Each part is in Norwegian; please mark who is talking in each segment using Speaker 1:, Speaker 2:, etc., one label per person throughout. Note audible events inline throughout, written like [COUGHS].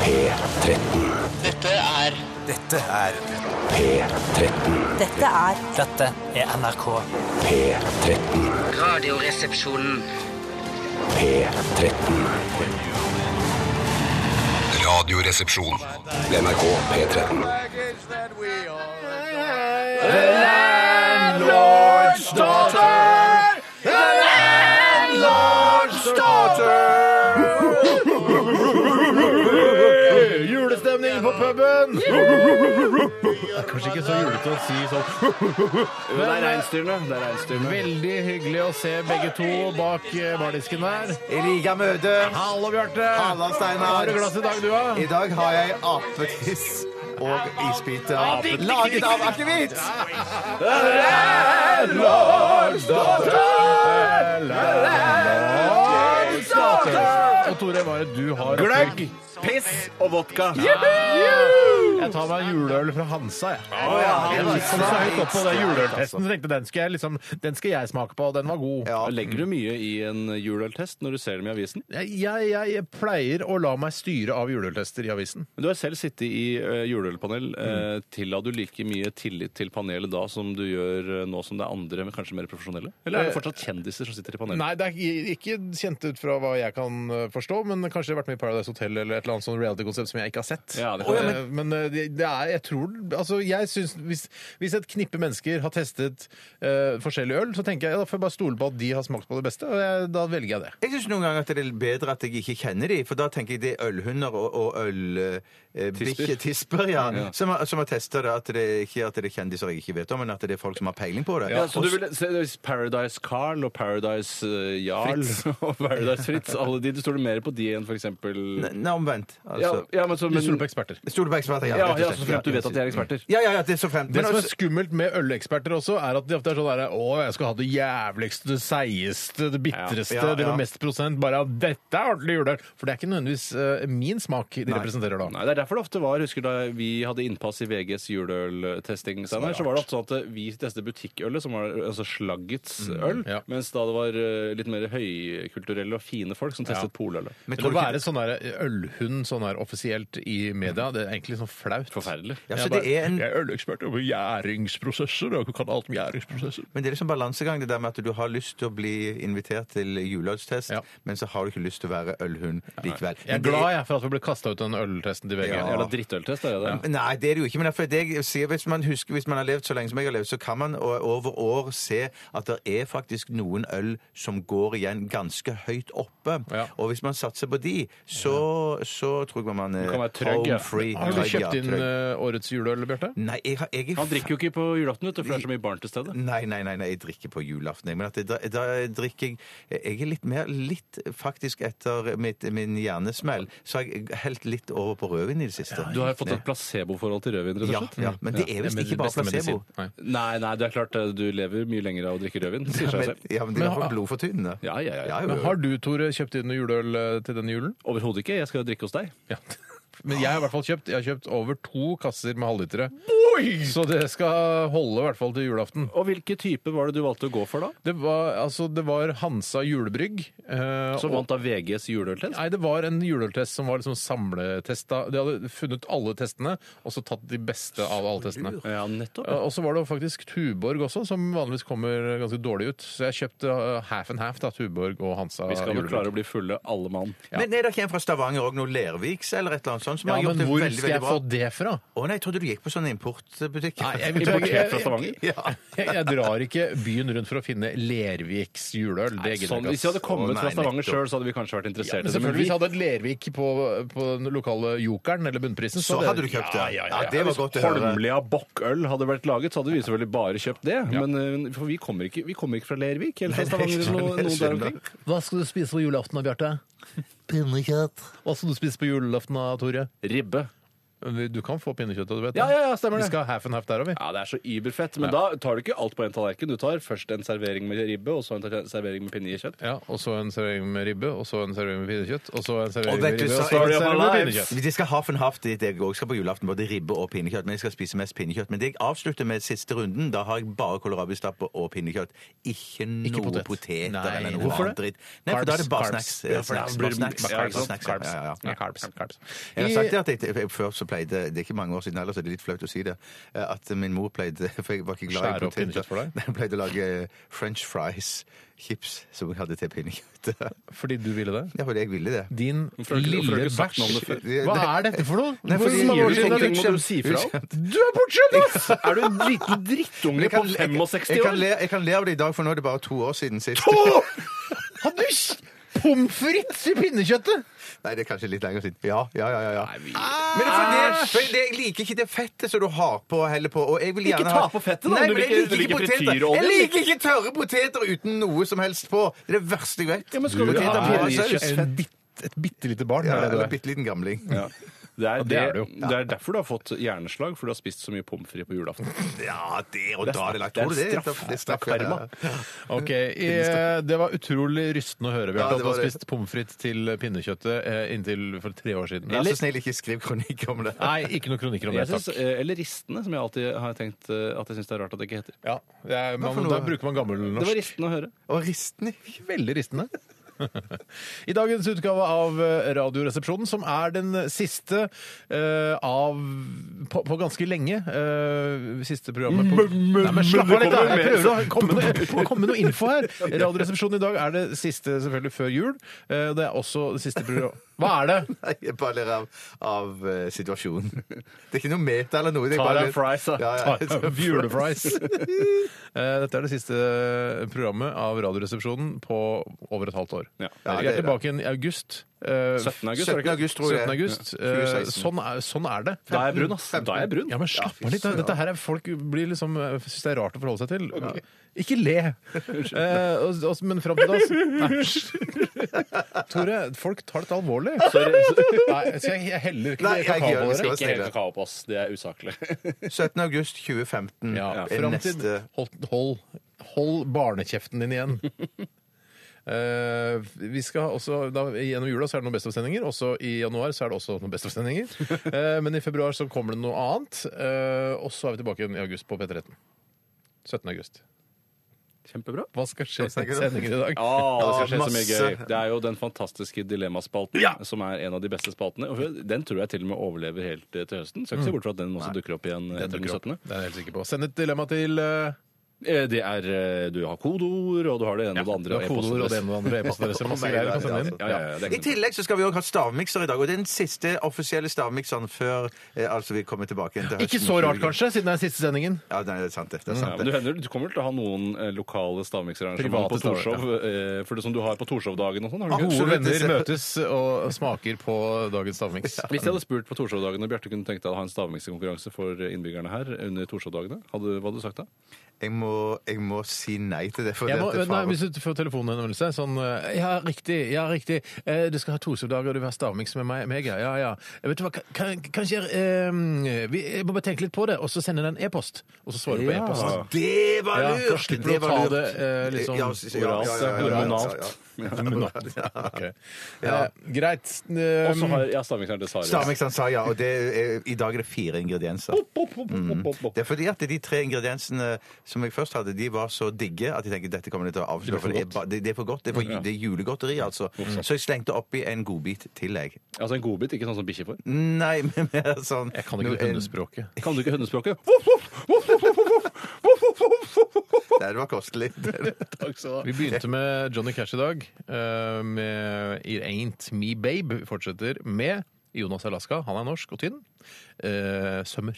Speaker 1: P13.
Speaker 2: Dette er
Speaker 3: Dette er
Speaker 1: P13.
Speaker 4: Dette er
Speaker 5: Dette er NRK.
Speaker 1: P13.
Speaker 2: Radioresepsjonen.
Speaker 1: P13.
Speaker 6: Radioresepsjon.
Speaker 1: NRK P13.
Speaker 7: Julestemning på puben!
Speaker 8: Kanskje ikke så julete å si sånn.
Speaker 7: Det er reinsdyrene. Det er reinsdyrene.
Speaker 8: Veldig hyggelig å se begge to bak eh, bardisken der.
Speaker 3: I like møte.
Speaker 8: Hallo, Bjarte.
Speaker 3: Halla, Steinar.
Speaker 8: Har du glass i dag, du, da?
Speaker 3: I dag har jeg apetiss og isbiter. Laget av akevitt!
Speaker 8: Og Tore, hva er det du har?
Speaker 7: Gløgg, piss og vodka.
Speaker 8: Jeg tar meg en juleøl fra Hansa, jeg. Jeg
Speaker 3: var
Speaker 8: gikk så høyt opp på den
Speaker 3: sterkt,
Speaker 8: juleøltesten, så tenkte jeg, den skal jeg liksom, den skal jeg smake på, og den var god.
Speaker 3: Ja.
Speaker 7: Legger du mye i en juleøltest når du ser dem i avisen?
Speaker 8: Jeg, jeg, jeg pleier å la meg styre av juleøltester i avisen.
Speaker 7: Men Du har selv sittet i eh, juleølpanel. Uh, Tilla du like mye tillit til panelet da som du gjør eh, nå som det er andre, men kanskje mer profesjonelle? Eller er det fortsatt kjendiser som sitter i panelet?
Speaker 8: Nei, det er ikke kjent ut fra hva jeg kan eh, forstå, men kanskje det har vært med i Paradise Hotel eller et eller annet sånn reality-konsept som jeg ikke har sett.
Speaker 7: Ja, det kan
Speaker 8: Eh,
Speaker 7: være.
Speaker 8: men eh, det det er, jeg tror Altså, jeg syns hvis, hvis et knippe mennesker har testet eh, forskjellig øl, så tenker jeg ja, da får jeg bare stole på at de har smakt på det beste, og jeg, da velger jeg det.
Speaker 3: Jeg syns noen ganger at det er bedre at jeg ikke kjenner de, for da tenker jeg det er ølhunder og, og ølbikkjetisper tisper, ja, som, har- som har testa det. At det ikke at det er kjendiser jeg ikke vet om, men at det er folk som har peiling på det.
Speaker 7: Ja, så du ville se hvis Paradise Carl og Paradise eh, Jarl [LAUGHS] og Paradise Fritz. Alle de, du stoler mer på de enn for eksempel
Speaker 3: Nei, omvendt.
Speaker 7: ja,
Speaker 3: Altså.
Speaker 7: ja, men så,
Speaker 8: Du
Speaker 7: men,
Speaker 8: stoler på eksperter.
Speaker 3: Stoler på eksperter, ja.
Speaker 7: ja,
Speaker 3: rett og
Speaker 7: ja,
Speaker 3: slett.
Speaker 7: så fremt du vet at de er eksperter.
Speaker 3: Ja, ja, ja, det er så fremt.
Speaker 8: Det
Speaker 3: Men
Speaker 8: som er
Speaker 3: også-
Speaker 8: skummelt med øleksperter også, er at de ofte er sånn derre Å, jeg skal ha det jævligste, det seigeste, det bitreste,
Speaker 3: Ja, ja.
Speaker 8: det med mest prosent. Bare at dette er ordentlig juleøl. For det er ikke nødvendigvis eh, min smak de representerer da.
Speaker 7: Nei, Det er derfor det ofte var husker da vi hadde innpass i VGs juleøltesting, Steinar, så var det ofte sånn at vi testet butikkølet, som var altså slaggets
Speaker 3: Mm,
Speaker 7: øl,
Speaker 8: ja.
Speaker 7: mens da det var eh, litt mer høykulturelle og fine folk som testet polølet.
Speaker 3: Men
Speaker 8: Til å
Speaker 3: tror du ikke-
Speaker 8: være sånn der ølhund sånn her offisielt i media, det er egentlig sånn flaut.
Speaker 7: Forferdelig.
Speaker 3: Ja,
Speaker 8: Jeg
Speaker 3: så
Speaker 8: bare,
Speaker 3: det er en-
Speaker 8: Jeg er ølekspert over gjæringsprosesser, og kan alt om gjæringsprosesser.
Speaker 3: Men det er liksom balansegang, det der med at du har lyst til å bli invitert til juleølstest,
Speaker 8: Ja.
Speaker 3: men så har du ikke lyst til å være ølhund likevel.
Speaker 8: Jeg er glad jeg for at vi ble kasta ut av den øltesten til VG.
Speaker 3: Ja.
Speaker 7: Jævla drittøltest, er det det?
Speaker 3: Nei, det er det jo ikke. Men derfor er det jeg sier, hvis man husker, hvis man har levd så lenge som jeg har levd, så kan man o- over år se at det er faktisk noen øl som går igjen ganske høyt oppe.
Speaker 8: Ja.
Speaker 3: Og hvis man satser på de, så, så tror jeg man er
Speaker 7: kan være trøgg, ja.
Speaker 3: home free.
Speaker 8: Har du
Speaker 3: Trøgg, ja,
Speaker 8: kjøpt inn
Speaker 3: trøgg.
Speaker 8: eh, årets juleøl, Bjarte?
Speaker 3: Nei, jeg har jeg er
Speaker 7: Han drikker jo ikke på julaften, vet du, for det er så mye barn til stede.
Speaker 3: Nei, nei, nei, nei, jeg drikker på julaften. jeg. Men at jeg, da, da drikker jeg Jeg er litt mer litt faktisk etter mitt, min hjernesmell, så har jeg helt litt over på rødvin i det siste.
Speaker 7: Du har fått et placeboforhold til rødvin, rett og
Speaker 3: ja,
Speaker 7: slett?
Speaker 3: ja, men det er visst ikke bare placebo.
Speaker 7: Nei, nei, det er klart eh, du lever mye lenger av å drikke rødvin, sier seg
Speaker 3: Men,
Speaker 7: selv.
Speaker 3: ja, men det er i hvert fall blodfortynnende.
Speaker 7: Ja, ja, ja.
Speaker 3: Ja, jo,
Speaker 8: Men
Speaker 3: jo.
Speaker 8: har du, Tore, kjøpt inn noe juleøl eh, til denne julen?
Speaker 7: Overhodet ikke. Jeg skal jo drikke hos deg.
Speaker 8: Ja. [LAUGHS] Men jeg har i hvert fall kjøpt, jeg har kjøpt over to kasser med halvlitere. Så det skal holde i hvert fall til julaften.
Speaker 7: Og hvilken type var det du valgte å gå for, da?
Speaker 8: Det var, altså, det var Hansa julebrygg. eh,
Speaker 7: Som
Speaker 8: og-
Speaker 7: vant av VGs juleøltest?
Speaker 8: Nei, det var en juleøltest som var liksom samletest. da. De hadde funnet alle testene, og så tatt de beste av alle testene.
Speaker 7: Ja, nettopp.
Speaker 8: Eh, Og så var det faktisk Tuborg også, som vanligvis kommer ganske dårlig ut. Så jeg kjøpte eh, half and half, da, Tuborg og Hansa
Speaker 7: Vi skal vel
Speaker 8: julebrygg.
Speaker 7: klare å bli fulle, alle mann.
Speaker 3: Men er det ikke en fra Stavanger òg, noe Lerviks eller et eller annet sånt? Som
Speaker 8: Ja,
Speaker 3: har gjort
Speaker 8: men
Speaker 3: det
Speaker 8: hvor
Speaker 3: veldig,
Speaker 8: skal jeg
Speaker 3: veldig bra?
Speaker 8: få det fra?
Speaker 3: Å nei, jeg trodde du gikk på sånn importbutikk.
Speaker 8: Nei, jeg, vet du hva,
Speaker 7: [LAUGHS] Importert fra Stavanger.
Speaker 3: [LAUGHS] ja.
Speaker 8: Jeg, jeg drar ikke byen rundt for å finne Lerviks juleøl. Det gidder
Speaker 7: Sånn,
Speaker 8: jeg
Speaker 7: hvis vi
Speaker 8: ikke.
Speaker 7: hadde kommet
Speaker 3: Å, nei,
Speaker 7: fra Stavanger
Speaker 3: nettopp.
Speaker 7: sjøl, så hadde vi kanskje vært interessert i
Speaker 8: Men
Speaker 7: det. Men
Speaker 8: selvfølgelig,
Speaker 7: vi,
Speaker 8: hvis jeg hadde hatt Lervik på, på den lokale jokeren eller bunnprisen
Speaker 3: Så hadde du kjøpt det.
Speaker 8: Ja, ja, ja,
Speaker 3: Ja, det var
Speaker 8: Hvis-
Speaker 3: godt å høre.
Speaker 7: Holmlia bokkøl hadde vært laget, så hadde vi selvfølgelig bare kjøpt det. Men eh, for vi kommer ikke, vi kommer ikke fra Lervik eller fra Stavanger eller noe, noe der omkring.
Speaker 8: Hva skal du spise på julaften da, Bjarte?
Speaker 3: Pinnekjøtt.
Speaker 8: Hva skal du spise på julaften da, Tore?
Speaker 7: Ribbe.
Speaker 8: Du kan få pinnekjøtt, og du vet
Speaker 7: Ja, ja, ja, stemmer
Speaker 8: Vi
Speaker 7: det.
Speaker 8: skal ha half and half der òg, vi.
Speaker 7: Ja, det er så überfett. Men da tar du ikke alt på en tallerken. Du tar først en servering med ribbe, og så en tar- servering med pinnekjøtt.
Speaker 8: Ja, og så en servering med ribbe, og så en servering med pinnekjøtt, og så en servering
Speaker 3: Og
Speaker 8: med
Speaker 3: vet du,
Speaker 8: ribbe, og så
Speaker 3: så
Speaker 8: en
Speaker 7: Story of
Speaker 8: servering
Speaker 7: our
Speaker 8: med
Speaker 7: lives.
Speaker 8: pinnekjøtt.
Speaker 3: Vi skal ha for en haft dit jeg også skal på julaften, både ribbe og pinnekjøtt. Men jeg skal spise mest pinnekjøtt. Men det jeg avslutter med siste runden, da har jeg bare kålrabistappe og pinnekjøtt. Ikke noe
Speaker 8: potet.
Speaker 3: poteter
Speaker 8: Nei,
Speaker 3: eller noe
Speaker 8: hvorfor
Speaker 3: annet dritt. Nei, for da er det bare snacks. Ja, snacks, bare snacks.
Speaker 7: Ja, ikke
Speaker 3: Bare
Speaker 7: sant?
Speaker 3: snacks, ja, ja, ja.
Speaker 8: Ja, carbs. carbs.
Speaker 3: Jeg har sagt det at jeg, jeg, før så pleide Det er ikke mange år siden heller, så det er litt flaut å si det. At min mor pleide [LAUGHS] For jeg var ikke glad
Speaker 8: Skjære
Speaker 3: i
Speaker 8: opp pinnekjøtt
Speaker 3: [LAUGHS]
Speaker 8: for deg?
Speaker 3: Nei, Hun pleide å lage french fries, chips, som hun hadde til pinnekjøttet. [LAUGHS]
Speaker 8: Fordi du ville det?
Speaker 3: Ja, for jeg ville det.
Speaker 8: Din
Speaker 7: har du ikke- hvorfor har
Speaker 8: lille
Speaker 7: du ikke sagt noe om det
Speaker 8: bæsj.
Speaker 7: før?
Speaker 8: Hva er dette for noe?
Speaker 3: Nei,
Speaker 8: Hvor
Speaker 3: fordi-
Speaker 8: mange år
Speaker 7: Sier
Speaker 8: siden
Speaker 7: du
Speaker 8: er det?
Speaker 7: ting, må du si fra om.
Speaker 8: Du er bortskjemt, ass!
Speaker 7: Er du en liten drittunge på 65
Speaker 3: jeg kan,
Speaker 7: år?
Speaker 3: le, jeg kan le av det i dag, for nå er det bare to år siden sist.
Speaker 8: Hadde du s- pommes frites i pinnekjøttet?
Speaker 3: Nei, det er kanskje litt lenger siden. Ja, ja, ja. ja, Ah! ja.
Speaker 7: Nei, vi-
Speaker 3: Men for det, for det, jeg liker ikke det fettet som du har på og heller på. Og jeg vil
Speaker 7: Ikke
Speaker 3: gjerne
Speaker 7: ta på fettet, da,
Speaker 3: Nei,
Speaker 7: om du
Speaker 3: men jeg
Speaker 7: liker- du liker
Speaker 3: poteter.
Speaker 7: frityrolje.
Speaker 3: Jeg liker ikke tørre poteter uten noe som helst på. Det er det verste jeg vet.
Speaker 7: men skal du
Speaker 3: Poteter
Speaker 7: ikke ha
Speaker 3: med
Speaker 7: mer
Speaker 3: saus.
Speaker 7: kjøttfett?
Speaker 8: En bitt- Et bitte lite barn.
Speaker 3: Ja,
Speaker 8: er det du
Speaker 3: eller
Speaker 8: er.
Speaker 3: bitte liten gamling.
Speaker 7: Ja. Det er,
Speaker 8: det er det jo.
Speaker 7: det, det er derfor du har fått hjerneslag, for du har spist så mye pommes frites på julaften.
Speaker 3: Ja, det og
Speaker 7: Det er
Speaker 3: da er det lagt.
Speaker 7: straff.
Speaker 3: Tror du det?
Speaker 7: Det er straff.
Speaker 3: Det er straff,
Speaker 7: Det er karma.
Speaker 3: ja.
Speaker 8: Ok, eh, Det var utrolig rystende å høre,
Speaker 3: Ja,
Speaker 8: Bjarte,
Speaker 3: det
Speaker 8: at du har
Speaker 3: var det.
Speaker 8: spist pommes frites til pinnekjøttet eh, inntil for tre år siden.
Speaker 3: Vær
Speaker 8: Eller?
Speaker 3: så snill, ikke skriv kronikk om det.
Speaker 8: Nei, ikke noen kronikker om det.
Speaker 7: Jeg synes,
Speaker 8: Takk.
Speaker 7: eh, eller ristene, som jeg alltid har tenkt eh, at jeg syns det er rart at det ikke heter.
Speaker 8: Ja, det er,
Speaker 3: Hva for
Speaker 8: man,
Speaker 3: noe?
Speaker 8: da bruker man
Speaker 7: Det var
Speaker 8: gammelnorsk.
Speaker 7: ristende å høre.
Speaker 3: Og ristene.
Speaker 8: Veldig ristende. [LAUGHS] I dagens utgave av eh, Radioresepsjonen, som er den siste eh, av på, på ganske lenge eh, Siste programmet på Nei, men slapp av litt, da! Jeg prøver å [LAUGHS] komme med, komme med noe info her. Radioresepsjonen i dag er det siste, selvfølgelig, før jul. Eh, Det er også det siste program... Hva er [LAUGHS] det?
Speaker 3: Nei, jeg bare ler av, av eh, situasjonen. Det er ikke noe meta eller noe. det er
Speaker 7: Tara
Speaker 3: bare litt-
Speaker 7: Fries, da.
Speaker 3: Ja, ja.
Speaker 8: [LAUGHS] Julefries. Eh, Dette er det siste eh, programmet av Radioresepsjonen på over et halvt år.
Speaker 7: Ja.
Speaker 8: Vi
Speaker 3: Ja,
Speaker 8: er
Speaker 3: det er det.
Speaker 8: tilbake igjen i august. Eh,
Speaker 7: 17. august,
Speaker 3: 17.
Speaker 7: er det ikke?
Speaker 3: august, tror jeg.
Speaker 8: 17. august. Eh,
Speaker 3: 2016.
Speaker 8: sånn, er, sånn er det.
Speaker 7: Da er jeg brun, ass. Da er jeg brun.
Speaker 8: Ja, men slapp av litt. da. Dette her er, folk blir liksom, eh, synes det er rart å forholde seg til. Ja. Ikke
Speaker 3: [LAUGHS]
Speaker 8: le! Eh, og, og, men fram til da så- Nei,
Speaker 3: [LAUGHS]
Speaker 8: hysj. Tore, folk tar dette alvorlig. Nei, skal jeg, jeg heller ikke
Speaker 3: Nei,
Speaker 8: kakao
Speaker 3: jeg gjør det.
Speaker 8: på
Speaker 3: Vi
Speaker 8: dere.
Speaker 3: skal være
Speaker 7: Ikke helt
Speaker 3: snille.
Speaker 7: kakao på oss. Det er usaklig.
Speaker 3: 17. august 2015
Speaker 8: Ja,
Speaker 3: er
Speaker 8: fram til
Speaker 3: neste
Speaker 8: hold, hold, hold barnekjeften din igjen. Eh, vi skal også, da, Gjennom jula så er det noen Best of-sendinger. Også i januar så er det også noen Best of-sendinger. Eh, men i februar så kommer det noe annet. eh, og så er vi tilbake igjen i august på P13. 17. august.
Speaker 7: [LAUGHS] Kjempebra.
Speaker 8: Hva skal skje i
Speaker 3: snakker du om?
Speaker 8: sendingen i dag?
Speaker 7: Ja, det skal skje så mye
Speaker 3: masse.
Speaker 7: gøy. Det er jo den fantastiske Dilemmaspalten, som er en av de beste spaltene. Og Den tror jeg til og med overlever helt eh, til høsten. Skal ikke se bort fra at den også dukker opp igjen. eh, den 17.
Speaker 8: Det er jeg helt sikker på. Send et dilemma til eh,
Speaker 7: Eh, Det er eh, Du har kodeord, og du har det ene og det
Speaker 8: det
Speaker 7: andre.
Speaker 8: var
Speaker 7: og
Speaker 8: kodeord og det
Speaker 7: e-postadresse.
Speaker 8: ene og det andre. E-posten deres.
Speaker 7: [LAUGHS]
Speaker 8: Masse greier du kan sende inn.
Speaker 7: altså. Ja, ja, ja, det er
Speaker 3: I
Speaker 7: ikke noe.
Speaker 3: tillegg så skal vi også ha stavmikser i dag, og det er den siste offisielle stavmikseren før eh, altså vi kommer tilbake igjen til høsten.
Speaker 8: Ikke så rart, kanskje, siden det er siste sendingen.
Speaker 3: Ja, nei, det er sant det. det, er
Speaker 7: Ja,
Speaker 3: sant,
Speaker 7: men du,
Speaker 3: det.
Speaker 7: hender, du kommer vel til å ha noen eh, lokale
Speaker 8: Private
Speaker 7: stavmiksarrangementer på
Speaker 8: staver,
Speaker 7: Torshov. eh, For det som du har på Torshov-dagen og sånn. har du ikke?
Speaker 8: Gode
Speaker 3: Absolutt.
Speaker 8: venner møtes og smaker på dagens stavmiks.
Speaker 7: Hvis jeg hadde spurt på Torshov-dagene, Bjarte kunne du tenkt deg å ha en stavmiksekonkurranse for eh, innbyggerne her under Torshov-dagene, hadde, hva hadde du sagt da?
Speaker 3: Jeg, må, jeg må si nei til det. For
Speaker 8: Jeg må,
Speaker 3: det at det
Speaker 8: nei,
Speaker 3: farer-
Speaker 8: hvis du får telefonhenvendelse sånn eh, Ja, riktig. ja, riktig. Eh, Du skal ha Torshov-dag, og du vil ha stavmiks med meg. meg ja, ja, ja. Eh, Vet du hva, kan, kanskje jeg, eh, vi, jeg må bare tenke litt på det, og så sender jeg en e-post. Og så svarer du på
Speaker 7: Ja.
Speaker 8: e-post.
Speaker 3: Å, Det var
Speaker 8: Ja, da
Speaker 3: lurt!
Speaker 8: slipper du
Speaker 3: det
Speaker 8: å
Speaker 3: var
Speaker 8: ta
Speaker 3: lurt.
Speaker 8: det, eh, liksom,
Speaker 3: ja, ja, ja, ja, ja, ja, ja, ja, ja.
Speaker 8: Ok. Eh, greit. Eh,
Speaker 7: Og så har ja, stavmikseren til Sara.
Speaker 3: Stavmikseren sa ja, og det er, i dag er det fire ingredienser.
Speaker 7: Pop, pop, pop, pop, pop, pop.
Speaker 3: Det er fordi at de tre ingrediensene som jeg først hadde, de var så digge at jeg tenkte dette kommer de til å avsløre. For det er, ba- det, det er for godt. Det er, for, det er julegodteri, altså. Så jeg slengte oppi en godbit til, jeg.
Speaker 7: Altså en godbit, ikke sånn som bikkje får.
Speaker 3: Nei, [LAUGHS] men mer sånn
Speaker 8: Jeg kan ikke
Speaker 3: noe- en-
Speaker 8: hundespråket.
Speaker 7: Kan du ikke hundespråket?
Speaker 3: Nei, det var
Speaker 8: [LAUGHS]
Speaker 3: kostelig.
Speaker 7: Takk skal du ha.
Speaker 8: Vi begynte med Johnny Cash i dag, eh, med It Ain't Me Babe. Vi fortsetter med Jonas Alaska. Han er norsk og tynn. Eh, Sømmer.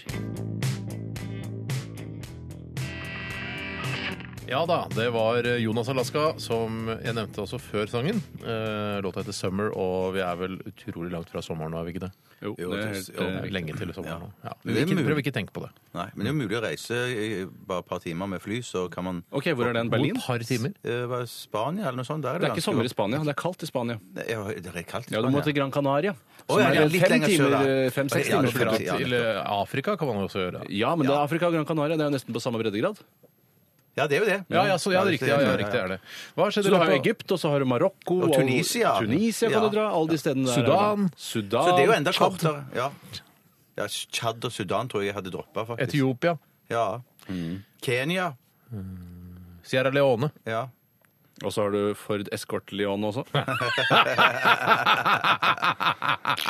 Speaker 8: Ja da, det var Jonas Alaska, som jeg nevnte også før sangen. Eh, Låta heter 'Summer', og vi er vel utrolig langt fra sommeren nå, er vi ikke det?
Speaker 7: Jo,
Speaker 3: Jo,
Speaker 7: det er
Speaker 3: det-
Speaker 7: helt
Speaker 3: jo,
Speaker 8: Det
Speaker 7: eh,
Speaker 8: er Lenge til sommeren nå. Ja.
Speaker 3: Det er
Speaker 8: Vi ikke-
Speaker 3: mulig.
Speaker 8: Prøv ikke å tenke på det.
Speaker 3: Nei, men det er jo mulig å reise i bare et par timer med fly, så kan man
Speaker 7: OK, hvor er den? Berlin?
Speaker 8: Et par timer.
Speaker 3: eh, være Spania eller noe sånt. Der
Speaker 7: Det er ikke sommer i Spania. Det er kaldt i Spania.
Speaker 3: Spania. Ja, det er kaldt i
Speaker 7: Ja,
Speaker 3: Spania.
Speaker 7: du må til Gran Canaria.
Speaker 3: Å, ja,
Speaker 7: som
Speaker 3: ja,
Speaker 7: er
Speaker 3: litt
Speaker 7: fem
Speaker 3: lenger sør,
Speaker 7: timer,
Speaker 3: da.
Speaker 7: eh, fem-seks
Speaker 3: Ja,
Speaker 7: timers
Speaker 3: det er
Speaker 7: flytur.
Speaker 3: klart.
Speaker 8: Til eh, Afrika kan man også gjøre.
Speaker 7: Ja, men det er Afrika og Gran Canaria det er jo nesten på samme breddegrad.
Speaker 3: Ja, det er jo det.
Speaker 8: Ja, ja, så, ja, det er riktig. Ja, ja,
Speaker 3: ja.
Speaker 8: riktig er det. Hva
Speaker 7: Så
Speaker 8: skjedde
Speaker 7: du har jo
Speaker 8: i løpet av-
Speaker 7: Egypt, og så har du Marokko
Speaker 3: Og Tunisia.
Speaker 7: Tunisia kan
Speaker 3: Ja.
Speaker 7: du dra. Alle de stedene der.
Speaker 8: Sudan.
Speaker 7: er det. Sudan.
Speaker 3: Så det er jo enda
Speaker 7: Tsjad.
Speaker 3: kortere. Ja. ja, Tsjad og Sudan tror jeg jeg hadde droppa, faktisk.
Speaker 8: Etiopia,
Speaker 3: Ja.
Speaker 8: Mm.
Speaker 3: Kenya.
Speaker 8: Sierra Leone.
Speaker 3: Ja.
Speaker 7: Og så har du Ford Escort Leon også.
Speaker 3: [LAUGHS]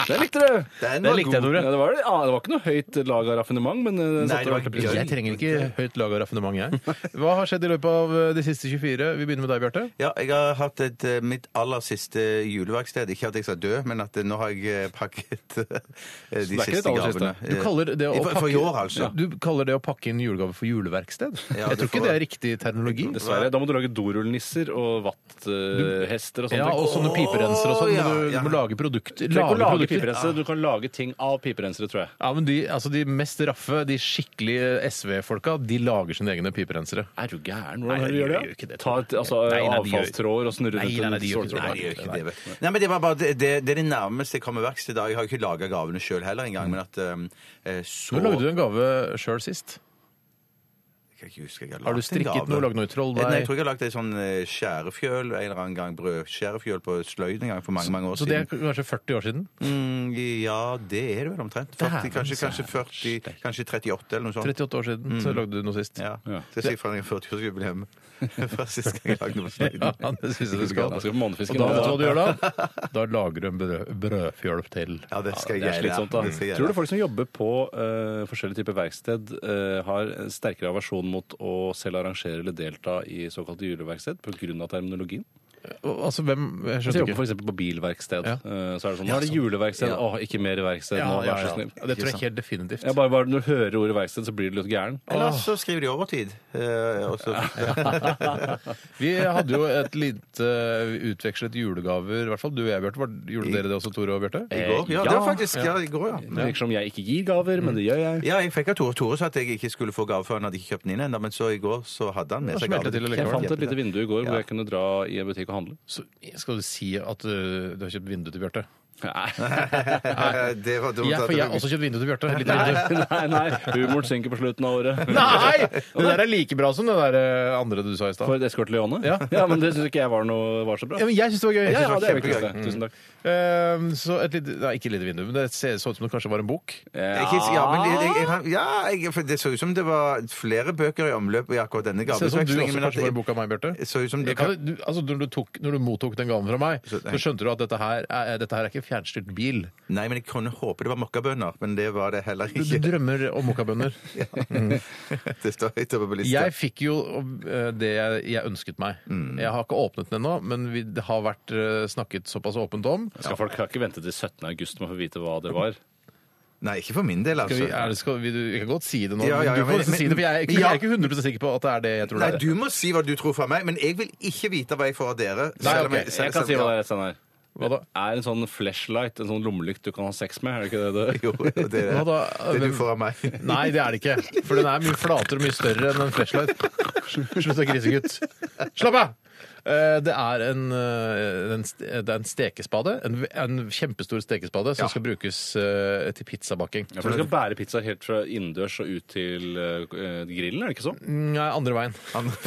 Speaker 7: Den likte du!
Speaker 3: Den
Speaker 8: Det
Speaker 3: var
Speaker 8: likte jeg,
Speaker 3: god.
Speaker 8: Tore.
Speaker 7: Ja, det, var, ja, det var ikke noe høyt lag av raffinement, men eh, den
Speaker 3: Nei,
Speaker 7: satte
Speaker 3: det var
Speaker 7: ordentlig
Speaker 3: gøy.
Speaker 7: pris.
Speaker 8: Jeg trenger ikke høyt lag av raffinement,
Speaker 7: [LAUGHS]
Speaker 8: jeg. Hva har skjedd i løpet av eh, de siste 24? Vi begynner med deg, Bjarte.
Speaker 3: Ja, jeg har hatt et, eh, mitt aller siste juleverksted. Ikke at jeg skal dø, men at eh, nå har jeg eh, pakket eh, de
Speaker 7: ikke ditt
Speaker 3: siste
Speaker 7: aller siste?
Speaker 3: gavene.
Speaker 8: Du kaller det å
Speaker 3: For-
Speaker 8: pakke
Speaker 3: For Eh, i år, altså.
Speaker 8: Du kaller det å pakke inn julegave for juleverksted?
Speaker 3: Ja,
Speaker 8: jeg
Speaker 3: det
Speaker 8: tror ikke
Speaker 3: får-
Speaker 8: det er riktig terminologi.
Speaker 7: Dessverre. Da må du lage dorullnisser og vatthester og sånne
Speaker 8: Ja, og
Speaker 7: ting.
Speaker 8: sånne piperensere og sånn.
Speaker 3: Å,
Speaker 8: men Sånn, Du,
Speaker 3: ja,
Speaker 8: du må
Speaker 3: ja.
Speaker 8: lage produkter.
Speaker 7: Du trenger ikke å
Speaker 8: lagre
Speaker 7: lage
Speaker 8: produkter.
Speaker 7: piperensere, du kan lage ting av piperensere, tror jeg.
Speaker 8: Ja, men de, altså de mest raffe, de skikkelige SV-folka, de lager sine egne piperensere.
Speaker 7: Er du gæren?
Speaker 8: Nei,
Speaker 7: Hvordan er det
Speaker 8: de
Speaker 7: du gjør
Speaker 8: gjør jo ikke
Speaker 7: det?
Speaker 8: det,
Speaker 7: Ta et altså,
Speaker 8: Nei, nei, de gjør-
Speaker 7: avfallstråder og snurre
Speaker 8: Nei,
Speaker 7: rundt
Speaker 8: nei, nei,
Speaker 7: en
Speaker 8: de gjør ikke det.
Speaker 7: sårtråd.
Speaker 3: Nei, det gjør ikke det. vet du. Nei, men det var bare det, det, det er det nærmeste jeg kommer verkstedet. i dag. Jeg har jo ikke laga gavene sjøl heller engang, men at eh, så
Speaker 8: Nå Mm. lagde du en gave sjøl sist.
Speaker 3: Jeg kan ikke huske, jeg
Speaker 8: Har du
Speaker 3: lagd en
Speaker 8: strikket
Speaker 3: gave. Eh,
Speaker 8: noe, lagd noe trolldeig?
Speaker 3: Nei, jeg tror jeg har lagd ei sånn eh, skjærefjøl en eller annen gang. Brødskjærefjøl på sløyd en gang for mange, mange år
Speaker 8: Så det er
Speaker 3: siden.
Speaker 8: kanskje 40 år siden?
Speaker 3: Mm, ja, det er det vel omtrent. 40,
Speaker 8: Dæven,
Speaker 3: kanskje,
Speaker 8: så er
Speaker 3: kanskje 40, kanskje 38 eller noe sånt.
Speaker 8: 38 år siden så lagde du noe sist.
Speaker 3: Mm. Ja. Det skal jeg fra 40-årsjubileum. Fra sist gang jeg lagde noe sløyd.
Speaker 8: [LAUGHS] Ja, det synes jeg du skal.
Speaker 7: Da skal vi på månefisken,
Speaker 8: Og da,
Speaker 7: da.
Speaker 8: vet du hva du gjør da? [LAUGHS] Da lager du en brød, brødfjølp til.
Speaker 3: Ja, det skal
Speaker 7: Det er
Speaker 3: jeg
Speaker 7: slitsomt, da.
Speaker 3: Det skal jeg
Speaker 7: Tror
Speaker 3: gjøre.
Speaker 7: du folk som jobber på eh, forskjellige typer verksted, eh, har en sterkere aversjon mot å selv arrangere eller delta i såkalte juleverksted pga. terminologien?
Speaker 8: Altså, hvem Jeg
Speaker 7: Hvis du
Speaker 8: skjønner
Speaker 7: jobber
Speaker 8: ikke.
Speaker 7: f.eks. på bilverksted,
Speaker 8: Ja.
Speaker 7: eh, så er det sånn Nå er det juleverksted,
Speaker 3: Ja.
Speaker 7: åh, ikke mer verksted nå, vær så snill.
Speaker 8: Det tror jeg helt definitivt.
Speaker 7: Ja, bare, bare Når du hører ordet verksted, så blir du litt gæren.
Speaker 3: Eller så skriver de overtid. eh, og så-
Speaker 8: Vi hadde jo et lite vi utvekslet julegaver, i hvert fall du og jeg, Bjarte. Var- Gjorde dere det også, Tore og Bjarte?
Speaker 3: I går? [LAUGHS] Ja, det var faktisk ja, i går, ja.
Speaker 7: Det virker som jeg ikke gir gaver, men det gjør jeg.
Speaker 3: Ja, jeg fikk av Tore. Tore sa at jeg ikke skulle få gave før han hadde ikke kjøpt den inn ennå, men så i går så hadde han med
Speaker 8: Da
Speaker 3: seg
Speaker 8: smelte
Speaker 3: gave.
Speaker 8: det til
Speaker 7: Jeg
Speaker 8: allikevel.
Speaker 7: fant et lite vindu i går
Speaker 3: Ja.
Speaker 7: hvor jeg kunne dra i en butikk og handle.
Speaker 8: Så skal du si at uh, du har kjøpt vindu til Bjarte?
Speaker 7: Nei,
Speaker 3: [LAUGHS] Det var dumt.
Speaker 8: Ja,
Speaker 3: at
Speaker 8: for jeg har
Speaker 3: det-
Speaker 8: også kjøpt vindu til Bjarte. Litt [LAUGHS] vindu.
Speaker 3: [LAUGHS]
Speaker 7: nei, nei. humoren synker på slutten av året.
Speaker 8: Nei! Det der er like bra som det der eh, andre du sa i stad.
Speaker 7: For et eskort Leone?
Speaker 8: Ja.
Speaker 7: men det syns ikke jeg var, noe, var så bra.
Speaker 8: Ja, men jeg syns det var gøy.
Speaker 7: Ja, ja,
Speaker 8: Jeg synes
Speaker 7: det er
Speaker 8: var
Speaker 7: viktigst, det.
Speaker 8: kjempegøy.
Speaker 7: Tusen takk.
Speaker 8: Ehm, så et lite, nei, ikke et lite vindu, men det ser- så ut som det kanskje var en bok.
Speaker 3: Ikke, ja, men jeg, jeg, jeg, ja jeg, for det så ut som det var flere bøker i omløp i akkurat denne
Speaker 8: Ser ut som du også
Speaker 3: gaveutvekslingen. men at
Speaker 8: kanskje var en
Speaker 3: jeg-
Speaker 8: bok av meg, Bjarte.
Speaker 3: Så ut som du
Speaker 8: Jeg kan- du- Altså, når, du tok- når du mottok den gaven fra meg,
Speaker 3: Så-
Speaker 8: så skjønte du at dette her er, dette her er ikke fjernstyrt bil.
Speaker 3: Nei, men jeg kunne håpe det var mokkabønner, men det var det heller
Speaker 8: Du, du
Speaker 3: ikke.
Speaker 8: drømmer om
Speaker 3: [LAUGHS]
Speaker 8: mokkabønner.
Speaker 3: Det står høyt oppe på lista.
Speaker 8: Jeg fikk jo eh, det jeg, jeg ønsket meg.
Speaker 3: Mm.
Speaker 8: Jeg har ikke åpnet den ennå, men vi, det har vært eh, snakket såpass åpent om.
Speaker 7: Skal folk ikke vente til 17. august med å få vite hva det var?
Speaker 3: Nei, ikke for min del,
Speaker 8: Skal vi, er
Speaker 3: altså.
Speaker 8: det, skal vi, du- vi kan godt si det nå,
Speaker 3: Ja, ja,
Speaker 8: men
Speaker 3: ja,
Speaker 8: du får
Speaker 3: men-
Speaker 8: nesten si det, for jeg er ikke,
Speaker 3: men- ja.
Speaker 8: jeg er ikke 100 sikker på at det er det jeg tror
Speaker 3: Nei,
Speaker 8: det er.
Speaker 3: du må si hva du tror fra meg, men jeg vil ikke vite hva jeg får av dere.
Speaker 8: Nei,
Speaker 3: selv om
Speaker 8: ok.
Speaker 3: selv-
Speaker 7: Jeg kan si
Speaker 3: selv-
Speaker 7: hva det er. Steinar.
Speaker 8: Hva da?
Speaker 7: Er en sånn flashlight en sånn lommelykt du kan ha sex med? Er det ikke det du
Speaker 3: Jo, det er det.
Speaker 8: Hva da?
Speaker 3: Det du
Speaker 8: Hvem-
Speaker 3: får av meg.
Speaker 8: Nei, det er det ikke. For den er mye flatere og mye større enn en flashlight. Slutt å grise, gutt. Slapp av! Eh, Det er en, eh, en, st- det er en stekespade. En, v- en kjempestor stekespade som skal brukes eh, til pizzabaking.
Speaker 7: Ja, for Du skal bære pizza helt fra innendørs og ut til eh, grillen, er det ikke sånn?
Speaker 8: Nei, andre veien.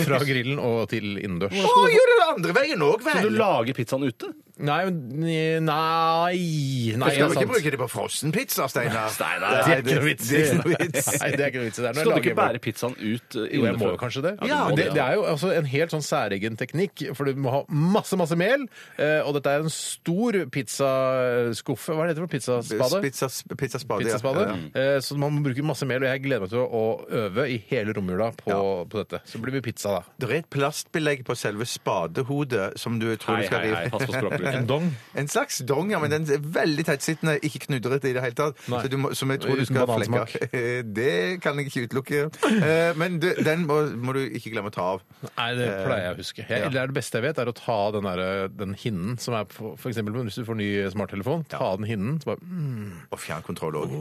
Speaker 8: Fra grillen og til innendørs.
Speaker 3: Å, gjør du det andre veien òg, vel?
Speaker 7: Du lager pizzaen ute?
Speaker 8: Nei, men- nei, nei det
Speaker 3: Du skal
Speaker 8: er
Speaker 3: jo ikke
Speaker 8: sant.
Speaker 3: bruke det på frossenpizza, Steinar.
Speaker 7: Steinar,
Speaker 8: det er ikke noe vits.
Speaker 3: Det er ikke noe vits.
Speaker 8: Nei, det er ikke noe vits i det. Nå
Speaker 7: Skal du
Speaker 8: lager jeg
Speaker 7: ikke bære pizzaen ut eh,
Speaker 8: Jo, jeg må
Speaker 7: innenfor?
Speaker 8: jo kanskje det.
Speaker 7: Ja, du må
Speaker 8: men det,
Speaker 7: det,
Speaker 8: det er jo altså en helt sånn særegen teknikk for du må ha masse, masse mel. eh, Og dette er en stor pizzaskuffe. Hva er det heter for pizzaspade?
Speaker 3: Pizzas- Pizzaspade. ja.
Speaker 8: Pizzaspade.
Speaker 3: Ja.
Speaker 8: Eh, Så man må bruke masse mel, og jeg gleder meg til å øve i hele romjula på, på dette. Så blir vi pizza, da.
Speaker 3: Det er et plastbelegg på selve spadehodet som du tror
Speaker 7: Hei,
Speaker 3: du skal
Speaker 7: hei, hei, pass på språkbruken.
Speaker 8: dong?
Speaker 3: En slags dong, ja, men den er veldig tettsittende, ikke knudrete i det hele tatt.
Speaker 8: Nei.
Speaker 3: Så du må, som jeg tror du
Speaker 8: Uten
Speaker 3: skal
Speaker 8: banansmak.
Speaker 3: flekke. Eh, [LAUGHS] Det kan jeg ikke utelukke. Eh, Men du, den må, må du ikke glemme å ta av.
Speaker 8: Nei, det pleier jeg å huske. Jeg,
Speaker 3: Eh, ja.
Speaker 8: Det er det beste jeg vet, er å ta av den, der, eh, den hinnen som er på for eksempel, Hvis du får ny smarttelefon, ta av den hinnen. Så bare, mm,
Speaker 3: Og fjernkontroll òg.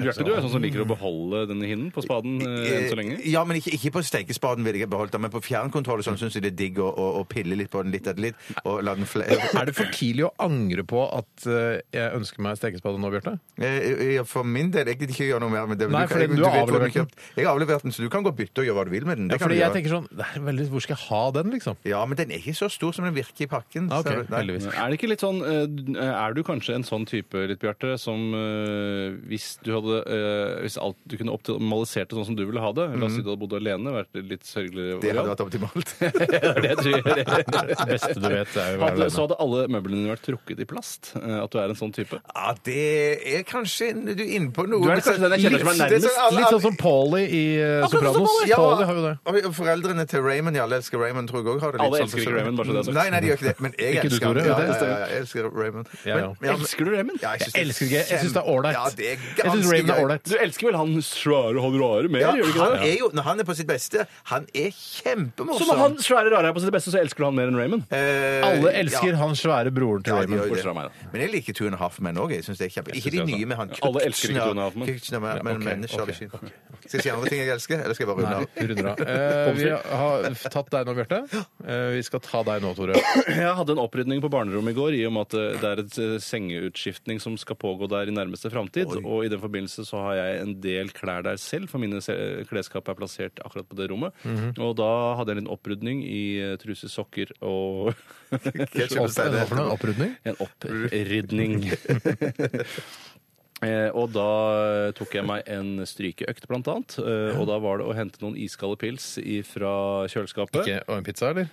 Speaker 7: Bjarte, du er sånn som liker å beholde denne hinnen på spaden eh, enn så lenge.
Speaker 3: Ja, men ikke, ikke på stekespaden vil jeg ha beholdt den, men på fjernkontroll og sånn syns jeg det er digg å, å, å pille litt på den litt etter litt. Og la den fle...
Speaker 8: er det for tidlig å angre på at eh, jeg ønsker meg stekespade nå, Bjarte?
Speaker 3: Eh, ja, For min del, jeg gidder ikke gjøre noe mer med det. men
Speaker 8: Nei,
Speaker 3: kan-
Speaker 8: fordi
Speaker 3: jeg-
Speaker 8: du har
Speaker 3: vet hvor
Speaker 8: avlevert den.
Speaker 3: kjøpt- Jeg har avlevert den, så du kan gå og bytte og gjøre hva du vil med den.
Speaker 8: Ja,
Speaker 3: Det kan
Speaker 8: fordi
Speaker 3: du
Speaker 8: jeg
Speaker 3: gjøre.
Speaker 8: tenker sånn det er veldig, Hvor skal jeg ha den, liksom?
Speaker 3: Ja, men den er ikke så stor som den virker i pakken.
Speaker 8: Ah, ok,
Speaker 3: ser du. Nei.
Speaker 8: heldigvis.
Speaker 7: Er det ikke litt sånn eh, Er du kanskje en sånn type, litt Bjarte, som eh, hvis du hadde eh, Hvis alt du kunne optimalisert det sånn som du ville ha det La oss si du hadde bodd alene, vært litt sørgelig
Speaker 3: Det hadde
Speaker 7: [LAUGHS]
Speaker 3: vært optimalt.
Speaker 7: det tror jeg. Det
Speaker 8: beste du vet er jo å være
Speaker 7: hadde,
Speaker 8: alene.
Speaker 7: så hadde alle møblene dine vært trukket i plast. eh, At du er en sånn type.
Speaker 3: Ja, det er kanskje en- Du er inne på noe.
Speaker 7: Du er kanskje den jeg kjenner som er
Speaker 3: Det
Speaker 7: nærmest.
Speaker 3: alle-
Speaker 8: Litt sånn som Paulie i eh, Sopranos.
Speaker 3: Ja,
Speaker 8: Paulie har jo det.
Speaker 3: og foreldrene til Raymond i Alle elsker Raymond tror jeg også har det litt
Speaker 7: Alle
Speaker 3: sånn.
Speaker 7: elsker ikke Raymond, bare så det er sagt.
Speaker 3: Nei, nei, de gjør ikke det. Men jeg
Speaker 8: Ikke du,
Speaker 3: elsker
Speaker 8: Tore,
Speaker 3: han. Ja,
Speaker 8: vet du?
Speaker 3: ja, ja, jeg elsker Raymond.
Speaker 8: Ja, ja.
Speaker 7: Elsker du Raymond?
Speaker 3: Ja,
Speaker 8: Jeg elsker ikke. Jeg syns det er ålreit.
Speaker 3: Ja, det er
Speaker 8: jeg syns
Speaker 3: ganske
Speaker 8: Raymond er
Speaker 3: gøy.
Speaker 8: ålreit.
Speaker 7: Du elsker vel han svære han rare mer,
Speaker 3: Ja,
Speaker 7: gjør du ikke
Speaker 3: han
Speaker 7: det?
Speaker 3: er jo, når han er på sitt beste, han er
Speaker 7: Så når han
Speaker 3: kjempemorsom.
Speaker 7: svære rare er på sitt beste, så elsker du han mer enn Raymond?
Speaker 3: Eh,
Speaker 8: Alle elsker
Speaker 3: ja.
Speaker 8: han svære broren til
Speaker 3: Ja, de
Speaker 8: Raymond.
Speaker 3: gjør jo
Speaker 7: bortsett
Speaker 3: det.
Speaker 7: fra meg, da.
Speaker 3: Men jeg liker Two and a Half Men òg. Ikke
Speaker 7: synes
Speaker 3: de
Speaker 7: jeg
Speaker 3: nye
Speaker 7: også.
Speaker 3: med han
Speaker 7: Ja, alle elsker ikke Two and a Half Men.
Speaker 3: Kitchener, men, men
Speaker 8: ok,
Speaker 3: Mensch har vi
Speaker 8: ok,
Speaker 3: ikke. Skal jeg si andre ting jeg elsker, eller skal jeg bare runde av?
Speaker 8: Nei, runder av. [LAUGHS] Eh, vi har tatt deg nå, Bjarte. Eh, vi skal ta deg nå, Tore.
Speaker 7: Jeg hadde en opprydning på barnerommet i går, i og med at eh, det er et eh, sengeutskiftning som skal pågå der i nærmeste framtid. Og i den forbindelse så har jeg en del klær der selv, for mine se- klesskap er plassert akkurat på det rommet. Og da hadde jeg en liten opprydning i eh, truser, sokker og
Speaker 3: Ketchup
Speaker 7: [LAUGHS]
Speaker 3: og
Speaker 8: Hva for noe?
Speaker 3: steiner.
Speaker 8: Opprydning?
Speaker 7: En opprydning. Eh, og da tok jeg meg en strykeøkt, blant annet. Eh, og da var det å hente noen iskalde pils fra kjøleskapet.
Speaker 8: Ikke, og en pizza, eller?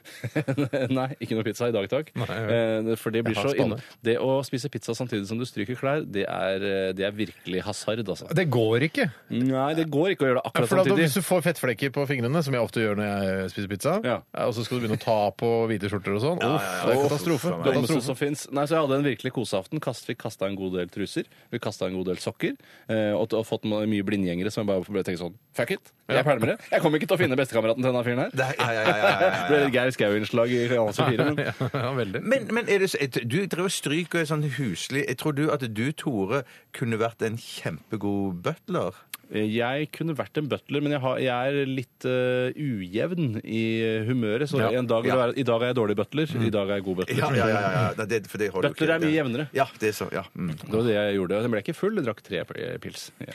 Speaker 7: [LAUGHS] Nei, ikke noe pizza i dag, takk.
Speaker 8: Nei,
Speaker 7: Eh, For det blir
Speaker 8: Jeg har
Speaker 7: så inn...
Speaker 8: spannet.
Speaker 7: Det å spise pizza samtidig som du stryker klær, det er, eh, det er virkelig hasard, altså.
Speaker 8: Det går ikke.
Speaker 7: Nei, det går ikke å gjøre det akkurat
Speaker 8: For da,
Speaker 7: samtidig.
Speaker 8: hvis du får fettflekker på fingrene, som jeg ofte gjør når jeg spiser pizza,
Speaker 7: Ja.
Speaker 8: eh, og så skal du begynne å ta på hvite skjorter og sånn, uff, det er katastrofe.
Speaker 7: Det dummeste
Speaker 8: katastrofe.
Speaker 7: som finnes. Nei, så Jeg hadde en virkelig koseaften. Kast, fikk kasta en god del truser. Vi kasta en god del sokker. Eh, og, og fått ma- mye blindgjengere som jeg bare ble tenkt sånn Fuck it! Jeg pælmer det. Jeg kommer ikke til å finne bestekameraten til denne fyren her.
Speaker 3: Nei, ja, ja, ja, ja, ja, ja.
Speaker 7: [LAUGHS] Det ble litt Geir Skau-innslag i Kanal 24. Men
Speaker 8: Ja, veldig.
Speaker 3: [LAUGHS] Men, men er det, så- et- du driver og stryker sånn huslig. Jeg tror du at du, Tore, kunne vært en kjempegod butler?
Speaker 7: Jeg kunne vært en butler, men jeg, har, jeg er litt eh, ujevn i humøret. Så
Speaker 8: Ja. Mm.
Speaker 7: en dag, vil
Speaker 3: Ja.
Speaker 7: være- I dag er jeg dårlig butler, i dag er jeg god butler.
Speaker 3: Ja, ja, ja. ja. Nei, det, for det holder jo
Speaker 7: Butler er
Speaker 3: ikke.
Speaker 7: mye jevnere.
Speaker 3: Ja, det er så, ja. Mm.
Speaker 7: Det var det jeg gjorde. Jeg ble ikke full, jeg drakk tre pl- pils. Ja.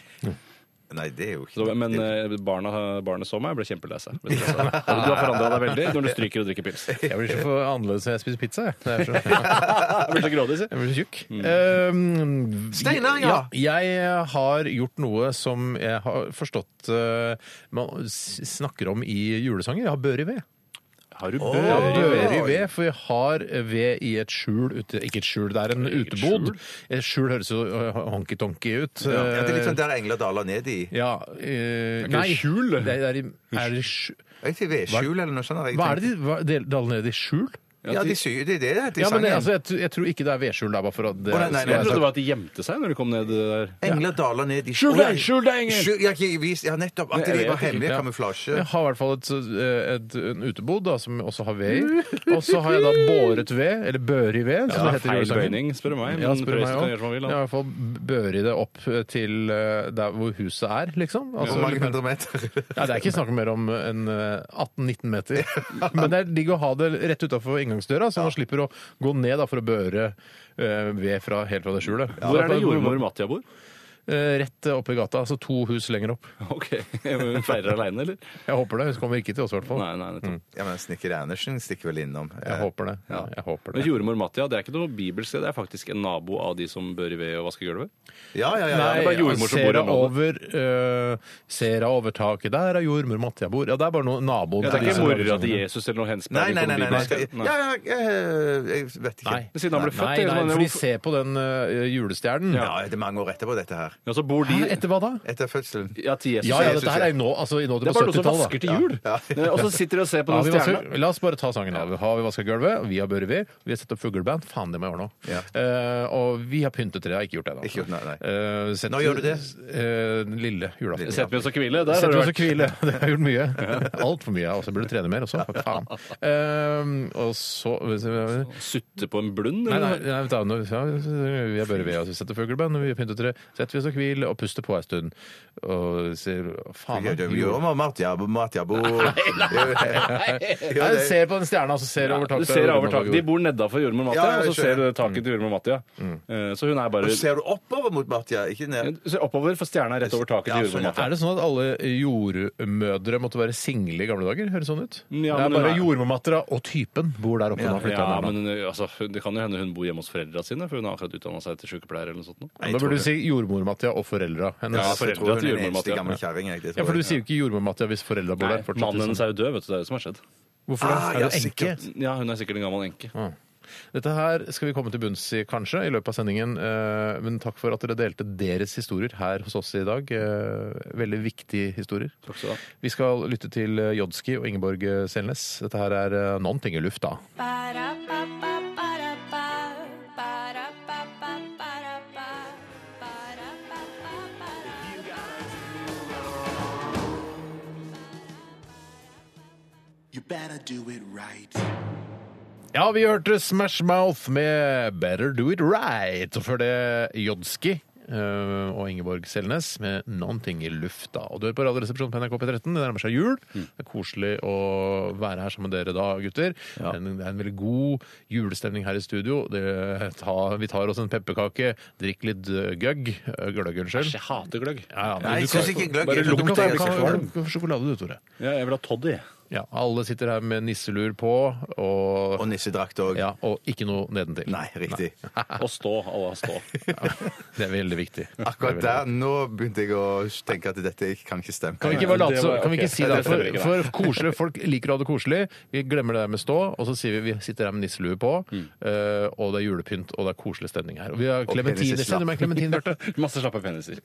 Speaker 3: Nei, det er jo ikke
Speaker 7: Så, men eh, barna, barnet så meg, ble kjempelei seg.
Speaker 8: [LAUGHS]
Speaker 7: Ble stresset. Du har forandra deg veldig når du stryker og drikker pils. Jeg
Speaker 8: Jeg blir så for annerledes når jeg spiser pizza, jeg. Det er [LAUGHS] så-
Speaker 7: blir så grådig, si.
Speaker 8: Jeg blir så tjukk. Um,
Speaker 3: Steinar, ja.
Speaker 8: Jeg har gjort noe som jeg har forstått eh, man s- snakker om i julesanger. Jeg har børi ved.
Speaker 7: Har du
Speaker 8: Ja,
Speaker 7: bør?
Speaker 8: dører i ved, for vi har ved i et skjul ute, Ikke et skjul, det er en utebod. Et skjul høres jo øh, honky-tonky ut.
Speaker 3: Ja, det er litt sånn der engler daler ned i.
Speaker 8: eh, Ja, øh,
Speaker 7: ikke
Speaker 8: nei.
Speaker 7: et skjul.
Speaker 8: Det er, det er, i- er det skjul?
Speaker 3: Jeg til vedskjul eller noe sånt. har jeg
Speaker 8: Hva er
Speaker 3: tenkt.
Speaker 8: det de hva- de daler ned i skjul?
Speaker 3: Ja, de syr det. er Det det heter i
Speaker 8: Ja, men
Speaker 3: sangen.
Speaker 8: altså, jeg, tr- jeg tror ikke det er vedskjul, det er bare for at det
Speaker 3: Å, nei, nei, nei.
Speaker 7: Jeg trodde det var at de gjemte seg når de kom ned der.
Speaker 3: Engler daler ned i
Speaker 7: Skjul deg, skjul deg, engel!
Speaker 3: Skjul- Ja, ikke vis- ja, nettopp. At
Speaker 7: Nei,
Speaker 3: det
Speaker 7: jeg
Speaker 3: var
Speaker 7: vet ikke.
Speaker 3: hemmelig
Speaker 8: Ja.
Speaker 3: kamuflasje.
Speaker 8: Jeg har i hvert fall et, øh, et, en utebod da, som også har ved i. Og så har jeg da båret ved, eller børi ved, som
Speaker 7: Ja,
Speaker 8: det heter i
Speaker 7: feil
Speaker 8: julesangen.
Speaker 7: bøyning, spør du meg.
Speaker 8: Ja, spør meg
Speaker 7: Prøysen kan gjøre som han
Speaker 8: òg.
Speaker 7: vil,
Speaker 8: I
Speaker 7: han.
Speaker 8: hvert fall børi det opp til eh, der hvor huset er, liksom. Altså,
Speaker 3: Hvor mange
Speaker 8: litt mer-
Speaker 3: hundre meter? [LAUGHS]
Speaker 8: ja, det er ikke snakk om mer om en eh, 18-19 meter. Men det er digg å ha det rett utafor inngangsdøra, så man slipper å gå ned da, for å børe eh, ved fra, helt fra det skjulet.
Speaker 7: Hvor er det jordmor Mattia bor? [LAUGHS]
Speaker 8: eh, rett oppe i gata. Altså to hus lenger opp.
Speaker 7: Ok, [LAUGHS] Hun feirer aleine, eller?
Speaker 8: Jeg håper det. Hun kommer ikke til oss, i hvert fall.
Speaker 7: Nei, nei, nettopp.
Speaker 3: Ja, men Snekker Andersen stikker vel innom.
Speaker 8: Jeg
Speaker 3: Eh,
Speaker 8: håper det. Ja, jeg håper
Speaker 7: Men
Speaker 8: det.
Speaker 7: jordmor Mattia det er ikke noe bibelsk, det er faktisk en nabo av de som bør i ved og vaske gulvet.
Speaker 3: Ja, ja, ja. ja.
Speaker 7: det er bare jordmor som bor
Speaker 8: ser
Speaker 7: i
Speaker 8: jeg
Speaker 7: området.
Speaker 8: over, eh, ser jeg over taket. Der er jordmor Mattia bor. Ja, det er bare noen naboen.
Speaker 7: Ja, det
Speaker 8: til
Speaker 7: er
Speaker 8: de
Speaker 7: ikke
Speaker 8: som bor
Speaker 7: mora til
Speaker 8: sammen.
Speaker 7: Jesus eller noe
Speaker 3: Nei,
Speaker 7: henspeiling
Speaker 3: nei,
Speaker 7: på
Speaker 3: nei.
Speaker 7: den
Speaker 3: nei, nei.
Speaker 7: bibelske.
Speaker 3: Ja, ja, jeg, jeg vet ikke.
Speaker 8: Nei.
Speaker 7: sånn Men Siden han ble født
Speaker 8: Nei,
Speaker 7: det er
Speaker 8: nei,
Speaker 7: sånn,
Speaker 8: for de
Speaker 7: hvorfor-
Speaker 8: ser på den eh, julestjernen.
Speaker 3: Ja, det er mange år etterpå, dette her.
Speaker 7: Ja, så bor de
Speaker 8: Hæ, etter hva da?
Speaker 3: Etter fødselen.
Speaker 7: Ja, til Jesus.
Speaker 8: Ja, ja, dette her er jo nå, altså, i nå til
Speaker 7: Det er
Speaker 8: på
Speaker 7: bare noen som
Speaker 8: 70-tallet. da.
Speaker 7: vasker til jul.
Speaker 3: Ja.
Speaker 7: [LAUGHS] Og så sitter de og ser på
Speaker 8: Ja,
Speaker 7: den
Speaker 8: vi vasker,
Speaker 7: stjerna.
Speaker 8: la oss bare ta sangen av. Har vi vaska gulvet? Vi har børrevier. Vi har sett opp fugleband. Faen, det må jeg gjøre nå.
Speaker 3: Ja.
Speaker 8: Eh, og vi har pyntet tre. Jeg har ikke gjort det ennå.
Speaker 3: Ikke gjort, nei, nei.
Speaker 8: Eh, sett-
Speaker 3: Nå gjør du det.
Speaker 8: eh, den lille julaften.
Speaker 7: Setter vi oss og hviler. Der
Speaker 8: Setter vi oss og
Speaker 7: har du vært.
Speaker 8: hvile. [LAUGHS] Det har jeg gjort mye. Altfor mye. Jeg også burde trene mer også. For
Speaker 7: [LAUGHS]
Speaker 8: faen. Eh, og så
Speaker 7: Sutte på en blund,
Speaker 8: Nei, nei,
Speaker 7: eller?
Speaker 8: nei, vent da, nå- ja, vi har børre ved oss, vi setter fugleband, vi har pyntet tre, setter vi oss og hvil og puster på en stund. Og sier faen
Speaker 3: Ja, det er
Speaker 8: jo.
Speaker 3: jo Martia- Martia
Speaker 8: [LAUGHS]
Speaker 3: Bo.
Speaker 8: Ja, du ser på den stjerna, så ser du over
Speaker 7: Du
Speaker 8: taket.
Speaker 7: ser over taket. De bor nedafor jordmor Mattia,
Speaker 3: Ja, ja,
Speaker 7: og så
Speaker 3: jeg
Speaker 7: ser du taket til jordmor Mattia.
Speaker 8: Mm.
Speaker 7: Eh, Så hun er bare
Speaker 3: Og ser du oppover mot Martia, ikke ned?
Speaker 7: Du ser oppover, for stjerna er rett over taket
Speaker 3: Ja,
Speaker 7: til
Speaker 3: sånn, ja.
Speaker 7: jordmor Mattia.
Speaker 8: Er det sånn at alle jordmødre måtte være single i gamle dager? Høres sånn ut?
Speaker 7: Ja,
Speaker 8: det
Speaker 7: men
Speaker 8: er bare
Speaker 7: hun er-
Speaker 8: jordmormattera og typen bor der oppe.
Speaker 7: Ja,
Speaker 8: nå, flytta der nå.
Speaker 7: men eh, altså, hun- Det kan jo hende hun bor hjemme hos foreldra sine, for hun har akkurat utdanna seg til sykepleier. eller noe sånt. nå.
Speaker 8: da burde du si jordmormattia og foreldra hennes.
Speaker 7: Ja,
Speaker 3: Jeg
Speaker 7: foreldre
Speaker 3: tror hun er
Speaker 7: til jordmor
Speaker 3: en eneste
Speaker 7: Martia.
Speaker 3: gammel kjerring. jeg, det tror
Speaker 8: Ja, for du
Speaker 3: jeg.
Speaker 8: sier jo ikke jordmormattia hvis foreldra bor der.
Speaker 7: Nei,
Speaker 8: fortsatt,
Speaker 7: Mannen
Speaker 8: liksom.
Speaker 7: hennes er jo død, vet du. Det er det som har skjedd.
Speaker 8: Hvorfor det?
Speaker 3: Ah,
Speaker 8: er
Speaker 3: ja,
Speaker 8: du enke?
Speaker 3: sikkert.
Speaker 7: Ja, Hun er sikkert en gammel enke.
Speaker 8: Ah. Dette her skal vi komme til bunns i kanskje i løpet av sendingen, eh, men takk for at dere delte deres historier her hos oss i dag. Eh, Veldig viktige historier.
Speaker 7: Takk skal du ha.
Speaker 8: Vi skal lytte til eh, Jodski og Ingeborg eh, Selnes. Dette her er eh, noen ting i lufta.
Speaker 4: Ba-da-ba-ba-ba-da-ba. Ba-da-ba-ba-ba-da-ba. Ba-da-ba-ba-ba-da-ba.
Speaker 5: You better do it right.
Speaker 8: Ja, vi hørte Smash Mouth med Better Do It Right. Og før det Jodski eh, og Ingeborg Selnes med Noen ting i lufta. Og du hører på Radioresepsjonen på NRK P13. Det nærmer seg jul. Det er koselig å være her sammen med dere da, gutter. Men Det er en veldig god julestemning her i studio. Det, ta- vi tar oss en pepperkake, drikker litt eh, gløgg. eh, Gløgg, unnskyld.
Speaker 7: Jeg hater gløgg.
Speaker 8: Ja, ja, men
Speaker 3: Nei,
Speaker 8: du
Speaker 3: jeg syns
Speaker 8: kan-
Speaker 3: ikke gløgg.
Speaker 8: Bare
Speaker 3: Jeg tror
Speaker 8: lukt
Speaker 3: ikke
Speaker 8: av
Speaker 3: jeg skal få den.
Speaker 8: sjokolade, du, Tore.
Speaker 7: Ja, jeg vil ha toddy.
Speaker 8: Ja, alle sitter her med nisselur på, og
Speaker 3: Og nissedrakt òg.
Speaker 8: ja, og ikke noe nedentil.
Speaker 3: Nei,
Speaker 8: [LAUGHS]
Speaker 3: riktig.
Speaker 7: Og stå. Alle har stå.
Speaker 8: Det er veldig viktig.
Speaker 3: Akkurat der nå begynte jeg å tenke at dette kan ikke stemme.
Speaker 8: Kan vi ikke bare late
Speaker 7: Det
Speaker 8: som-
Speaker 7: var-
Speaker 8: kan vi ikke
Speaker 7: ok.
Speaker 8: si
Speaker 7: Nei,
Speaker 8: det?
Speaker 7: det stemmer ikke,
Speaker 8: For, for koselige folk liker å ha det koselig. Vi glemmer det der med stå, og så sier vi vi sitter her med nisselue på, eh, og det er julepynt, og det er koselig stemning her. Og vi har
Speaker 3: penis
Speaker 8: klementiner.
Speaker 3: i slapp.
Speaker 8: Send meg en klementin, Bjarte.
Speaker 7: Masse slappe peniser.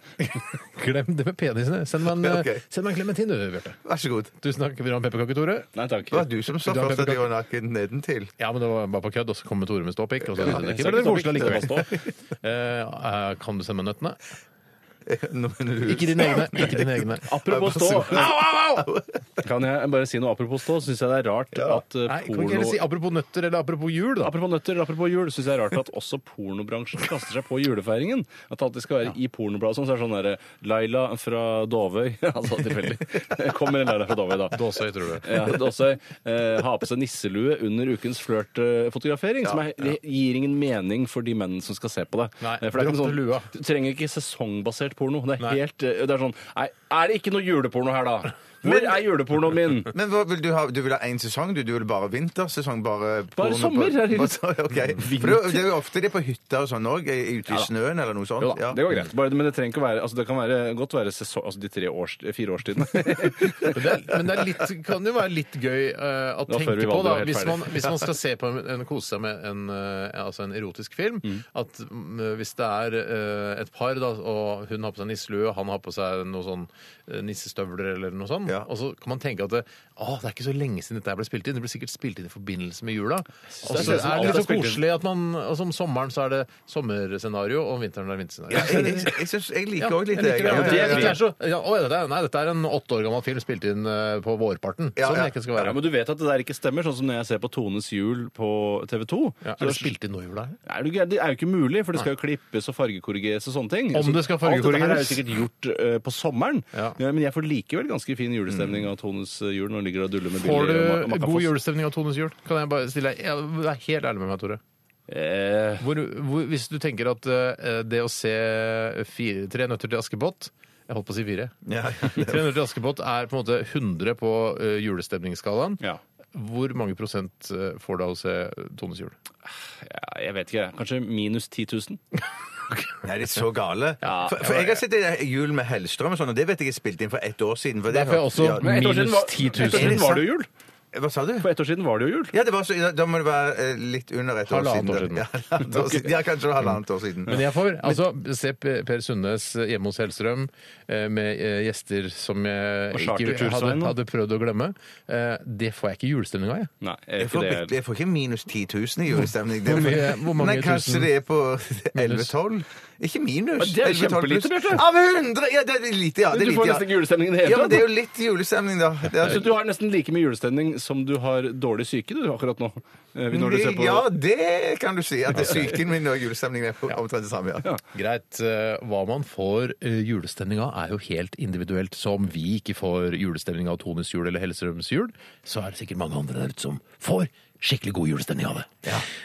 Speaker 8: Glem det med penisene. Send meg en, eh,
Speaker 3: Ok.
Speaker 8: send meg en klementin, du, Bjarte.
Speaker 3: Vær så god.
Speaker 8: Tusen takk. Vil du ha en pepperkake, Tore?
Speaker 7: Nei takk.
Speaker 3: Det var du som sa
Speaker 8: Du har
Speaker 3: først at jeg
Speaker 8: pepperkake.
Speaker 3: var naken nedentil. [LAUGHS]
Speaker 8: Ja, men det var bare på kødd, og så kommer Tore med ståpikk. Og så,
Speaker 7: Ja,
Speaker 8: det er
Speaker 7: jeg
Speaker 8: ikke
Speaker 7: sa
Speaker 8: veldig
Speaker 7: ikke
Speaker 8: koselig
Speaker 7: ståpikk, det var
Speaker 8: allikevel. Eh, eh, kan du sende meg nøttene?
Speaker 3: Nå mener du-
Speaker 8: Ikke dine egne. Ikke dine
Speaker 3: [LAUGHS]
Speaker 8: egne.
Speaker 7: [LAUGHS] Apropos stå. Au, au, au! Kan jeg bare si noe apropos stå? Syns jeg det er rart at eh,
Speaker 8: Nei, kan vi ikke heller
Speaker 7: porno
Speaker 8: si apropos nøtter eller apropos jul, da?
Speaker 7: Apropos nøtter eller apropos jul, syns jeg det er rart at også pornobransjen kaster seg på julefeiringen. At det alltid skal være i pornobladet og sånn, så er det sånn derre Laila fra Dovøy [LAUGHS] Altså tilfeldig. Kommer en Laila fra Dovøy, da.
Speaker 8: Dåsøy, tror du.
Speaker 7: Ja, Dåsøy eh, har på seg nisselue under ukens flørtfotografering. som er, det gir ingen mening for de mennene som skal se på det.
Speaker 8: Nei,
Speaker 7: Eh, for det er ikke
Speaker 8: dropp lua.
Speaker 7: Du trenger ikke sesongbasert porno. Det er,
Speaker 8: Nei.
Speaker 7: helt, eh, det er sånn Nei, er det ikke noe juleporno her, da? Hvor er julepornoen min?
Speaker 3: Men hva vil du, ha, du vil ha én sesong? Du, du vil bare vintersesong? Bare, porno på-
Speaker 7: sommer, er det-
Speaker 3: Bare så- ok. For det, det er jo ofte det på hytta og sånn òg. Ute i snøen eller noe sånt.
Speaker 7: Jo da,
Speaker 3: ja.
Speaker 7: det går greit. Bare, men det trenger ikke å være altså Det kan være, godt være sesong, altså de tre års, fire årstidene.
Speaker 8: [LAUGHS] Men det, er- men det er litt, kan jo være litt gøy eh, å
Speaker 7: Nå før
Speaker 8: tenke på,
Speaker 7: vi valgte
Speaker 8: da,
Speaker 7: å være helt
Speaker 8: hvis man,
Speaker 7: ferdig.
Speaker 8: hvis man skal se på en, en kose seg med en, eh, altså en erotisk film, at mm, hvis det er eh, et par, da, og hun har på seg nisselue, og han har på seg noe sånn eh, nissestøvler eller noe sånt,
Speaker 3: Ja.
Speaker 8: og så kan man tenke at det, å, det er ikke så lenge siden dette her ble spilt inn, det ble sikkert spilt inn i forbindelse med jula. Og så
Speaker 7: det ser ut
Speaker 8: er det
Speaker 7: som alt er
Speaker 8: litt så
Speaker 7: spilt inn.
Speaker 8: koselig at man, altså om sommeren så er det sommerscenario, og om vinteren er det vinterscenario.
Speaker 3: Ja, jeg, jeg, jeg, synes- jeg liker òg litt
Speaker 8: jeg liker det. At
Speaker 3: jeg. Ja,
Speaker 8: det-
Speaker 3: ja,
Speaker 8: at
Speaker 3: ja.
Speaker 8: det er så- ja, å, dette er- Nei, dette er en åtte år gammel film spilt inn eh, på vårparten.
Speaker 3: Ja,
Speaker 8: Sånn
Speaker 3: ja.
Speaker 8: det ikke skal
Speaker 7: Ja,
Speaker 8: være.
Speaker 7: men du vet at det der ikke stemmer, sånn som når jeg ser på Tones jul på TV 2.
Speaker 8: Ja, er det spilt inn nå i jula?
Speaker 7: Er det, gæren? det er jo ikke mulig, for det skal jo klippes og fargekorrigeres og sånne ting.
Speaker 8: Om det skal
Speaker 7: Alt
Speaker 8: fargekorrigeres.
Speaker 7: dette her er jo sikkert gjort eh, på sommeren,
Speaker 8: Ja.
Speaker 7: Ja, men jeg får likevel ganske fin julestemning av Tones eh, jul når han ligger og duller med
Speaker 8: Får
Speaker 7: Billy og eh, Ma-
Speaker 8: du
Speaker 7: Macafoss.
Speaker 8: god julestemning av Tones jul? Kan jeg bare stille deg jeg- Vær helt ærlig med meg, Tore.
Speaker 7: Eh,
Speaker 8: Hvor, hvor, hvis du tenker at eh, det å se fire, Tre nøtter til Askepott jeg holdt på å si
Speaker 7: [LAUGHS]
Speaker 8: fire.
Speaker 3: Ja, ja, det-
Speaker 8: Tre nøtter til Askepott er på en måte 100 på eh, julestemningsskalaen.
Speaker 7: ja.
Speaker 8: Hvor mange prosent eh, får du av å se Tones jul?
Speaker 7: ja. Jeg vet ikke, jeg. Kanskje minus 10 000?
Speaker 3: Nei, de er så gale.
Speaker 7: Ja.
Speaker 3: for, for jeg har sett det der Jul med Hellstrøm og sånn, og det vet jeg jeg spilte inn for ett år siden. For det-
Speaker 8: Der får jeg også
Speaker 3: Ja,
Speaker 7: Men ett år siden
Speaker 8: minus
Speaker 7: var-
Speaker 8: 10
Speaker 7: ett år
Speaker 8: 000.
Speaker 7: siden var det jo jul.
Speaker 3: Hva sa du?
Speaker 7: For ett år siden var det jo jul.
Speaker 3: Ja, det var så, ja, Da må det være eh, litt under et år
Speaker 8: Halvannet
Speaker 3: siden.
Speaker 8: år siden.
Speaker 3: Ja, halvannet år siden. ja, kanskje halvannet år siden.
Speaker 8: Men jeg får altså se P- Per Sundnes hjemme hos Hellstrøm eh, med eh, gjester som jeg
Speaker 7: Og
Speaker 8: ikke
Speaker 7: chartertur,
Speaker 8: hadde,
Speaker 7: Svein, da.
Speaker 8: hadde prøvd å glemme. Eh, Det får jeg ikke julestemning av, jeg.
Speaker 7: Nei,
Speaker 3: Jeg
Speaker 7: jeg
Speaker 3: får,
Speaker 7: er ikke
Speaker 3: bitte-
Speaker 7: det.
Speaker 3: jeg får ikke minus 10 000 i julestemning. Det er
Speaker 8: Hvor mye-
Speaker 3: [LAUGHS] for-
Speaker 8: hvor mange
Speaker 3: Nei, kanskje
Speaker 8: tusen?
Speaker 3: det er
Speaker 7: [LAUGHS]
Speaker 3: på 11-12? Ikke minus.
Speaker 7: Men det
Speaker 3: 11-12
Speaker 7: er
Speaker 3: pluss.
Speaker 7: kjempelite, Bjarte.
Speaker 3: Ja, men 100! Ja, det er lite, ja. Det er
Speaker 7: Du
Speaker 3: lite,
Speaker 7: får
Speaker 3: ja.
Speaker 7: nesten ikke julestemning i det hele
Speaker 3: Ja, men
Speaker 7: tatt.
Speaker 3: det er jo litt julestemning, da. Det er, altså
Speaker 7: Så du har nesten like mye julestemning som du har dårlig syke du, akkurat nå? eh, Når du ser på
Speaker 3: Ja, det kan du si. At psyken min og julestemningen er omtrent det samme. ja.
Speaker 8: Greit. eh, Hva man får eh, julestemning av, er jo helt individuelt. Så om vi ikke får julestemning av Tones jul eller Hellstrøms jul, så er det sikkert mange andre der ute som får skikkelig god julestemning av det.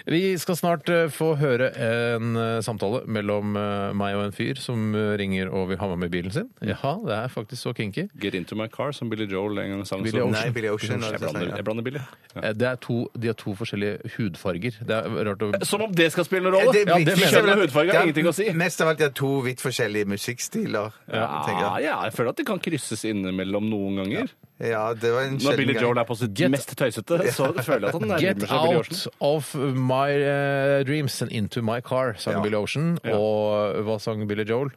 Speaker 8: Vi skal snart eh, få høre en eh, samtale mellom eh, meg og en fyr som eh, ringer og vil ha meg med i bilen sin. Ja, det er faktisk så kinky.
Speaker 7: Get Into My Car, som Billy Joel en gang sang.
Speaker 8: Billy
Speaker 7: så-
Speaker 8: Ocean.
Speaker 3: Nei, Billy Ocean.
Speaker 7: Jeg blander, jeg blander Billy. Ja.
Speaker 8: Eh, Det er to, de har to forskjellige hudfarger. Det er rart å
Speaker 7: Som om det skal spille noen rolle!
Speaker 3: Det
Speaker 8: Ja, det mener jeg.
Speaker 3: viktigste er vel at-
Speaker 7: Hudfarge har
Speaker 3: Ja,
Speaker 7: ingenting å si.
Speaker 3: Mest av alt de har to vidt forskjellige musikkstiler. tenker
Speaker 7: Ja,
Speaker 3: jeg.
Speaker 7: ja, jeg føler at det kan krysses innimellom noen ganger.
Speaker 3: ja, det var en
Speaker 7: Når
Speaker 3: sjelden
Speaker 7: Billy
Speaker 3: gang.
Speaker 7: Joel er på sitt mest tøysete, så føler jeg at han nærmer
Speaker 8: Get
Speaker 7: seg Billy Ocean.
Speaker 8: out of my eh, dreams and into my car, sang
Speaker 3: Ja.
Speaker 8: Billy Ocean. Og hva sang Billy Joel?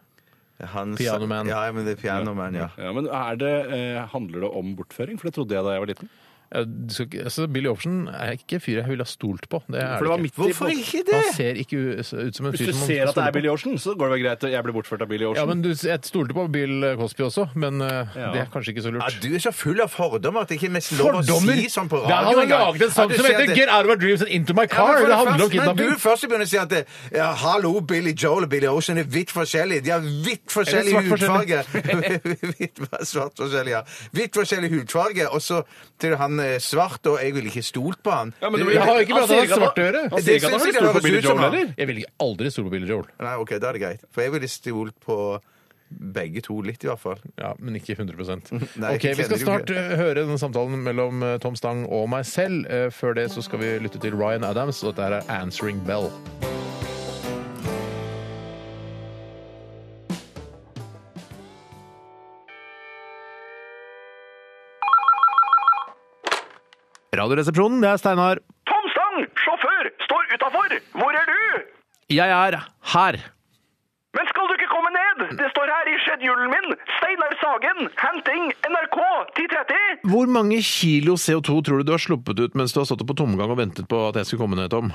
Speaker 3: Han sa-
Speaker 8: Piano Man.
Speaker 3: Ja, men det er Piano Man, ja.
Speaker 7: Ja, men er det, eh, Handler det om bortføring? For det trodde jeg da jeg var liten.
Speaker 8: Eh, du skal ikke- Altså, Billy Ocean er ikke en fyr jeg ville ha stolt på. Det er
Speaker 7: For det var
Speaker 8: det ikke.
Speaker 7: midt i
Speaker 3: Hvorfor ikke
Speaker 8: Han
Speaker 3: det?
Speaker 8: ser ikke u- ut som en
Speaker 7: Hvis
Speaker 8: fyr
Speaker 7: du
Speaker 8: som man skal
Speaker 7: ser at det
Speaker 8: stole
Speaker 7: er
Speaker 8: på.
Speaker 7: Billy Ocean, så går det vel greit. eh, Jeg ble bortført av Billy Ocean.
Speaker 8: Ja, men du, jeg stolte på Bill Cosby også, men eh,
Speaker 7: Ja.
Speaker 8: det er kanskje ikke så lurt.
Speaker 3: Ja, du er så full av fordommer at det ikke er mest lov å si sånn på
Speaker 8: Det er han har
Speaker 3: radioen
Speaker 8: laget en sang
Speaker 3: Ja, du
Speaker 8: som
Speaker 3: sier
Speaker 8: heter
Speaker 3: det-
Speaker 8: Get Out of My Dreams and Into My
Speaker 3: Ja, men
Speaker 8: Car!
Speaker 3: for
Speaker 8: det handler om
Speaker 3: første- Men
Speaker 8: kidnapping.
Speaker 3: du først begynner å si at det, ja, hallo, Billy Joel og Billy Ocean er vidt forskjellige. De har vidt forskjellig
Speaker 8: svart
Speaker 3: hudfarge. [LAUGHS] Vidt- svart forskjellig, ja. Vidt forskjellig hudfarge, og så til han eh, svart, og jeg ville ikke stolt på han.
Speaker 7: Ja, men det
Speaker 8: Jeg har ikke pratet
Speaker 7: Han
Speaker 8: om
Speaker 7: sier ikke at-
Speaker 8: svartøre.
Speaker 7: Han sier ikke at
Speaker 3: Det
Speaker 7: han
Speaker 3: synes
Speaker 7: blir
Speaker 3: jeg
Speaker 7: stor
Speaker 3: det
Speaker 7: på Billy
Speaker 3: høres ut som
Speaker 7: Joel
Speaker 3: han.
Speaker 7: heller.
Speaker 8: Jeg ville aldri stole på Billy Joel.
Speaker 3: Nei, ok, da er det greit. For jeg ville stolt på begge to litt, i hvert fall.
Speaker 8: Ja, men ikke 100
Speaker 3: [LAUGHS] Nei,
Speaker 8: Ok, Vi skal
Speaker 3: kjenner jo
Speaker 8: snart
Speaker 3: ikke.
Speaker 8: eh, høre den samtalen mellom eh, Tom Stang og meg selv. Eh, Før det så skal vi lytte til Ryan Adams, og dette her er 'Answering Bell'. Radioresepsjonen, det er Steinar.
Speaker 4: Tom Stang, sjåfør, står utafor! Hvor er du?
Speaker 8: Jeg er her.
Speaker 4: Men skal du ikke komme ned? Det står her i schedulen min! Steinar Sagen, henting NRK 1030!
Speaker 8: Hvor mange kilo CO2 tror du du har sluppet ut mens du har stått på tomgang og ventet på at jeg skulle komme ned, Tom?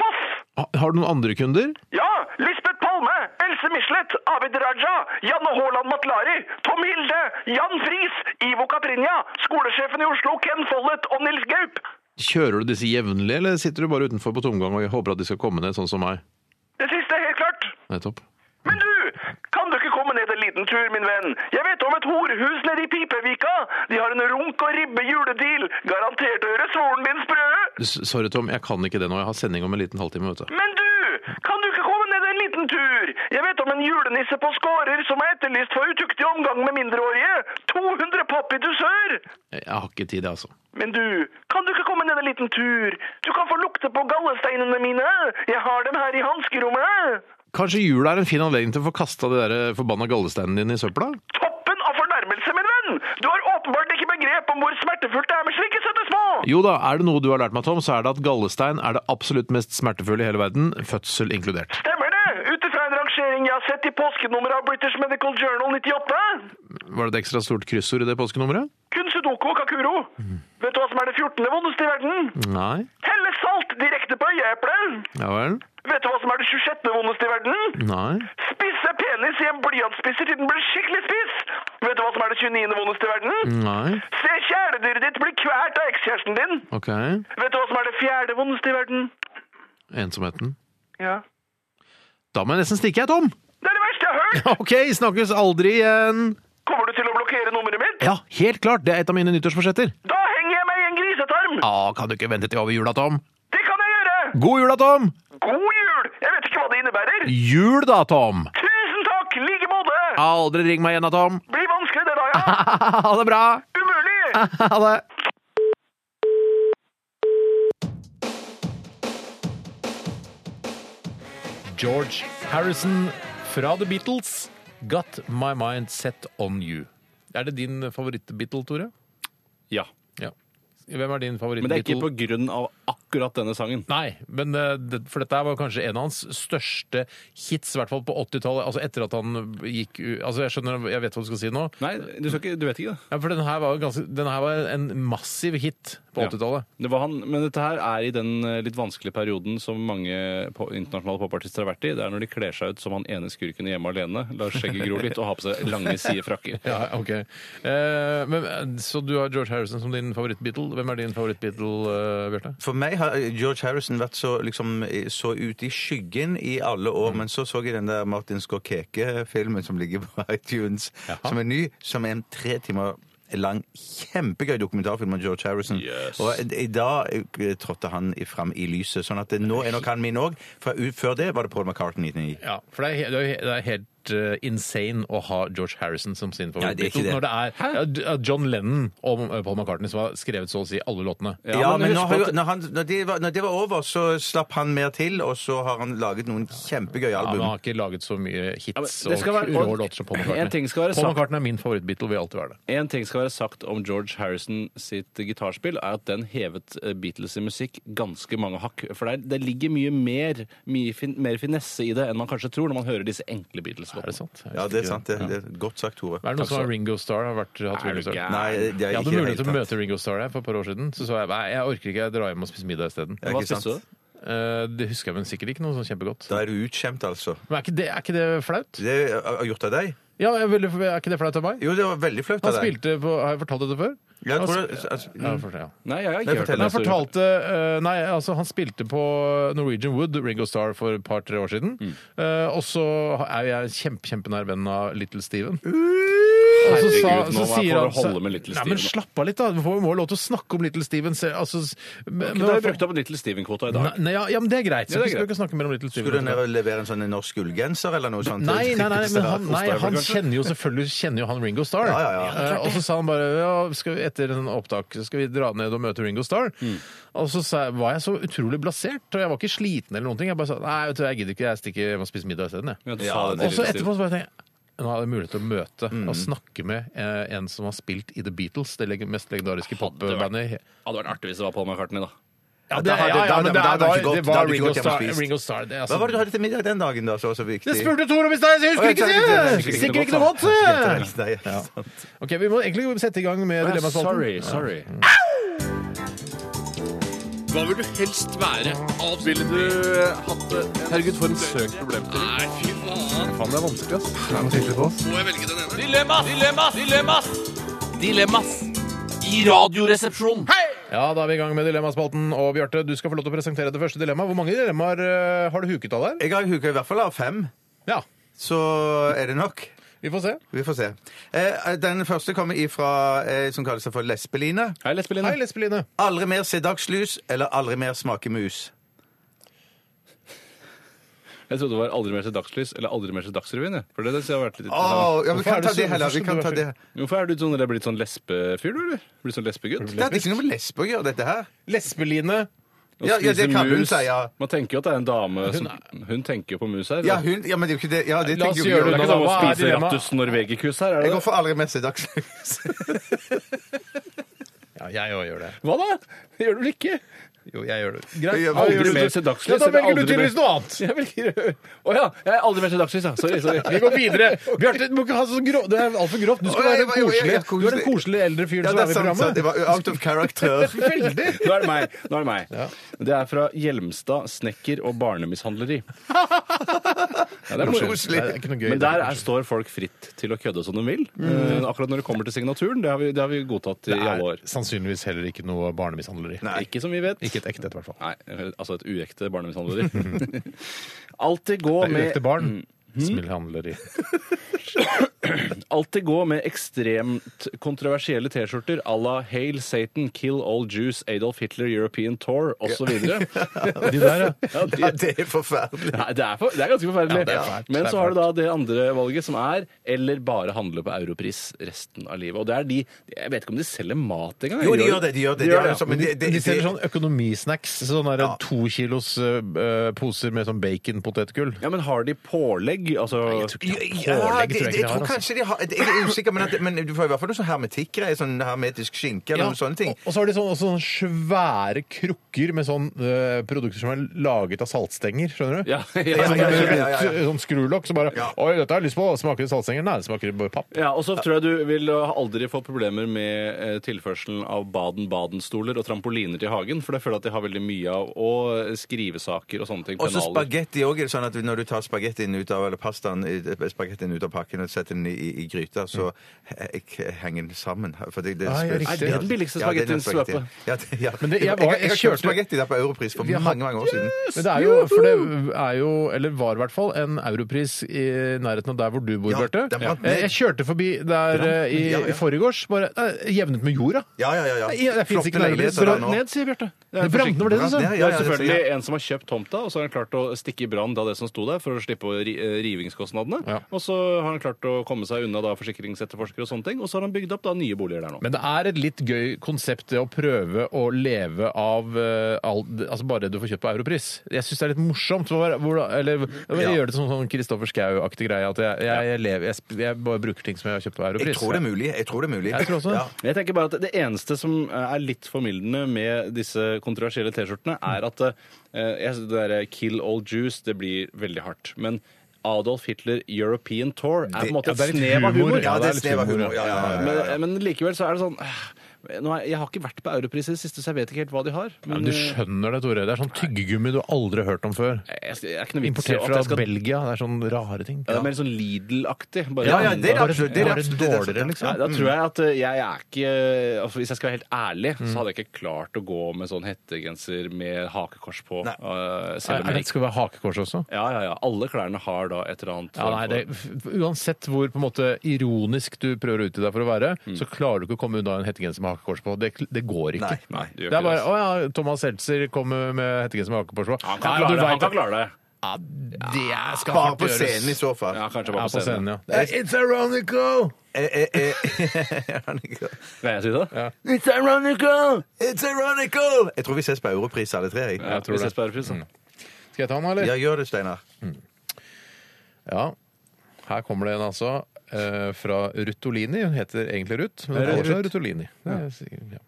Speaker 4: Pass!
Speaker 8: Ha- Har du noen andre kunder?
Speaker 4: Ja, Lisbeth Palme, Else Michelet, Abid Raja, Janne Haaland Matlari, Tom Hilde, Jan Friis, Ivo Catrinja, skolesjefen i Oslo Ken Follett og Nils Gaup.
Speaker 8: Kjører du disse jevnlig, eller sitter du bare utenfor på tomgang og håper at de skal komme ned, sånn som meg?
Speaker 4: Det siste er helt klart.
Speaker 8: Nettopp.
Speaker 4: Men du, kan du ikke komme ned en liten tur, min venn? Jeg vet om et horehus nede i Pipevika. De har en runk og ribbe juledeal. Garantert å gjøre svoren din sprø.
Speaker 8: S- Sorry, Tom, jeg kan ikke det nå. Jeg har sending om en liten halvtime, vet du.
Speaker 4: Men du, kan du ikke komme ned en liten tur? Jeg vet om en julenisse på Skårer som er etterlyst for utuktig omgang med mindreårige. 200 papp i dusør!
Speaker 8: Jeg har ikke tid, jeg, altså.
Speaker 4: Men du, kan du ikke komme ned en liten tur? Du kan få lukte på gallesteinene mine. Jeg har dem her i hanskerommet.
Speaker 8: Kanskje jula er en fin anledning til å få kasta de der eh, forbanna gallesteinene dine i søpla?
Speaker 4: Toppen av fornærmelse, min venn! Du har åpenbart ikke begrep om hvor smertefullt det er med slike søte små!
Speaker 8: Jo da, er det noe du har lært meg, Tom, så er det at gallestein er det absolutt mest smertefulle i hele verden, fødsel inkludert.
Speaker 4: Stemmer det? Ut ifra en rangering jeg har sett i påskenummeret av British Medical Journal 98?
Speaker 8: Var det et ekstra stort kryssord i det påskenummeret?
Speaker 4: Kunsudoku og kakuro. Vet du hva som er det 14. vondeste i verden?
Speaker 8: Nei.
Speaker 4: Helle salt direkte på øyeeplet!
Speaker 8: Ja vel?
Speaker 4: Vet du hva som er det 26. vondeste i verden?
Speaker 8: Nei.
Speaker 4: Spisse penis i en blyantspisser til den blir skikkelig spiss! Vet du hva som er det 29. vondeste i verden?
Speaker 8: Nei.
Speaker 4: Se kjæledyret ditt bli kvært av ekskjæresten din!
Speaker 8: OK.
Speaker 4: Vet du hva som er det fjerde vondeste i verden?
Speaker 8: Ensomheten.
Speaker 4: Ja.
Speaker 8: Da må jeg nesten stikke, jeg, Tom! [LAUGHS]
Speaker 4: Det er det verste jeg har hørt!
Speaker 8: OK, snakkes aldri igjen!
Speaker 4: Kommer du til å blokkere nummeret mitt?
Speaker 8: Ja, helt klart. Det er et av mine nyttårsforsetter.
Speaker 4: Da henger jeg meg i en grisetarm!
Speaker 8: Ja, Kan du ikke vente til over jula, Tom?
Speaker 4: Det kan jeg gjøre!
Speaker 8: God jul da, Tom!
Speaker 4: God jul! Jeg vet ikke hva det innebærer.
Speaker 8: Jul da, Tom!
Speaker 4: Tusen takk! Like måte!
Speaker 8: Aldri ring meg igjen da, Tom! [LAUGHS]
Speaker 4: Blir vanskelig det da, ja.
Speaker 8: Ha det bra! [LAUGHS]
Speaker 4: Umulig!
Speaker 8: Ha det! George Harrison fra The Beatles, Got My Mind Set On You. Er det din favoritt-Beatle, Tore?
Speaker 7: Ja.
Speaker 8: Ja. Hvem er din
Speaker 7: Men det er ikke
Speaker 8: favoritt-Beatle?
Speaker 7: på grunn av akkurat denne sangen.
Speaker 8: Nei, men eh, det, for dette var kanskje en av hans største hits, i hvert fall på 80-tallet. Altså etter at han gikk u- Altså, jeg skjønner, jeg vet hva du skal si nå.
Speaker 7: Nei, du, skal ikke, du vet ikke det.
Speaker 8: Ja, for den her var, jo ganske, den her var en massiv hit på
Speaker 7: Ja.
Speaker 8: 80-tallet.
Speaker 7: det var han, men dette her er i den eh, litt vanskelige perioden som mange po- internasjonale popartister har vært i. Det er når de kler seg ut som han ene skurken i Hjemme alene, lar skjegget gro litt og har på seg lange sidefrakker.
Speaker 8: Ja, ok. Eh, men, eh, så du har George Harrison som din favoritt-Beatle. Hvem er din favoritt-Beatle, eh, Bjarte?
Speaker 3: For meg har George Harrison vært så, liksom, så ute i skyggen i alle år,
Speaker 8: Mm.
Speaker 3: men så så jeg den der Martin Skorkeke-filmen som ligger på [LAUGHS] iTunes, som er ny, som er en tre timer lang, kjempegøy dokumentarfilm om George Harrison.
Speaker 7: Yes.
Speaker 3: Og i dag eh, trådte han fram i lyset, sånn at det- nå er nok han min òg. Før det var det Paul McCartney. i-
Speaker 8: Ja, for det er, he- det er, he- det er helt eh, insane å ha George Harrison som sin
Speaker 3: Nei, det er
Speaker 8: favoritt-Beatle.
Speaker 3: ikke det.
Speaker 8: Når det er ja, d- ja, John Lennon og eh, Paul McCartney som har skrevet så å si alle låtene.
Speaker 7: Ja,
Speaker 3: [LAUGHS] Ja,
Speaker 7: men
Speaker 3: men nå har
Speaker 7: husk på
Speaker 3: jo,
Speaker 7: at-
Speaker 3: når, han, når, det var, når det var over, så slapp han mer til, og så har han laget noen kjempegøye
Speaker 8: Ja, men
Speaker 3: album.
Speaker 8: han har ikke laget så mye hits
Speaker 7: Ja, men det skal være-
Speaker 8: og rå låter som Paul
Speaker 7: En
Speaker 8: McCartney.
Speaker 7: ting skal være
Speaker 8: Paul
Speaker 7: sagt.
Speaker 8: McCartney er min favoritt-Beatle, vil alltid være det.
Speaker 7: En ting skal være sagt om George Harrison sitt gitarspill, er at den hevet eh, Beatles i musikk ganske mange hakk. For det, er- det ligger mye mer, mye fin, mer finesse i det enn man kanskje tror når man hører disse enkle
Speaker 8: Er det
Speaker 7: Beatles-låtene.
Speaker 8: sant? Jeg visste
Speaker 3: Ja, det er
Speaker 8: ikke
Speaker 3: sant. Det, det er godt sagt, Tore.
Speaker 8: Er det noen som har
Speaker 3: Takk skal-
Speaker 8: Ringo Starr? Har vært, hatt
Speaker 7: Er du
Speaker 8: Ringo Starr?
Speaker 7: gæren?
Speaker 3: Nei, det er
Speaker 8: Jeg
Speaker 3: ikke
Speaker 8: hadde
Speaker 3: i
Speaker 8: mulighet
Speaker 3: det
Speaker 8: til å
Speaker 3: hele tatt.
Speaker 8: møte Ringo Starr der for et par år siden. Så sa jeg nei, jeg orker ikke, jeg drar hjem og spiser middag isteden.
Speaker 3: Ja,
Speaker 7: Hva
Speaker 3: ikke sant?
Speaker 7: spiste du?
Speaker 8: Eh, Det husker jeg men sikkert ikke noe sånn kjempegodt.
Speaker 3: Da er du utskjemt, altså.
Speaker 8: Men er ikke det, er ikke det flaut?
Speaker 3: Det er gjort av deg?
Speaker 8: Ja, jeg er veldig- er ikke det flaut av meg?
Speaker 3: Jo, det var veldig flaut
Speaker 8: Han
Speaker 3: av deg.
Speaker 8: spilte på, Har jeg fortalt dette før?
Speaker 3: Jeg
Speaker 8: Han
Speaker 3: tror
Speaker 8: sp-
Speaker 3: det- altså,
Speaker 8: Ja, jeg fortalte, ja.
Speaker 7: Nei, jeg har
Speaker 3: Nei,
Speaker 7: ikke hørt
Speaker 3: fortell.
Speaker 7: om
Speaker 8: Nei,
Speaker 7: det.
Speaker 8: han fortalte eh, Nei, altså, han spilte på Norwegian Wood, Ringo Starr, for et par-tre år siden.
Speaker 7: Mm.
Speaker 8: Eh, og så er jo jeg kjempe, kjempenær venn av Little Steven.
Speaker 3: Uh!
Speaker 8: Og så sa-
Speaker 7: Herregud, nå
Speaker 8: så
Speaker 7: får
Speaker 8: sier
Speaker 7: du
Speaker 8: han- så-
Speaker 7: holde med Little
Speaker 8: Nei, men
Speaker 7: Steven.
Speaker 8: slapp av litt, da. Vi får- må jo lov til å snakke om Little Steven. Se, altså, s- men,
Speaker 7: Men da har jeg brukt opp Little Steven-kvota i dag.
Speaker 8: Nei, nei, ja, ja, men det er greit. Så
Speaker 7: Ja, det er
Speaker 8: vi skal ikke snakke mer om Little Steven.
Speaker 3: Skulle du ned og levere en sånn norsk ullgenser eller noe sånt?
Speaker 8: Nei, nei, nei, men han, nei,
Speaker 7: Ostehøvel,
Speaker 8: han
Speaker 7: kanskje?
Speaker 8: kjenner jo selvfølgelig kjenner jo han Ringo Starr.
Speaker 3: Ja, ja, ja.
Speaker 8: Eh, og så sa han bare ja, skal vi, etter en opptak så skal vi dra ned og møte Ringo Starr.
Speaker 3: Mm.
Speaker 8: Og så sa, jeg- var jeg så utrolig blasert, og jeg var ikke sliten eller noen ting. Jeg bare sa nei, vet du, jeg gidder ikke, jeg stikker hjem og spiser middag isteden. jeg».
Speaker 7: Ja, du
Speaker 3: Ja,
Speaker 7: sa det
Speaker 8: Og
Speaker 7: til
Speaker 8: så
Speaker 7: Little
Speaker 8: etterpå
Speaker 7: Steven.
Speaker 8: så bare tenkte jeg nå har jeg mulighet til å møte
Speaker 3: Mm.
Speaker 8: og snakke med eh, en som har spilt i The Beatles, det leg- mest legendariske
Speaker 7: Hadde vært-
Speaker 8: popbandet. i-
Speaker 7: Ja, det var artig hvis det var Paul McCartney, da.
Speaker 8: Ja,
Speaker 3: da hadde- da- men da hadde han ikke gått- da hadde ikke
Speaker 8: Ringo
Speaker 3: gått hjem
Speaker 8: Starr.
Speaker 3: og spist.
Speaker 8: Ringo Starr, det, er altså-
Speaker 3: Hva var det du hadde til middag den dagen, da, som var så viktig?
Speaker 8: det spurte Tor om i stad! Jeg husker ikke det! Jeg
Speaker 3: Husker
Speaker 8: husker ikke
Speaker 7: det
Speaker 8: noe
Speaker 7: godt,
Speaker 8: godt, se!
Speaker 3: Nei, ja.
Speaker 8: Ok, Vi må egentlig sette i gang med Dilemmaspalten.
Speaker 7: Sorry, sorry.
Speaker 9: Hva vil du helst være? Ville du hatt det? Herregud, for en søk problemstilling. Nei, fy faen. Faen, det er vanskelig, ass. Må jeg velge den ene? Dilemmas! Dilemmas! Dilemmas! Dilemmas! I radioresepsjonen.
Speaker 8: Ja, Da er vi i gang med Dilemmaspalten. Og Bjarte, du skal få lov til å presentere det første dilemmaet. Hvor mange dilemmaer eh, har du huket av der?
Speaker 3: Jeg har huka i hvert fall av fem,
Speaker 8: Ja,
Speaker 3: så er det nok.
Speaker 8: Vi får se.
Speaker 3: Vi får se. Eh, Den første kommer ifra eh, som kaller seg for Lesbeline.
Speaker 8: Hei,
Speaker 7: Hei, lesbeline.
Speaker 8: Lesbeline.
Speaker 3: Aldri mer se dagslys eller aldri mer smake mus.
Speaker 7: Jeg trodde det var Aldri mer til dagslys eller Aldri mer til Dagsrevyen. jeg. For det, det har vært litt
Speaker 3: Åh, ja,
Speaker 8: Hvorfor er
Speaker 3: vi kan
Speaker 8: det
Speaker 3: ta
Speaker 8: så-
Speaker 3: det heller.
Speaker 8: hvorfor
Speaker 3: Vi kan
Speaker 8: skal
Speaker 3: ta
Speaker 8: du
Speaker 3: det.
Speaker 8: være
Speaker 7: Hvorfyr er du sånn, eller blitt sånn lesbefyr, du, eller? Blitt sånn lesbegutt?
Speaker 3: Det er ikke noe med lesbe å gjøre, dette her.
Speaker 8: Lesbeline.
Speaker 3: Ja,
Speaker 7: Å
Speaker 3: ja, det
Speaker 7: spise
Speaker 3: kan hun
Speaker 7: mus.
Speaker 3: si, ja.
Speaker 7: Man tenker jo at det er en dame som Hun tenker jo på mus her.
Speaker 3: Ja,
Speaker 7: da.
Speaker 3: hun, ja men det er jo ikke det. Ja, det
Speaker 8: La oss
Speaker 3: tenker
Speaker 8: gjøre
Speaker 3: jo
Speaker 7: det er
Speaker 3: vi
Speaker 8: da.
Speaker 3: også.
Speaker 7: ikke som å
Speaker 8: Hva er
Speaker 7: spise
Speaker 8: dilemma?
Speaker 7: Rattus norvegicus her,
Speaker 3: Jeg
Speaker 7: er det
Speaker 3: går
Speaker 7: det?
Speaker 3: for aldri mer se dagslys.
Speaker 8: Ja, jeg òg gjør det.
Speaker 7: Hva da? Det gjør du vel ikke?
Speaker 8: Jo, jeg gjør det. Greit.
Speaker 3: Jeg gjør
Speaker 8: Hva
Speaker 3: aldri
Speaker 8: gjør du?
Speaker 7: mer til dagslys,
Speaker 8: Ja, da
Speaker 7: eller
Speaker 8: velger du
Speaker 7: aldri mer-
Speaker 8: tydeligvis noe annet.
Speaker 7: Jeg velger Å ja! Jeg er aldri mer til dagslys, ja. Sorry. sorry.
Speaker 8: Vi går [LAUGHS] videre. Bjarte, du må ikke ha så grov... det er altfor grovt. Du skal
Speaker 3: Oi,
Speaker 8: være en
Speaker 3: oi, oi,
Speaker 8: koselig, du er
Speaker 3: jeg er
Speaker 8: en
Speaker 3: koselig.
Speaker 8: koselig eldre fyr
Speaker 3: Ja,
Speaker 8: som
Speaker 3: det
Speaker 8: er
Speaker 3: er
Speaker 8: med i
Speaker 3: sant. sant. Det
Speaker 8: programmet. [LAUGHS]
Speaker 3: var out of character.
Speaker 8: Veldig.
Speaker 7: Nå er det meg. Nå er det, meg. det er fra Hjelmstad snekker og
Speaker 8: [LAUGHS]
Speaker 7: barnemishandleri. Ja, det er morsomt.
Speaker 8: Nei, det er ikke noe gøy.
Speaker 7: Men der er, står folk fritt til å kødde som de vil.
Speaker 8: Mm.
Speaker 7: Eh, akkurat når det kommer til signaturen, det har vi, det har vi godtatt i
Speaker 8: Det
Speaker 7: alle
Speaker 8: er
Speaker 7: år.
Speaker 8: sannsynligvis heller ikke noe barnemishandleri.
Speaker 7: Ikke som vi vet.
Speaker 8: Ikke et ekte et, i hvert fall.
Speaker 7: Nei, altså et
Speaker 8: [LAUGHS]
Speaker 7: uekte barnemishandleri. Alltid gå
Speaker 8: Det er Mm.
Speaker 7: med Mm.
Speaker 8: uekte barn. Smilhandleri.
Speaker 7: alltid gå med ekstremt kontroversielle T-skjorter à la Hail Satan, Kill All Jews, Adolf Hitler, European Tour osv.
Speaker 8: De der, ja.
Speaker 7: Ja, de-
Speaker 3: Ja, det er forferdelig.
Speaker 7: Nei, det er, for, det er ganske forferdelig.
Speaker 8: Ja, det er fælt.
Speaker 7: Men
Speaker 8: Det er
Speaker 7: så har du da det andre valget, som er eller bare handle på Europris resten av livet. Og det er de Jeg vet ikke om de selger mat engang.
Speaker 3: Jo, de gjør det. De gjør det. De
Speaker 7: gjør
Speaker 3: gjør
Speaker 8: Men
Speaker 3: det. Men
Speaker 8: de,
Speaker 3: det- det-
Speaker 8: de selger
Speaker 3: det-
Speaker 8: sånn økonomisnacks. Sånne der to kilos eh, poser med sånn bacon-potetgull.
Speaker 7: Ja, men har de pålegg? Altså
Speaker 3: Ja,
Speaker 8: Pålegg
Speaker 3: ja,
Speaker 8: tror jeg
Speaker 3: det,
Speaker 8: ikke
Speaker 3: det,
Speaker 8: de
Speaker 3: jeg
Speaker 8: har,
Speaker 3: tror
Speaker 8: altså.
Speaker 3: kanskje de har Jeg er usikker, men, at, men du får i hvert fall noe sånn hermetikkgreier. Sånn hermetisk skinke eller
Speaker 8: Ja,
Speaker 3: noen sånne ting.
Speaker 8: Og, og så har de sånn, også sånne svære krukker med sånn eh, produkter som er laget av saltstenger, skjønner du?
Speaker 7: Ja, [LAUGHS] ja,
Speaker 8: Det er
Speaker 7: ja,
Speaker 8: sånn
Speaker 7: ja,
Speaker 8: med-
Speaker 3: ja, ja, ja.
Speaker 8: med Sånn skrulokk som bare Oi, dette har jeg lyst på! Smaker det saltstenger? Nei, det smaker bare papp.
Speaker 7: Ja, og så tror jeg du vil eh, aldri få problemer med eh, tilførselen av Baden-Baden-stoler og trampoliner til hagen, for det føler jeg at de har veldig mye av, og skrivesaker og sånne ting.
Speaker 3: Og så
Speaker 7: pennaler.
Speaker 3: spagetti òg. Sånn at når du tar spagettien ut av eller pastaen, eh, spagettien ut av pakken og setter den i, i, i gryta, så he- he- henger den sammen. For det, det
Speaker 8: Ah, ja, riktig. Er det
Speaker 7: den billigste
Speaker 3: Ja, det er den
Speaker 7: spagettien som er på?
Speaker 3: spagettien. Ja, det- ja.
Speaker 8: Men det- jeg
Speaker 3: jeg,
Speaker 8: var-
Speaker 3: jeg,
Speaker 8: jeg
Speaker 3: har kjøpt
Speaker 8: kjørte-
Speaker 3: spagetti der på Europris for
Speaker 8: Vi har-
Speaker 3: mange, mange år siden.
Speaker 8: Men det er jo, for det er jo, eller var i hvert fall, en europris i nærheten av der hvor du bor,
Speaker 3: Ja,
Speaker 8: Bjarte.
Speaker 3: det er brant ned.
Speaker 8: Eh, Jeg kjørte forbi der eh, i,
Speaker 3: Ja, ja.
Speaker 8: i forrige Bare eh, jevnet med jorda.
Speaker 3: Ja, ja, ja. ja.
Speaker 8: Nei, det finnes
Speaker 3: Flotte
Speaker 8: ikke noe
Speaker 3: leiligheter
Speaker 8: Brant
Speaker 3: der nå.
Speaker 7: Ned, sier Bjarte. Det
Speaker 8: Det
Speaker 7: er
Speaker 8: brant ned, var det du
Speaker 3: Brant
Speaker 8: sa?
Speaker 3: ned,
Speaker 7: Det
Speaker 3: Ja,
Speaker 7: er
Speaker 3: ja, det
Speaker 7: selvfølgelig
Speaker 3: sier
Speaker 7: en som har kjøpt tomta, og så har han klart å stikke i brann da det som sto der, for å slippe å ri- eh, rivingskostnadene.
Speaker 8: Ja.
Speaker 7: Og så har han klart å komme seg unna da forsikringsetterforskere og sånne ting, og så har han bygd opp da nye boliger der nå.
Speaker 8: Men det er et litt gøy konsept det å prøve å leve av eh, all, altså bare det du får kjøpt på Europris. Jeg syns det er litt morsomt. Hvor, hvor, eller, jeg gjør det som sånn Kristoffer Schou-aktig greie. At jeg, jeg, jeg, lever, jeg, sp- jeg bare bruker ting som jeg har kjøpt på Europris.
Speaker 3: Jeg tror det er mulig. Jeg tror det er mulig.
Speaker 8: Jeg tror også det.
Speaker 3: Ja.
Speaker 7: Men Jeg tenker bare at Det eneste som eh, er litt formildende med disse kontroversielle T-skjortene, er at eh, jeg synes det der Kill All Jews det blir veldig hardt. Men Adolf Hitler European Tour er på en måte
Speaker 8: ja, det er
Speaker 7: et
Speaker 8: litt
Speaker 7: snev av humor.
Speaker 8: humor, ja,
Speaker 3: Ja,
Speaker 8: det er
Speaker 3: det
Speaker 8: litt
Speaker 3: er snev av
Speaker 8: humor,
Speaker 3: humor. Ja, ja, ja, ja.
Speaker 7: Men, eh, men likevel så er det sånn eh, nå er, Jeg har ikke vært på Europris i det siste, så jeg vet ikke helt hva de har.
Speaker 8: Ja,
Speaker 7: Men,
Speaker 8: men du
Speaker 7: eh,
Speaker 8: skjønner det, Tore. Det er sånn tyggegummi du aldri har hørt om før.
Speaker 7: jeg, skal- jeg er ikke noe vits i
Speaker 8: Importert
Speaker 7: at
Speaker 8: fra
Speaker 7: jeg skal
Speaker 8: Belgia. Det er sånn rare ting.
Speaker 7: Ja, Det er mer sånn Lidl-aktig. bare
Speaker 3: Ja, ja,
Speaker 7: enda-
Speaker 3: det er det absolutt. Det er
Speaker 8: Bare
Speaker 3: det absolutt. Det er
Speaker 8: dårligere, liksom.
Speaker 7: Nei, da tror jeg at eh, jeg er ikke altså Hvis jeg skal være helt ærlig,
Speaker 8: Mm.
Speaker 7: så hadde jeg ikke klart å gå med sånn hettegenser med hakekors på.
Speaker 3: Nei.
Speaker 7: eh, selv om
Speaker 8: Nei,
Speaker 7: jeg
Speaker 8: det skal være hakekors også.
Speaker 7: Ja, ja, ja. Alle klærne har da et eller annet. eh,
Speaker 8: Ja, nei, det, f- uansett hvor på en måte ironisk du prøver å utgi deg for å være, så klarer du ikke å komme unna en hettegenser med hakekors på. Det, det går ikke.
Speaker 3: Nei.
Speaker 7: Nei, du gjør
Speaker 8: Det er
Speaker 7: ikke
Speaker 8: bare
Speaker 7: det.
Speaker 8: Å ja, Thomas Seltzer kommer med hettegenser med hakekors på.
Speaker 7: Han kan
Speaker 8: Ja, du
Speaker 7: klare det.
Speaker 8: vet
Speaker 7: Han kan
Speaker 8: at-
Speaker 7: klare det.
Speaker 8: Ja, det skal
Speaker 3: Bare
Speaker 8: hardt
Speaker 3: på
Speaker 8: gjøres.
Speaker 3: scenen i så fall.
Speaker 7: Ja,
Speaker 8: Ja,
Speaker 7: kanskje bare på scenen.
Speaker 8: ja. Eh, It's ironical!
Speaker 3: Eh, eh, eh. [LAUGHS] Ironical.
Speaker 7: Kan jeg si det? Ja.
Speaker 3: It's ironical! It's ironical! Jeg tror vi ses på Europris alle tre. jeg.
Speaker 8: tror
Speaker 7: vi
Speaker 8: det. Mm.
Speaker 7: ses på Europris, da.
Speaker 8: Skal jeg ta den, eller?
Speaker 3: Ja, gjør det, Steinar.
Speaker 8: Ja. Her kommer det en, altså. eh, Fra Ruttolini. Hun heter egentlig Ruth, men hun
Speaker 7: Rutt.
Speaker 8: kaller seg Ruttolini. Det er sikkert- ja.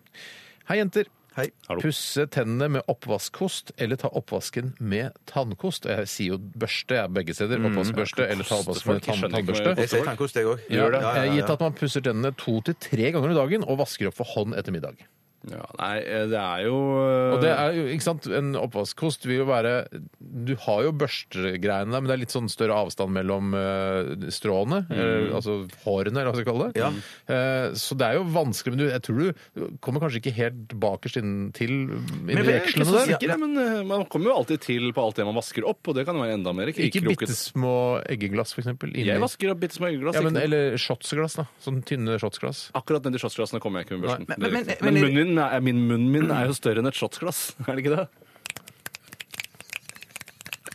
Speaker 8: Hei, jenter.
Speaker 3: Hei.
Speaker 7: Hallo.
Speaker 8: Pusse tennene med oppvaskkost eller ta oppvasken med tannkost. Jeg sier jo børste, jeg, begge steder. Oppvaskbørste eller ta oppvasken med
Speaker 7: Kostefolk, Mm, jeg
Speaker 8: tann
Speaker 7: skjønner ikke hva
Speaker 8: tannbørste.
Speaker 3: Jeg sier tannkost, jeg òg.
Speaker 8: Ja, eh, Gitt at man pusser tennene to til tre ganger i dagen og vasker opp for hånd etter middag.
Speaker 7: Ja, nei, eh, det er jo eh,
Speaker 8: Og det er jo, ikke sant, En oppvaskkost vil jo være Du har jo børstegreiene der, men det er litt sånn større avstand mellom eh, stråene.
Speaker 7: Mm.
Speaker 8: eh, altså hårene, eller hva skal vi kalle det.
Speaker 3: Ja.
Speaker 8: Eh, så det er jo vanskelig, men du, jeg tror du kommer kanskje ikke helt bakerst inn til inn i
Speaker 7: jeg er ikke
Speaker 8: vekslene
Speaker 7: så
Speaker 8: der.
Speaker 7: sikker, jeg, men eh, man kommer jo alltid til på alt det man vasker opp, og det kan jo være enda mer
Speaker 8: Ikke bitte
Speaker 7: krikkroket.
Speaker 8: små eggeglass, f.eks.
Speaker 7: Jeg vasker opp bitte små øyeglass.
Speaker 8: ja, men,
Speaker 7: ikke noe.
Speaker 8: Eller shotsglass. da, Sånn tynne shotsglass.
Speaker 7: Akkurat nedi shotsglassene kommer jeg ikke med børsten.
Speaker 3: Nei, men-
Speaker 7: Det er
Speaker 3: men-
Speaker 7: riktig.
Speaker 3: men-
Speaker 7: men munnen min, er, min munnen min er jo større enn et shotsglass, [LAUGHS] er det ikke det?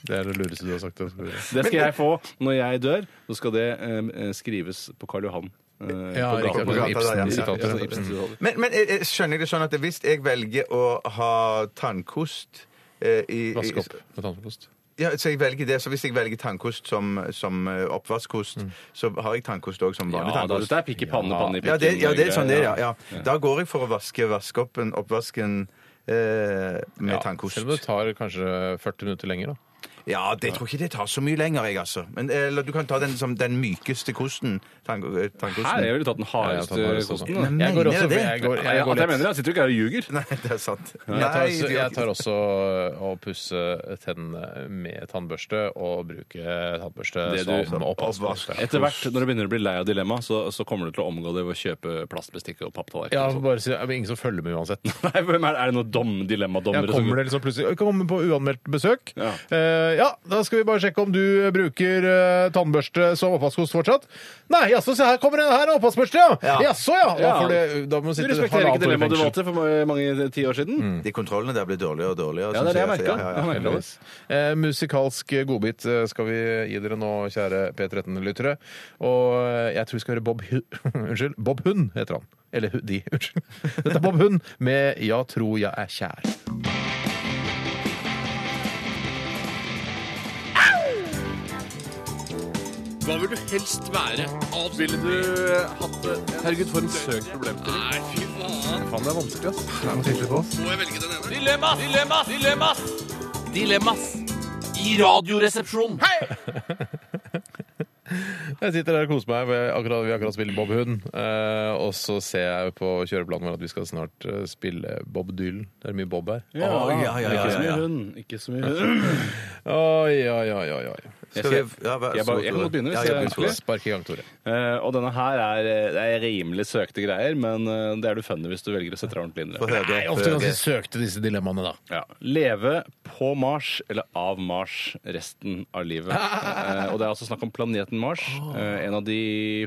Speaker 8: Det er det lureste du har sagt. altså.
Speaker 7: Det skal jeg få når jeg dør. Så skal det eh, skrives på Karl Johan. eh,
Speaker 8: Ja,
Speaker 7: på
Speaker 8: riktig.
Speaker 7: gaten.
Speaker 3: på gata der, ja.
Speaker 8: Ibsen-sitater.
Speaker 7: Sånn Ibsen-sitater.
Speaker 3: Men, men jeg, jeg skjønner jeg det sånn at hvis jeg velger å ha tannkost eh, i, i-
Speaker 8: Vask opp med tannkost.
Speaker 3: Ja, så jeg velger det. Så hvis jeg velger tannkost som, som eh, oppvaskkost,
Speaker 7: Mm.
Speaker 3: så har jeg tannkost òg som vanlig
Speaker 7: Ja, da,
Speaker 3: tannkost.
Speaker 7: dette er pikk i panne, panne i pikken.
Speaker 3: Ja, det, ja, det er
Speaker 7: og
Speaker 3: sånn det
Speaker 7: greier,
Speaker 3: er, ja. ja. Da går jeg for å vaske vaskeoppen, oppvasken eh, med
Speaker 8: Ja,
Speaker 3: tannkost.
Speaker 8: Selv om det tar kanskje 40 minutter lenger. da.
Speaker 3: Ja, det tror ikke det tar så mye lenger, jeg, altså. Men, eller du kan ta den, som den mykeste kosten. Tank, tannkosten.
Speaker 7: Her, jeg ville tatt den hardeste
Speaker 8: Ja, sånn. jeg tar den hardeste
Speaker 7: kosten.
Speaker 8: også.
Speaker 7: da.
Speaker 3: Nei,
Speaker 8: Jeg går også,
Speaker 3: mener du det?
Speaker 8: jeg går,
Speaker 7: Nei,
Speaker 8: jeg
Speaker 7: at
Speaker 8: går
Speaker 7: jeg
Speaker 8: litt
Speaker 7: mener det. Jeg sitter jo ikke her og ljuger.
Speaker 3: [LAUGHS] Nei, det er sant.
Speaker 8: Jeg tar,
Speaker 3: Nei,
Speaker 8: også,
Speaker 3: det
Speaker 8: jeg
Speaker 3: gjør ikke
Speaker 8: tar
Speaker 3: det.
Speaker 8: også å pusse tennene med tannbørste og bruke tannbørste
Speaker 7: Det du-
Speaker 8: som oppvaskbørste.
Speaker 7: Etter hvert, når du begynner å bli lei av dilemma, så, så kommer du til å omgå det ved å kjøpe plastbestikk og papptallerken.
Speaker 8: Ja,
Speaker 7: og sånt.
Speaker 8: bare si, men Ingen som følger med uansett.
Speaker 7: Nei, hvem er, er det noen dom,
Speaker 8: Ja,
Speaker 7: dilemmadommere som
Speaker 8: kommer det liksom plutselig Jeg kommer på uanmeldt besøk.
Speaker 7: Ja.
Speaker 8: Eh, Eh, ja, da skal vi bare sjekke om du bruker eh, tannbørste som oppvaskkost fortsatt. Nei, jaså, se her kommer den her, oppvaskbørste, ja!
Speaker 3: Ja.
Speaker 8: Jaså, ja! Da
Speaker 7: Ja.
Speaker 8: får det, da må du
Speaker 7: Du
Speaker 8: sitte
Speaker 7: respekterer
Speaker 8: halvannet år i
Speaker 7: ikke dilemmaet du
Speaker 8: fengsel.
Speaker 7: valgte for mange, mange tiår siden.
Speaker 3: De kontrollene der blir dårligere og dårligere.
Speaker 7: Ja, det er
Speaker 3: synes
Speaker 7: det jeg merker.
Speaker 3: Ja, ja,
Speaker 7: Jeg
Speaker 3: ja.
Speaker 7: merker det.
Speaker 8: Heldigvis. Eh, musikalsk godbit eh, skal vi gi dere nå, kjære P13-lyttere. Og eh, jeg tror vi skal høre Bob Hu- [LAUGHS] Unnskyld, Bob Hund heter han. Eller hu- de, unnskyld. Dette er Bob Hund med 'Ja, tro jeg er kjær'.
Speaker 9: Hva vil du helst være? Ville du
Speaker 3: eh,
Speaker 9: hatt det? Herregud, for en søk problemstilling. Nei, fy faen. Faen, det er vanskelig, ass. Det er noe sikkert på oss. Må jeg velge den ene? Dilemmas! Dilemmas! Dilemmas! Dilemmas! I radioresepsjonen. Hei!
Speaker 8: Jeg sitter der og koser meg. Med akkurat, vi har akkurat spilt Bob Hund. Eh, og så ser jeg på kjøreplanen vår at vi skal snart eh, spille Bob Dylan. Det er mye Bob her.
Speaker 7: Ja,
Speaker 3: ja, ja,
Speaker 7: Ikke
Speaker 3: ja,
Speaker 7: så mye
Speaker 3: ja.
Speaker 7: hund. Ikke så mye
Speaker 9: [CLEARS THROAT]
Speaker 7: hund.
Speaker 8: Oi, oi, oi, oi, oi.
Speaker 3: Skal vi, ja, vær
Speaker 7: Jeg
Speaker 3: så
Speaker 7: bare-
Speaker 3: god,
Speaker 7: jeg kan
Speaker 3: Tore.
Speaker 7: godt begynne hvis
Speaker 3: Ja,
Speaker 7: det er
Speaker 3: begynner, Tore.
Speaker 7: ønskelig.
Speaker 8: Spark i gang, Tore.
Speaker 7: Eh, og denne her er, eh, det er rimelig søkte greier, men eh, det er du funny hvis du velger å sette deg ordentlig inn i
Speaker 3: Få
Speaker 7: det.
Speaker 3: høre.
Speaker 8: Jeg er ofte ganske søkte disse dilemmaene, da.
Speaker 7: Ja. Leve på Mars eller av Mars resten av
Speaker 8: [LAUGHS]
Speaker 7: livet. Eh, og det er altså snakk om planeten Mars. Eh, en av de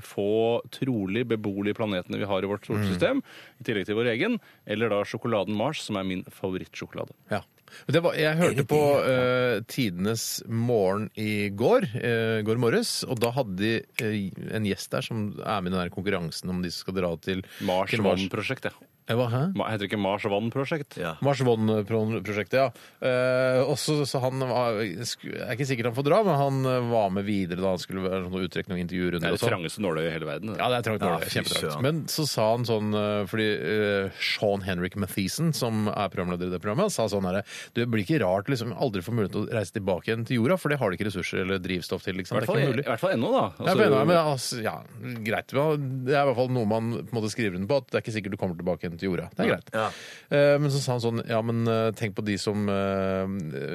Speaker 7: få trolig beboelige planetene vi har i vårt
Speaker 8: Mm.
Speaker 7: solsystem, i tillegg til vår egen. Eller da sjokoladen Mars, som er min favorittsjokolade.
Speaker 8: Ja. Det var, jeg hørte på eh, Tidenes morgen i går, eh, går morges, og da hadde de eh, en gjest der som er med i den der konkurransen om de som skal dra til
Speaker 7: Mars
Speaker 8: til
Speaker 7: Vann-prosjekt, ja.
Speaker 8: Eh, Hva, hæ?
Speaker 7: Ma- Heter det ikke Mars Vann-prosjekt?
Speaker 3: Ja.
Speaker 8: Mars Vonn-prosjektet, ja. Eh, også, så han var, sku- er ikke sikkert han får dra, men han eh, var med videre da han skulle være sånn uttrekning og
Speaker 7: Det
Speaker 8: intervjurunder.
Speaker 7: er det
Speaker 8: og sånn.
Speaker 7: trangeste nåløyet i hele verden. det.
Speaker 8: Ja, det er trangt.
Speaker 3: Ja,
Speaker 8: nåle.
Speaker 3: fy
Speaker 8: Kjempetrangt.
Speaker 3: søren.
Speaker 8: Men så sa han sånn eh, Fordi eh, Sean Henrik Mathisen, som er programleder i det programmet, sa sånn herre Det blir ikke rart liksom aldri få mulighet til å reise tilbake igjen til jorda, for det har de ikke ressurser eller drivstoff til.
Speaker 7: I
Speaker 8: Liksom. Det er
Speaker 7: hvert fall,
Speaker 8: ikke
Speaker 7: i
Speaker 8: mulig.
Speaker 7: hvert fall ennå, da.
Speaker 8: Ja,
Speaker 7: Altså,
Speaker 8: men, ja, men, altså, ja, greit. Men Det er i hvert fall noe man på en måte skriver under på, at det er ikke sikkert du kommer tilbake igjen til jorda. Det er greit.
Speaker 3: Ja.
Speaker 8: Eh, Men så sa han sånn Ja, men eh, tenk på de som eh,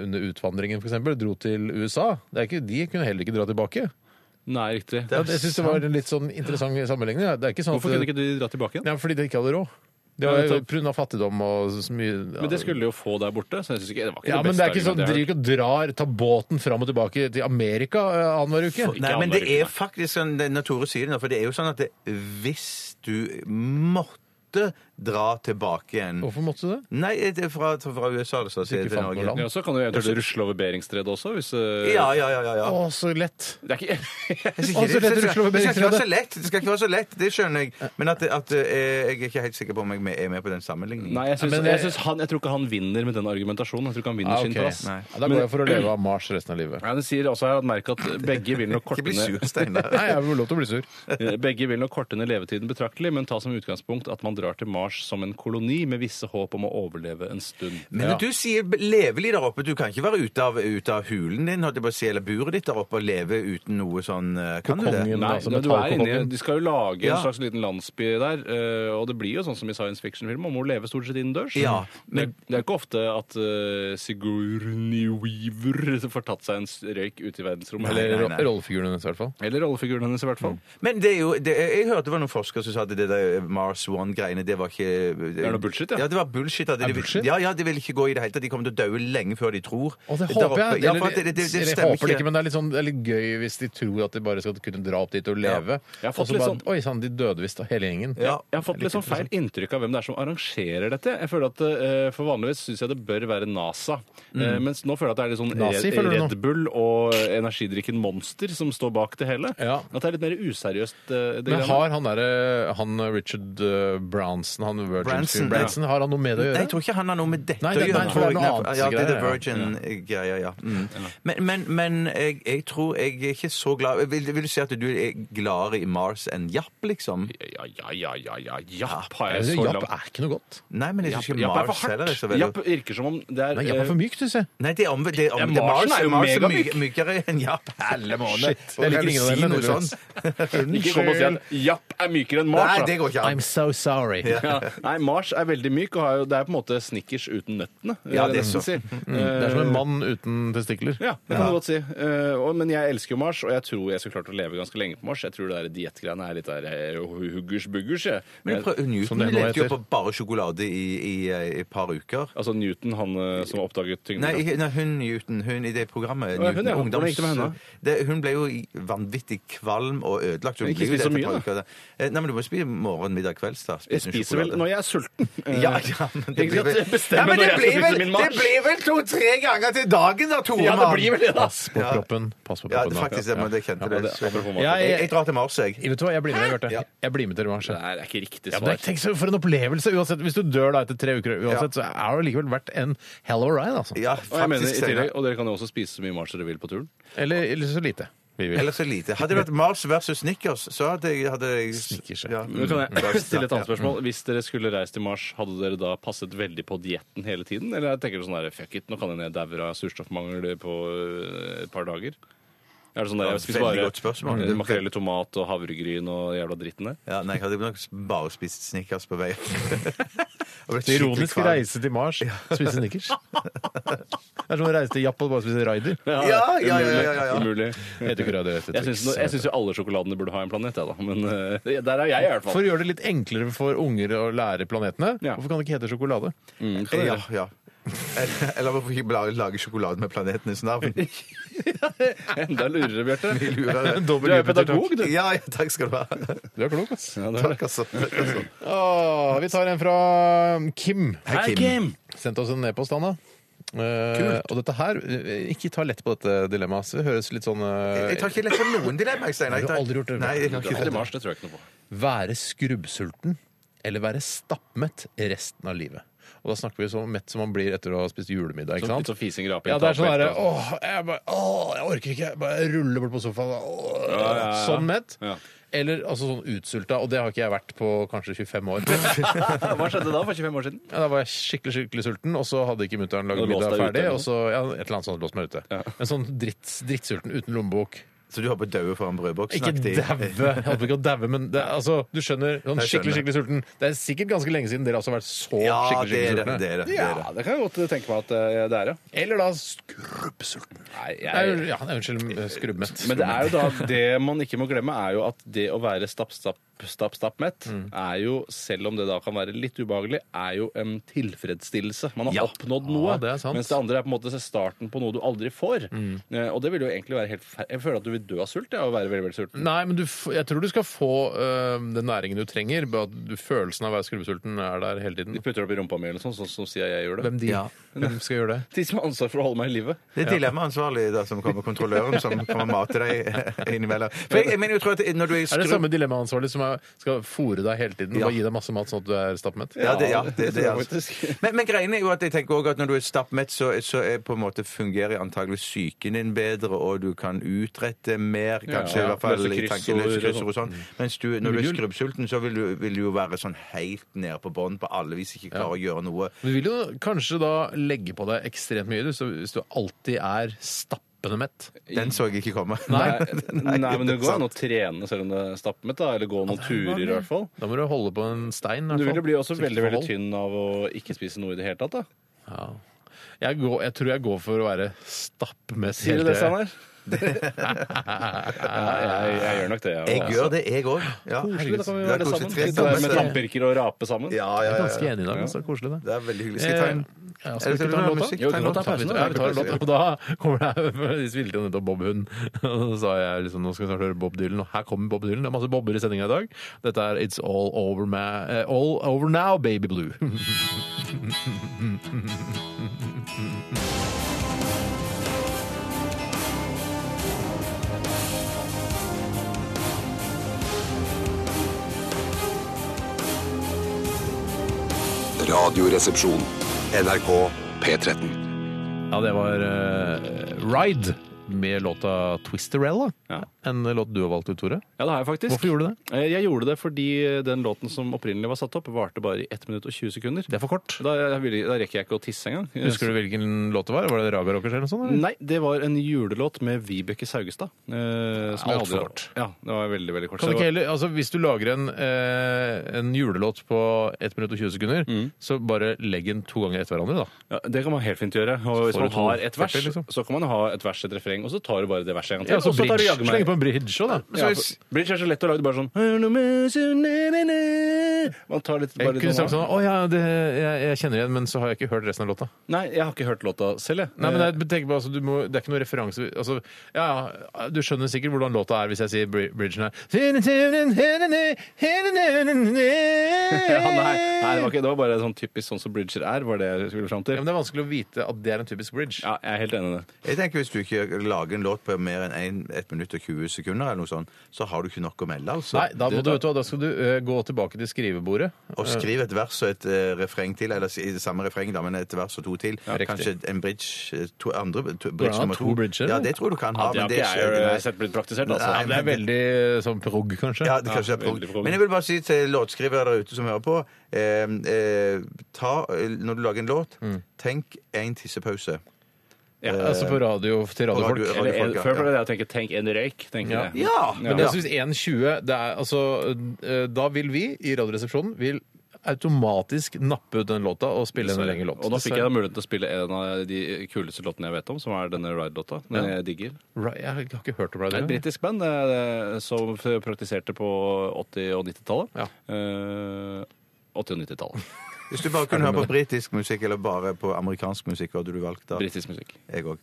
Speaker 8: under utvandringen f.eks. dro til USA. Det er ikke, de kunne heller ikke dra tilbake.
Speaker 7: Nei, riktig.
Speaker 8: Ja, jeg syns det var en litt sånn interessant sammenligning. ja. Det er ikke sånn at-
Speaker 7: Hvorfor kunne ikke du dra tilbake igjen?
Speaker 8: ja, fordi de ikke hadde råd. Det
Speaker 7: Ja,
Speaker 8: var jo
Speaker 7: nettopp.
Speaker 8: pga. fattigdom og så mye ja.
Speaker 7: Men det skulle de jo få der borte, så jeg synes ikke det var ikke
Speaker 8: ja,
Speaker 7: det
Speaker 8: men
Speaker 7: beste
Speaker 8: det er ikke sånn,
Speaker 7: argumentet jeg
Speaker 8: Driver
Speaker 7: har hørt.
Speaker 8: ikke og drar, tar båten fram og tilbake til Amerika eh, annenhver uke.
Speaker 7: ikke
Speaker 3: Nei, men
Speaker 7: annenhver
Speaker 3: det
Speaker 7: uke,
Speaker 3: er
Speaker 7: nei.
Speaker 3: faktisk sånn det- når Tore sier det nå, for det er jo sånn at det, hvis du måtte dra tilbake igjen
Speaker 8: Hvorfor måtte du det?
Speaker 3: Nei, det er fra, fra USA, altså.
Speaker 8: du
Speaker 3: Til
Speaker 8: ikke fant noe
Speaker 3: Norge.
Speaker 8: land.
Speaker 7: Ja, så kan du eventuelt rusle over Beringstredet også, hvis eh,
Speaker 3: Ja, ja, ja. ja, ja.
Speaker 8: Å, så lett!
Speaker 7: Det er ikke [LAUGHS]
Speaker 3: Jeg
Speaker 8: Å,
Speaker 3: sier
Speaker 8: så
Speaker 3: ikke Det
Speaker 8: lett å
Speaker 3: det
Speaker 8: rusle
Speaker 3: skal
Speaker 8: over
Speaker 3: det skal ikke være
Speaker 8: Beringstredet.
Speaker 3: så lett, det skal ikke være så lett, det skjønner jeg. Men at, at eh, jeg er ikke helt sikker på om jeg er med på den sammenligningen.
Speaker 7: Nei, jeg, synes,
Speaker 8: Ja, men det-
Speaker 7: jeg, synes han, jeg tror ikke han vinner med den argumentasjonen. Jeg tror ikke han vinner
Speaker 8: Ah, ok.
Speaker 7: sin plass.
Speaker 8: Nei. Ja, da går jeg for å leve av Mars resten av livet.
Speaker 7: Ja, det sier også her at merk at begge vil [LAUGHS] nok korte
Speaker 3: Ikke bli sur,
Speaker 7: ned, [LAUGHS]
Speaker 3: Steinar.
Speaker 8: Nei, jeg får lov til å bli sur.
Speaker 7: begge vil nok korte ned levetiden betraktelig, men ta som utgangspunkt at man drar til Mars som en koloni med visse håp om å overleve en stund.
Speaker 3: Men
Speaker 8: Ja.
Speaker 3: når du sier b- levelig der oppe, du kan ikke være ute av, ute av hulen din holdt jeg på å si, eller buret ditt der oppe og leve uten noe sånn eh, Kan du det?
Speaker 8: Kongen,
Speaker 7: Nei,
Speaker 8: altså,
Speaker 7: men du er inne, i-
Speaker 8: metallkongen.
Speaker 7: de skal jo lage
Speaker 3: Ja.
Speaker 7: en slags liten landsby der, eh, og det blir jo sånn som i science fiction-film, man må leve stort sett innendørs.
Speaker 3: Ja,
Speaker 7: men... Det er ikke ofte at eh, Sigourney Weaver [LAUGHS] får tatt seg en s- røyk ute i verdensrommet.
Speaker 8: Eller
Speaker 7: Eller,
Speaker 3: nei, nei.
Speaker 8: rollefiguren hennes, i hvert fall.
Speaker 7: eller rollefiguren hennes, i hvert fall.
Speaker 3: Men det er jo, det, jeg hørte det var noen forskere som sa at det der Mars One-greiene, det var ikke Det
Speaker 7: er noe bullshit, ja.
Speaker 3: Ja, det var bullshit. At de,
Speaker 8: bullshit?
Speaker 3: Ja, ja, det vil ikke gå i det hele tatt. De kommer til å daue lenge før de tror.
Speaker 8: Og det
Speaker 3: Der
Speaker 8: håper
Speaker 3: oppe.
Speaker 8: jeg.
Speaker 3: Ja,
Speaker 8: Eller,
Speaker 3: for at det, det, det,
Speaker 8: eller
Speaker 3: stemmer
Speaker 8: håper det ikke, men det er, litt sånn, det er litt gøy hvis de tror at de bare skal kunne dra opp dit og leve.
Speaker 7: Jeg har fått
Speaker 8: Og så
Speaker 7: litt
Speaker 8: bare
Speaker 7: sånn-
Speaker 8: Oi sann, de døde visst, hele gjengen.
Speaker 3: Ja.
Speaker 7: Jeg har fått litt sånn feil inntrykk av hvem det er som arrangerer dette. Jeg føler at eh, For vanligvis syns jeg det bør være NASA. Eh, mens nå føler jeg at det er litt sånn
Speaker 8: Nazi,
Speaker 7: Red,
Speaker 8: føler du nå?
Speaker 7: Red Bull og energidrikken Monster som står bak det hele.
Speaker 8: Ja.
Speaker 7: At det er litt mer useriøst. eh, det
Speaker 8: Men
Speaker 7: greiene.
Speaker 8: har han derre han Richard eh, Branson, han Virgin Branson,
Speaker 3: Branson, ja.
Speaker 8: Branson har han noe med det å
Speaker 3: Nei,
Speaker 8: gjøre?
Speaker 3: jeg tror ikke han har noe med dette
Speaker 8: Nei,
Speaker 3: å
Speaker 8: det-
Speaker 3: gjøre.
Speaker 8: nei, for det er noe
Speaker 3: tror jeg.
Speaker 8: annet
Speaker 3: ja, det er The
Speaker 8: greier, ja.
Speaker 3: Virgin-greia, ja. Mm. Men, men, men jeg, jeg tror jeg er ikke så glad Vil, vil du si at du er gladere i Mars enn Japp, liksom?
Speaker 7: Ja, ja, ja, ja, ja, Japp har
Speaker 8: Jeg
Speaker 7: jeg
Speaker 8: synes
Speaker 7: så
Speaker 8: Japp
Speaker 7: langt.
Speaker 8: er ikke noe godt.
Speaker 3: Nei, men jeg
Speaker 7: Japp,
Speaker 3: synes altså, ikke
Speaker 7: Japp er
Speaker 3: Mars
Speaker 7: for
Speaker 3: heller er
Speaker 7: hardt.
Speaker 3: så veldig
Speaker 7: Japp virker som om det er
Speaker 8: Nei, Japp er for
Speaker 7: eh,
Speaker 8: mykt, syns jeg.
Speaker 3: Nei, det er omvendt. Det er omvendt.
Speaker 7: Ja, Marsen
Speaker 3: Mars
Speaker 7: er jo
Speaker 3: Mars er
Speaker 7: megamyk.
Speaker 3: myk- mykere enn Japp.
Speaker 7: eh,
Speaker 3: Helle måned.
Speaker 8: Shit,
Speaker 3: Og
Speaker 8: jeg liker
Speaker 3: kan du
Speaker 8: ingen av
Speaker 3: si
Speaker 8: delene,
Speaker 3: noe
Speaker 8: tydeligvis.
Speaker 3: sånt?
Speaker 7: Ikke kom og si at Japp er mykere enn Mars.
Speaker 3: Nei,
Speaker 7: da.
Speaker 3: det går ikke an.
Speaker 8: so
Speaker 10: Murray.
Speaker 7: Ja. Nei, Mars er veldig myk, og har jo, det er på en måte Snickers uten nøttene.
Speaker 3: Ja, det er så.
Speaker 7: nesten si.
Speaker 8: Mm,
Speaker 7: Eh,
Speaker 8: Det er som en mann uten testikler.
Speaker 7: Ja, det kan du godt si. Eh, og, men jeg elsker jo Mars, og jeg tror jeg skulle klart å leve ganske lenge på Mars. Jeg tror det der diettgreiene er litt der eh, huggers buggers, jeg. Eh,
Speaker 3: Men prøv,
Speaker 8: Som
Speaker 3: Newton
Speaker 8: det nå
Speaker 3: levde jo
Speaker 8: heter.
Speaker 3: på bare sjokolade i, i, eh, et par uker.
Speaker 7: Altså Newton, han eh, som oppdaget
Speaker 3: Nei,
Speaker 7: tyngden.
Speaker 3: ikke- nei, hun Newton, hun i det programmet
Speaker 7: Å, ja,
Speaker 3: Newton,
Speaker 7: hun, ja. Hvordan
Speaker 3: ungdoms-
Speaker 7: gikk det med henne?
Speaker 3: Det- hun ble jo i- vanvittig kvalm og ødelagt. Hun
Speaker 7: Men
Speaker 3: ble
Speaker 7: ikke
Speaker 3: jo
Speaker 7: spis
Speaker 3: det
Speaker 7: så
Speaker 3: etter
Speaker 7: mye,
Speaker 3: et par uker. Eh, Nei, men du må spise morgen, middag, kvelds, da.
Speaker 7: Jeg spiser vel når jeg er sulten. Eh,
Speaker 3: ja, ja, men det blir
Speaker 7: Ikke sant?
Speaker 3: vel,
Speaker 7: Jeg bestemmer
Speaker 3: Ja, men
Speaker 7: når
Speaker 3: det
Speaker 7: jeg
Speaker 3: blir
Speaker 7: skal
Speaker 3: vel,
Speaker 7: spise min mars.
Speaker 3: Det blir vel to-tre ganger til dagen, da, Tore.
Speaker 7: ja, det
Speaker 3: mann.
Speaker 7: blir vel det, da.
Speaker 8: Pass på kroppen. Pass på
Speaker 3: Ja,
Speaker 8: kroppen.
Speaker 3: det
Speaker 8: da.
Speaker 3: faktisk det, men det kjente
Speaker 7: Ja,
Speaker 3: du.
Speaker 7: det- apropos mat.
Speaker 8: Ja,
Speaker 3: Jeg, jeg drar til Mars, jeg.
Speaker 8: Vet du hva, jeg blir med deg, Bjarte.
Speaker 3: Ja.
Speaker 8: Jeg blir med til revansj.
Speaker 7: Det her er ikke riktig
Speaker 8: Ja, men
Speaker 7: svar.
Speaker 8: tenk så for en opplevelse uansett. Hvis du dør da etter tre uker uansett, så er det likevel verdt en hell of a ride, altså.
Speaker 3: Ja,
Speaker 7: og, jeg mener, i
Speaker 3: faktisk.
Speaker 7: tillegg,
Speaker 3: Steinar.
Speaker 7: og dere kan jo også spise så mye Mars dere vil på turen.
Speaker 8: Eller, eller så lite. Vi vil. [LAUGHS]
Speaker 3: Eller så lite. Hadde det vært Mars versus Snickers, så hadde jeg, hadde jeg
Speaker 8: Snickers, ja.
Speaker 3: ja.
Speaker 7: Men kan jeg stille et annet spørsmål? Hvis dere skulle reist til Mars, hadde dere da passet veldig på dietten hele tiden? Eller tenker dere sånn her, fuck it, nå kan hende jeg dauer av surstoffmangel på øh, et par dager? Er det sånn der,
Speaker 3: Ja,
Speaker 7: jeg spiser
Speaker 3: veldig
Speaker 7: bare
Speaker 3: godt spørsmål.
Speaker 7: eh, makrell i tomat og havregryn og jævla dritten der?
Speaker 3: Ja, nei, jeg hadde nok bare spist Snickers på
Speaker 7: [LAUGHS]
Speaker 3: vei.
Speaker 8: Det er ironisk å reise til Mars og [LAUGHS] spise snickers. Det er som å reise til Japan og bare spise Raider.
Speaker 3: Ja, ja, ja, ja, ja, ja.
Speaker 7: Umulig.
Speaker 8: Jeg vet ikke hva det heter.
Speaker 7: Jeg syns jeg syns jo alle sjokoladene burde ha en planet, jeg, da. Men eh, der er jeg, i hvert
Speaker 8: For
Speaker 7: fall.
Speaker 8: å gjøre det litt enklere for unger å lære planetene,
Speaker 7: Ja.
Speaker 8: hvorfor kan det ikke hete sjokolade?
Speaker 7: Mm,
Speaker 3: Ja, ja. Eller- Eller hvorfor ikke bare lage sjokolade med planetenes
Speaker 7: [LAUGHS]
Speaker 3: navn?
Speaker 7: [LAUGHS] Enda lurere, Bjarte.
Speaker 3: Vi lurer deg.
Speaker 7: Du er jo pedagog, du.
Speaker 3: Ja, ja, takk skal du ha.
Speaker 8: Du er klok, ass.
Speaker 7: Ja, det er det.
Speaker 3: Takk, altså. Takk, altså.
Speaker 8: Åh, vi tar en fra Kim.
Speaker 7: Hei, Kim.
Speaker 8: Sendt oss en e-post, Anna. Eh, og dette her eh, Ikke ta lett på dette dilemmaet. så Det høres litt sånn eh,
Speaker 3: Jeg tar ikke lett på noen dilemma, jeg, Steinar.
Speaker 8: Har du aldri gjort det?
Speaker 3: Nei, jeg har
Speaker 7: Dra
Speaker 3: ikke
Speaker 7: til
Speaker 3: det.
Speaker 7: Mars, det tror jeg ikke noe på.
Speaker 8: Være skrubbsulten eller være stappmett resten av livet. Og da snakker vi så mett som man blir etter å ha spist julemiddag. ikke
Speaker 7: Sånn, litt
Speaker 8: sant?
Speaker 7: sånn fising, raping,
Speaker 8: Ja, det er sånn
Speaker 7: tapet,
Speaker 8: derre
Speaker 7: og-
Speaker 8: åh, jeg bare åh, jeg orker ikke. Jeg bare ruller bort på sofaen. Åh,
Speaker 7: ja, ja.
Speaker 8: Sånn mett.
Speaker 7: Ja.
Speaker 8: Eller altså sånn utsulta, og det har ikke jeg vært på kanskje 25 år.
Speaker 7: [LAUGHS] Hva skjedde da for 25 år siden?
Speaker 8: Ja, da var jeg skikkelig skikkelig sulten, og så hadde ikke mutter'n
Speaker 7: Og
Speaker 8: laget
Speaker 7: låst
Speaker 8: middag
Speaker 7: deg ute,
Speaker 8: ferdig.
Speaker 7: eller
Speaker 8: Og så, ja, et eller annet sånt låst meg ute.
Speaker 7: Ja.
Speaker 8: Men sånn dritt, drittsulten uten lommebok.
Speaker 3: Så du har på daue foran brødboks?
Speaker 8: Ikke
Speaker 3: snakket i-
Speaker 8: daue! Jeg håper ikke å daue, men det, er- altså, du skjønner. Sånn
Speaker 3: Jeg skjønner.
Speaker 8: skikkelig, skikkelig sulten. Det er sikkert ganske lenge siden dere også har vært så
Speaker 3: Ja,
Speaker 8: skikkelig,
Speaker 3: det er
Speaker 8: skikkelig
Speaker 3: det.
Speaker 8: sultne.
Speaker 3: det, er det, det, er det.
Speaker 7: Ja, det kan jeg godt tenke meg at eh, det er, ja.
Speaker 8: Eller da skrubbsulten.
Speaker 7: Nei,
Speaker 8: Nei,
Speaker 7: jeg...
Speaker 8: Ja, nei, unnskyld, skrubbmett.
Speaker 7: Men det er jo da det man ikke må glemme, er jo at det å være stapp, stapp, stapp, stapp mett, er jo, selv om det da kan være litt ubehagelig, er jo en tilfredsstillelse. Man har
Speaker 8: Ja.
Speaker 7: oppnådd noe.
Speaker 8: Ja, det er sant.
Speaker 7: Mens det andre er på en måte starten på noe du aldri får. Eh, Og det vil jo egentlig være helt fer- Jeg føler at du vil dø av sult, ja, å være veldig, veldig sulten.
Speaker 8: Nei, men du, f- jeg tror du skal få øhm, den næringen du trenger. Bare at du, følelsen av å være skrubbsulten er der hele tiden.
Speaker 7: Du putter det opp i rumpa mi eller sånn, sånn som sier jeg gjør det.
Speaker 8: Hvem, de, hvem skal gjøre det?
Speaker 7: De som har ansvar for å holde meg i live.
Speaker 3: Det er dilemmaansvarlig da, som kommer kontrolløren, som kommer og mater deg innimellom. For jeg, jeg mener jo tror at når du er i
Speaker 8: Er det
Speaker 3: skrubb-
Speaker 8: samme dilemma-ansvarlig som er, skal fôre deg hele tiden? Bare gi deg masse mat sånn at du er stappmett?
Speaker 3: Ja, det, ja, det, det,
Speaker 7: tror jeg
Speaker 3: er altså.
Speaker 7: faktisk.
Speaker 3: men, men greien er jo at jeg tenker også at når du er stappmett, så, så er på en måte fungerer antagelig psyken din bedre, og du kan utrette mer, kanskje,
Speaker 7: Ja,
Speaker 3: i hvert fall
Speaker 7: løse
Speaker 3: i tanken,
Speaker 7: kryssord
Speaker 3: løse
Speaker 7: og
Speaker 3: kryssord og sånn. Mens du, når du er skrubbsulten, så vil du, vil du jo være sånn helt nede på bånn på alle vis, ikke klare å gjøre noe.
Speaker 8: Du vil jo kanskje da legge på deg ekstremt mye du, så hvis du alltid er stappende mett.
Speaker 3: Den så jeg ikke komme.
Speaker 7: [LAUGHS]
Speaker 3: [LAUGHS]
Speaker 7: Nei, men det
Speaker 3: er
Speaker 7: går an
Speaker 3: sant.
Speaker 7: å trene selv om det er stappmett, da. Eller gå noen turer, i hvert fall.
Speaker 8: Da må du holde på en stein. i hvert
Speaker 7: Du vil
Speaker 8: fall.
Speaker 7: jo bli også
Speaker 8: Sikte
Speaker 7: veldig
Speaker 8: forhold.
Speaker 7: veldig tynn av å ikke spise noe i det hele tatt. da
Speaker 8: Jeg, går, jeg tror jeg går for å være stappmett
Speaker 7: Sier du det,
Speaker 8: tiden.
Speaker 7: Steinar? Ja, jeg, jeg gjør nok det. Jeg,
Speaker 3: Jeg gjør det, jeg òg. Ja.
Speaker 7: Koselig, da kan vi
Speaker 3: Det er
Speaker 7: være
Speaker 3: koselig.
Speaker 7: sammen.
Speaker 3: Tre
Speaker 7: Sitte der
Speaker 3: sammen.
Speaker 7: med tannpirker og rape sammen.
Speaker 3: Ja,
Speaker 8: Jeg
Speaker 3: ja,
Speaker 8: er
Speaker 3: ja,
Speaker 8: ganske
Speaker 3: ja.
Speaker 8: enig i dag. Så koselig, det.
Speaker 3: Det er veldig hyggelig. Skal jeg ta en
Speaker 8: Eh, ja, skal vi
Speaker 3: Eller
Speaker 8: ikke ta en låt, da?
Speaker 3: musikk? Ta en låt, da.
Speaker 8: pausen,
Speaker 3: Pausen,
Speaker 8: da. Ja, vi tar en
Speaker 3: pausen.
Speaker 8: låt, da. Og [LAUGHS] da kommer det De spilte jo nettopp Bob Hund. [LAUGHS] Og så sa jeg liksom nå skal vi snart høre Bob Dylan, og her kommer Bob Dylan. Det er masse bobber i sendinga i dag. Dette er It's All Over, ma eh, all over Now, Baby
Speaker 3: [LAUGHS]
Speaker 8: Blue.
Speaker 6: Radioresepsjon. NRK P13.
Speaker 8: Ja, det var eh, Ride med låta Twisterella.
Speaker 7: Ja.
Speaker 8: En låt du har valgt ut, Tore.
Speaker 7: Ja, det har jeg faktisk.
Speaker 8: Hvorfor gjorde du det?
Speaker 7: Eh, Jeg gjorde det fordi eh, den låten som opprinnelig var satt opp, varte bare i 1 minutt og 20 sekunder.
Speaker 8: Det er for kort.
Speaker 7: Da, vil- da rekker jeg ikke å tisse engang. Eh,
Speaker 8: Husker du hvilken låt det var? Var det Raga Rockers eller noe sånt? Eller?
Speaker 7: Nei, det var en julelåt med Vibeke Saugestad. Eh, som jeg
Speaker 8: Alt for
Speaker 7: aldri-
Speaker 8: kort.
Speaker 7: Ja, det var veldig, veldig kort.
Speaker 8: Kan
Speaker 7: Så
Speaker 8: du
Speaker 7: det
Speaker 8: ikke
Speaker 7: var-
Speaker 8: heller, altså Hvis du lager en, eh, en julelåt på 1 minutt og 20 sekunder, så bare legg den to ganger etter hverandre, da.
Speaker 7: Mm. Ja, det kan man helt fint gjøre. Og hvis
Speaker 8: får
Speaker 7: man
Speaker 8: du to
Speaker 7: har et vers,
Speaker 8: 40, liksom.
Speaker 7: så kan man ha et vers, et refreng, og så tar du bare det verset en gang til.
Speaker 8: Ja, så
Speaker 7: og så tar du
Speaker 8: bridge.
Speaker 7: jaggu meg-
Speaker 8: Slenge på en bridge òg, da.
Speaker 7: Ja, for Bridge er så lett å lage, du bare sånn Man tar litt bare
Speaker 8: Jeg kunne
Speaker 7: sånn
Speaker 8: sagt sånn Å ja, det, jeg, jeg kjenner igjen, men så har jeg ikke hørt resten av låta.
Speaker 7: Nei, jeg har ikke hørt låta selv, jeg.
Speaker 8: Nei, men jeg tenker på, altså, du må, Det er ikke noe referanse altså, ja, ja, Du skjønner sikkert hvordan låta er hvis jeg sier bri- bridgen her.
Speaker 7: [LAUGHS] ja,
Speaker 8: Ja,
Speaker 7: nei, nei det, var ikke, det var bare sånn typisk sånn som bridger er, var det jeg skulle fram
Speaker 8: Ja,
Speaker 7: til.
Speaker 8: men Det er vanskelig å vite at det er en typisk bridge.
Speaker 7: Ja, jeg er helt enig i det.
Speaker 3: Jeg tenker Hvis du ikke lager en låt på mer enn 1 minutt og 20 sekunder, eller noe sånt, så har du ikke nok å melde. altså.
Speaker 8: Nei, da, må du, vet du, hva, da skal du eh, gå tilbake til skrivebordet.
Speaker 3: Og skriv et vers og et eh, refreng til, eller si- samme refreng, da, men et vers og to til.
Speaker 8: riktig.
Speaker 3: Kanskje en bridge eh, to, andre, to, bridge
Speaker 8: ha
Speaker 3: nummer
Speaker 8: to
Speaker 3: to.
Speaker 8: bridger,
Speaker 3: ja,
Speaker 8: eller?
Speaker 3: det tror jeg du kan ha.
Speaker 7: Ja, det
Speaker 3: men
Speaker 7: har ikke jeg
Speaker 3: nei.
Speaker 7: eh, sett blitt praktisert, altså.
Speaker 3: Nei,
Speaker 8: Det er veldig eh, sånn prog, kanskje.
Speaker 3: Ja, det kanskje er
Speaker 7: veldig
Speaker 3: prog.
Speaker 7: prog.
Speaker 3: Men jeg vil bare si til låtskrivere der ute som hører på eh, eh, ta, eh, Når du lager en låt,
Speaker 7: Mm.
Speaker 3: tenk en tissepause.
Speaker 7: Ja,
Speaker 8: Altså på radio til
Speaker 3: På radio-
Speaker 8: radiofolk.
Speaker 3: radio-
Speaker 7: Eller, en,
Speaker 3: ja.
Speaker 7: før ble det jeg tenker 'tenk en røyk'. tenker
Speaker 8: Ja.
Speaker 7: jeg.
Speaker 3: Ja,
Speaker 8: Men jeg synes 1,20 det er, altså, eh, Da vil vi i Radioresepsjonen vil automatisk nappe ut den låta og spille en lengre låt.
Speaker 7: Og nå fikk jeg da muligheten til å spille en av de kuleste låtene jeg vet om, som er denne Ride-låta. Den jeg digger.
Speaker 8: Right, Jeg har ikke hørt om
Speaker 7: Det er et
Speaker 8: det.
Speaker 7: britisk band eh, som praktiserte på 80- og 90-tallet.
Speaker 8: Ja.
Speaker 7: Eh, 80- og 90-tallet.
Speaker 3: Hvis du bare kunne høre på britisk musikk eller bare på amerikansk musikk, hva hadde du valgt da?
Speaker 7: Britisk musikk.
Speaker 3: Jeg òg.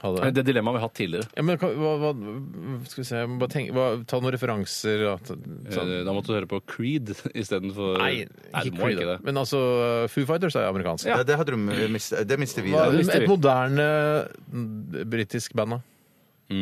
Speaker 8: Ha det.
Speaker 7: Det dilemmaet vi har hatt tidligere.
Speaker 8: Ja, men, hva, hva, skal vi se, jeg må bare tenke, hva, ta noen referanser. Da, ta, sånn.
Speaker 7: Eh, Da måtte du høre på Creed [LAUGHS] istedenfor
Speaker 8: Nei,
Speaker 7: du
Speaker 8: ikke
Speaker 7: må
Speaker 8: Creed. da.
Speaker 7: det.
Speaker 8: Men altså, Foo Fighters er jo amerikansk.
Speaker 3: Ja. det, hadde du mistet, det mister vi.
Speaker 8: Hva,
Speaker 3: da.
Speaker 7: det visste
Speaker 8: et
Speaker 7: vi.
Speaker 8: moderne mm, britisk band, da?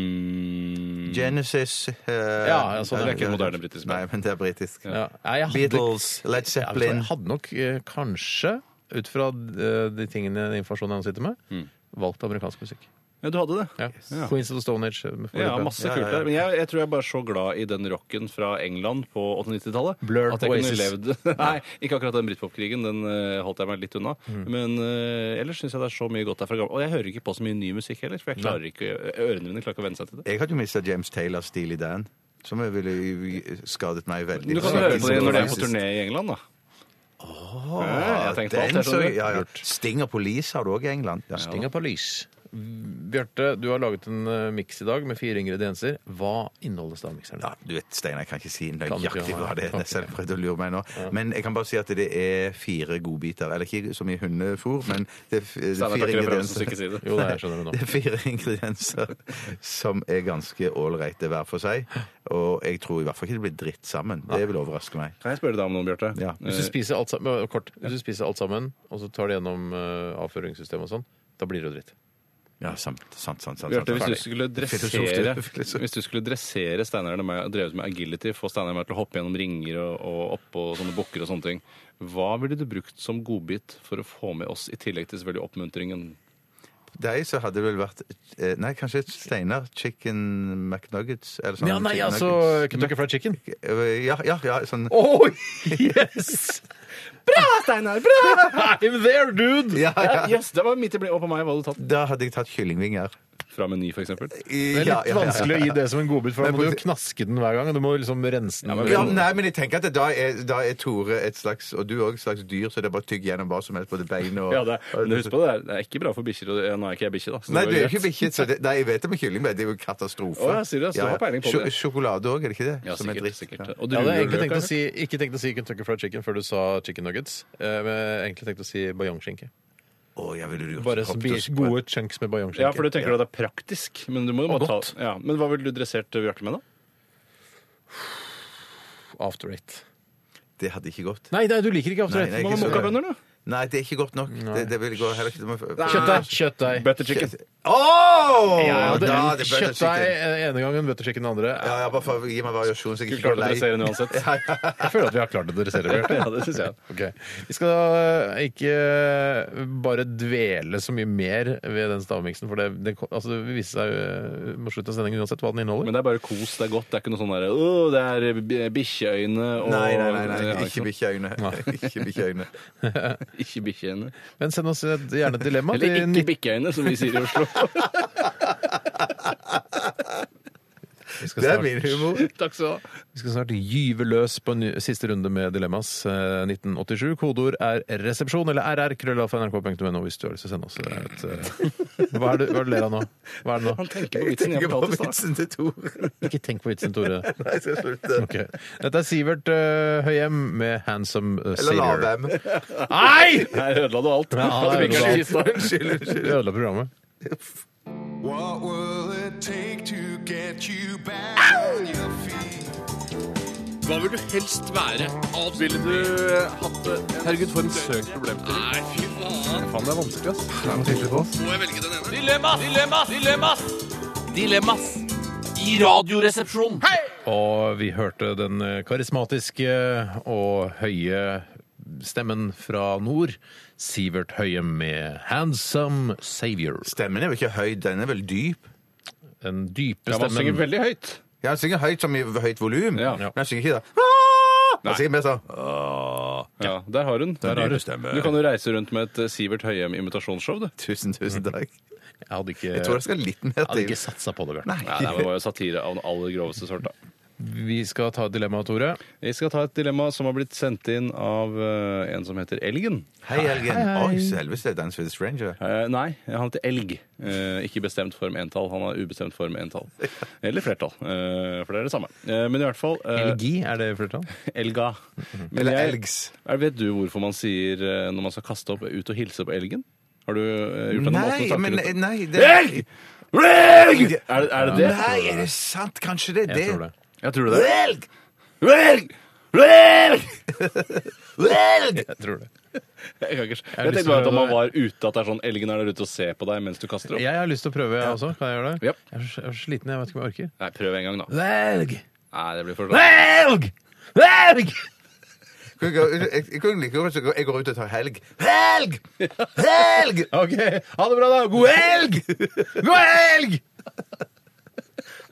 Speaker 7: Mm,
Speaker 3: Genesis eh,
Speaker 8: Ja, altså, det
Speaker 7: er ikke moderne britisk band.
Speaker 3: Nei, men det er britisk.
Speaker 8: Ja. Nei, jeg hadde-
Speaker 3: Beatles,
Speaker 8: Jeg
Speaker 3: Led
Speaker 7: altså,
Speaker 8: vet ikke,
Speaker 3: Zeppelin
Speaker 8: Jeg hadde nok eh, kanskje, ut fra eh, de tingene den informasjonen jeg sitter med,
Speaker 7: Mm.
Speaker 8: valgt amerikansk musikk.
Speaker 7: ja, du hadde det.
Speaker 8: Ja.
Speaker 7: Ja.
Speaker 8: Queens of the Stone Age. eh, for
Speaker 7: Ja,
Speaker 8: eksempel.
Speaker 7: masse
Speaker 3: Ja, ja,
Speaker 7: kult
Speaker 3: ja.
Speaker 7: der. Men jeg, jeg tror jeg bare er så glad i den rocken fra England på 98-tallet
Speaker 8: Blur,
Speaker 7: at jeg kunne
Speaker 8: Oasis.
Speaker 7: levd [LAUGHS] Nei, ikke akkurat den britpopkrigen. Den eh, holdt jeg meg litt unna. Men eh, ellers syns jeg det er så mye godt der fra gammel. Og jeg hører ikke på så mye ny musikk heller, for jeg klarer ikke, ørene mine klarer ikke å venne seg til det.
Speaker 3: Jeg hadde jo mista James Taylor, Steely Dan, som jeg ville skadet meg veldig.
Speaker 7: Du kan høre på det når de er på turné i England, da. Oh, jeg tenker på alt,
Speaker 3: Den,
Speaker 7: jeg
Speaker 3: så,
Speaker 7: skjønner.
Speaker 3: ja, ja. Stinger Police har du òg i England. Ja.
Speaker 8: Sting of Police. Bjarte, du har laget en uh, miks i dag med fire ingredienser. Hva inneholdes da mikseren?
Speaker 3: Ja, du vet, Steinar, jeg kan ikke si
Speaker 8: Kan du
Speaker 3: nøyaktig
Speaker 8: ikke,
Speaker 3: hva det er.
Speaker 8: nei.
Speaker 3: Selv om jeg prøvde å lure meg nå. Men jeg kan bare si at det er fire godbiter. Eller ikke som i hundefôr, men det er, f- det er
Speaker 7: Steinar
Speaker 3: fire
Speaker 7: tar ikke referansen, så
Speaker 3: ingredienser.
Speaker 7: ikke si det.
Speaker 8: Jo, det er- jeg skjønner det nå.
Speaker 3: [LAUGHS] Det er fire ingredienser som er ganske ålreite hver for seg. Og jeg tror i hvert fall ikke det blir dritt sammen. Det vil overraske meg.
Speaker 7: Kan jeg spørre deg om noe, Bjarte?
Speaker 3: Ja.
Speaker 8: Hvis du spiser alt sammen, bare kort, hvis du spiser alt sammen, og så tar det gjennom eh, avføringssystemet og sånn, da blir det jo dritt.
Speaker 3: Ja, sant, sant, sant. sant, sant,
Speaker 7: Bjarte, hvis du
Speaker 3: Ferdig.
Speaker 7: skulle dressere,
Speaker 3: Filosof, filosof.
Speaker 7: [LAUGHS] hvis du skulle dressere Steinar og meg og drevet med agility, få Steinar og meg til å hoppe gjennom ringer og, og oppå sånne bukker og sånne ting, hva ville du brukt som godbit for å få med oss, i tillegg til selvfølgelig oppmuntringen?
Speaker 3: Deg så hadde det vel vært eh, Nei, kanskje Steinar. Chicken McNuggets? Eller sånn
Speaker 8: Ja, nei,
Speaker 3: chicken
Speaker 8: altså
Speaker 3: nuggets.
Speaker 8: Kentucky Fried
Speaker 3: [LAUGHS]
Speaker 8: Chicken.
Speaker 3: Eh, Ja, ja, ja sånn
Speaker 8: Oh, yes! [LAUGHS] Bra, Steinar! Bra! I'm there, dude!
Speaker 3: ja, ja.
Speaker 7: [LAUGHS] Yes, det var midt i blinken. Og på meg, hva hadde du tatt?
Speaker 3: Da hadde jeg tatt kyllingvinger.
Speaker 7: Fra Meny, for eksempel?
Speaker 8: Det er litt vanskelig å gi det som en godbit, for da
Speaker 3: Men
Speaker 8: må du
Speaker 3: på-
Speaker 8: jo knaske den hver gang. og Du må liksom rense den.
Speaker 3: Ja, nei, men jeg tenker at det, da, er, da er Tore et slags Og du òg et slags dyr, så det er bare å tygge gjennom hva som helst, både bein og
Speaker 7: Ja, det, men husk på det, er- det er ikke bra for bikkjer. og det- ja, Nå er ikke jeg bikkje, da. så
Speaker 3: Nei,
Speaker 7: det
Speaker 3: du
Speaker 7: var
Speaker 3: er jo
Speaker 7: greit.
Speaker 3: ikke bikkje. så det- Nei, jeg vet det med kylling, men det er jo katastrofe.
Speaker 7: Å, ja, sier du det, så du har peiling på
Speaker 3: Sjo-
Speaker 7: det.
Speaker 3: Sjokolade òg, er det ikke det?
Speaker 7: Ja,
Speaker 3: Som er
Speaker 7: sikkert.
Speaker 3: dritt.
Speaker 7: sikkert.
Speaker 3: Ja.
Speaker 7: Og
Speaker 8: Jeg hadde
Speaker 7: druer,
Speaker 8: egentlig tenkt å
Speaker 7: kanskje?
Speaker 8: si, ikke tenkt å si Kentucky Fried Chicken før du sa chicken nuggets. Eh, Men jeg har egentlig tenkt å si bajongskinke.
Speaker 3: Å, jeg ville gjort
Speaker 8: Bare sånn.
Speaker 3: hoppet og
Speaker 8: spi-
Speaker 3: sp-
Speaker 8: gode chunks med bajongskinke.
Speaker 7: Ja, for du tenker at det er praktisk. Men, du må jo
Speaker 8: Og
Speaker 7: bare ta,
Speaker 8: godt.
Speaker 7: ja, men hva ville du dressert eh, Bjarte med, da?
Speaker 8: After eight.
Speaker 3: Det hadde ikke gått.
Speaker 8: Nei, nei, du liker ikke after
Speaker 3: Nei,
Speaker 8: eight.
Speaker 3: nei,
Speaker 7: Hva med
Speaker 3: ikke så-
Speaker 7: mokkabønner, da?
Speaker 3: Nei, det er ikke godt nok. Det, det vil gå heller ikke. Du må-
Speaker 8: Kjøttdeig. Kjøttdeig.
Speaker 7: Butter chicken.
Speaker 3: Å, Ja,
Speaker 8: Ja,
Speaker 3: det
Speaker 8: det
Speaker 3: er
Speaker 8: er
Speaker 3: butterchicken.
Speaker 8: Kjøttdeig eh, ene gangen, butterchicken den andre.
Speaker 3: Ja, ja, bare for å gi meg variasjon. så jeg
Speaker 7: Skulle
Speaker 3: ikke
Speaker 7: klart å
Speaker 3: blir lei.
Speaker 7: dressere
Speaker 9: [LAUGHS]
Speaker 7: den uansett.
Speaker 8: Jeg føler at vi har klart å dressere det. Bjarte.
Speaker 7: [LAUGHS] Ja, det synes jeg.
Speaker 8: Ok. Vi skal eh, ikke eh, bare dvele så mye mer ved den stavmiksen, for det, det, kom- altså, det viser seg eh, mot slutten av sendingen uansett hva den inneholder.
Speaker 7: Men det er bare kos, det er godt. Det er ikke noe sånn derre Å, det er bi- bikkjeøyne og
Speaker 3: Nei, nei, nei, nei.
Speaker 7: Ja,
Speaker 3: ikke
Speaker 7: sant?
Speaker 3: bikkjeøyne. [LAUGHS] Ikke bikkjeøyne.
Speaker 7: Ikke bikkjeøyne.
Speaker 8: Men send oss et, gjerne et dilemma.
Speaker 7: Eller
Speaker 8: til
Speaker 7: ikke bikkjeøyne, som vi sier
Speaker 9: [LAUGHS]
Speaker 7: i Oslo.
Speaker 3: Det er min
Speaker 8: [LAUGHS]
Speaker 3: humor.
Speaker 7: Takk skal du ha.
Speaker 8: Vi skal snart gyve løs på en ny- siste runde med Dilemmas eh, 1987. Kodeord er 'resepsjon' eller rr.krøllalfa.nrk.no hvis du har lyst til å sende oss et eh, [LAUGHS] Hva er det hva er det du ler av nå? Hva er det nå?
Speaker 7: Han tenker på vitsen jeg
Speaker 3: Ikke bare
Speaker 7: fortalte i stad.
Speaker 3: vitsen til Tore.
Speaker 8: Ikke tenk på vitsen, Tore.
Speaker 3: Nei, jeg skal slutte.
Speaker 8: Ok. Dette er Sivert eh, Høyem med 'Handsome uh,
Speaker 3: Eller
Speaker 8: Sailor'.
Speaker 3: lavem.
Speaker 8: Nei!
Speaker 7: Her ødela du alt.
Speaker 8: Ja,
Speaker 7: Hadde
Speaker 8: det er
Speaker 7: vinkelen i
Speaker 8: bra.
Speaker 7: kista.
Speaker 3: Unnskyld,
Speaker 8: Vi
Speaker 3: unnskyld.
Speaker 8: ødela programmet.
Speaker 5: What will it take to get you back on your feet?
Speaker 9: Hva vil du helst være? Ville du eh, hatt det? Herregud, for en søk problemstilling. Nei, fy faen. Faen, det er vanskelig, ass. Det er noe tydelig på oss. Må jeg velge den ene? Dilemmas! Dilemmas! Dilemmas! Dilemmas! I radioresepsjonen.
Speaker 8: Og vi hørte den eh, karismatiske og høye stemmen fra nord, Sivert Høyem med 'Handsome Savior'.
Speaker 3: Stemmen er jo ikke høy, den er vel dyp?
Speaker 8: Den dype
Speaker 7: Ja, man synger
Speaker 8: stemmen.
Speaker 7: veldig høyt.
Speaker 3: Ja, han synger høyt som i høyt volum,
Speaker 7: Ja.
Speaker 3: men han synger ikke det. Ah! Han synger mer sånn
Speaker 7: Ja, Der har hun.
Speaker 8: Der har du.
Speaker 7: Du kan jo reise rundt med et eh, Sivert Høyem-imitasjonsshow, du.
Speaker 3: Tusen, tusen takk.
Speaker 8: Jeg hadde ikke,
Speaker 3: Jeg tror det skal litt mer
Speaker 8: jeg hadde
Speaker 3: til.
Speaker 8: ikke satsa på det, Bjørn.
Speaker 7: [LAUGHS] Nei, det var jo satire av den aller groveste sort, da.
Speaker 8: Vi skal ta et dilemma, Tore.
Speaker 7: Vi skal ta et dilemma som har blitt sendt inn av eh, en som heter Elgen.
Speaker 3: Hei, Elgen. Oi, så helvete, det er Dance with a Stranger.
Speaker 7: Eh, nei, han heter Elg. Eh, ikke bestemt form entall. Han har ubestemt form entall. Eller flertall, eh, for det er det samme. Eh, men i hvert fall eh,
Speaker 8: Elgi, er det flertall?
Speaker 7: Elga. Men
Speaker 3: Eller
Speaker 7: jeg-
Speaker 3: elgs.
Speaker 7: Er, vet du hvorfor man sier eh, når man skal kaste opp, ut og hilse på elgen? Har du eh, gjort deg noen
Speaker 3: Nei,
Speaker 7: tanker
Speaker 3: men
Speaker 7: rundt det?
Speaker 3: nei, det Elg!
Speaker 7: Elg! Er, det- er det det?
Speaker 3: Nei, er det sant? Kanskje det er det?
Speaker 8: Jeg tror det.
Speaker 7: Jeg tror det. er det.
Speaker 3: Elg!
Speaker 7: Elg! Elg!
Speaker 3: Elg!
Speaker 8: Jeg tror det.
Speaker 7: [LAUGHS] Jeg, kan ikke,
Speaker 8: har
Speaker 7: jeg
Speaker 8: lyst
Speaker 7: tenkte
Speaker 8: til å
Speaker 7: bare at om
Speaker 8: prøve
Speaker 7: man var ute, at det er sånn elgen er der ute og ser på deg mens du kaster opp.
Speaker 8: Jeg har lyst til å prøve, jeg også. Kan jeg gjøre det?
Speaker 7: Ja.
Speaker 8: Jeg er så- jeg er så sliten, jeg vet ikke om jeg orker.
Speaker 7: Nei, prøv en gang, da.
Speaker 8: Velg!
Speaker 7: Nei, det blir for
Speaker 8: Velg! Velg!
Speaker 3: Jeg jeg kunne like godt gå Jeg går ut og tar helg. Helg! Helg!
Speaker 7: sånn.
Speaker 8: OK. Ha det bra, da. God helg! God helg!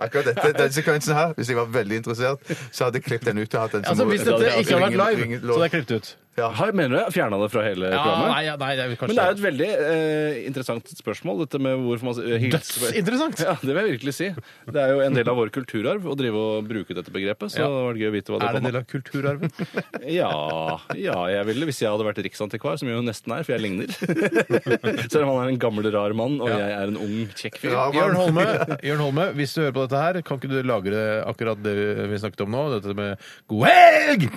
Speaker 3: Akkurat dette, denne sekvensen her, hvis jeg var veldig interessert, så hadde jeg klippet den ut og hatt sånn den som
Speaker 8: Altså, Hvis dette ikke har vært live,
Speaker 3: ringe-
Speaker 8: så det er klippet ut.
Speaker 7: Har, mener du jeg fjerna det fra hele
Speaker 8: Ja,
Speaker 7: programmet?
Speaker 8: Ah, nei, ja, nei, det er kanskje
Speaker 7: Men det er jo et veldig eh, interessant spørsmål, dette med hvorfor man eh, hilser på-
Speaker 8: Dødsinteressant!
Speaker 7: Ja, det vil jeg virkelig si. Det er jo en del av vår kulturarv å drive og bruke dette begrepet, så
Speaker 8: Ja.
Speaker 7: det var gøy å vite hva det
Speaker 8: Er det en
Speaker 7: kom
Speaker 8: del av [LAUGHS] kulturarven?
Speaker 7: av. Ja, ja, jeg ville hvis jeg hadde vært riksantikvar, som jeg jo nesten er, for jeg ligner. [LAUGHS] Selv om han er en gammel, rar mann, og jeg er en ung, kjekk fyr.
Speaker 3: Ja,
Speaker 8: Jørn
Speaker 3: men-
Speaker 7: [LAUGHS]
Speaker 8: Holme, Jørn Holme, hvis du hører på dette her, kan ikke du lagre akkurat det vi snakket om nå? Dette med 'god helg'!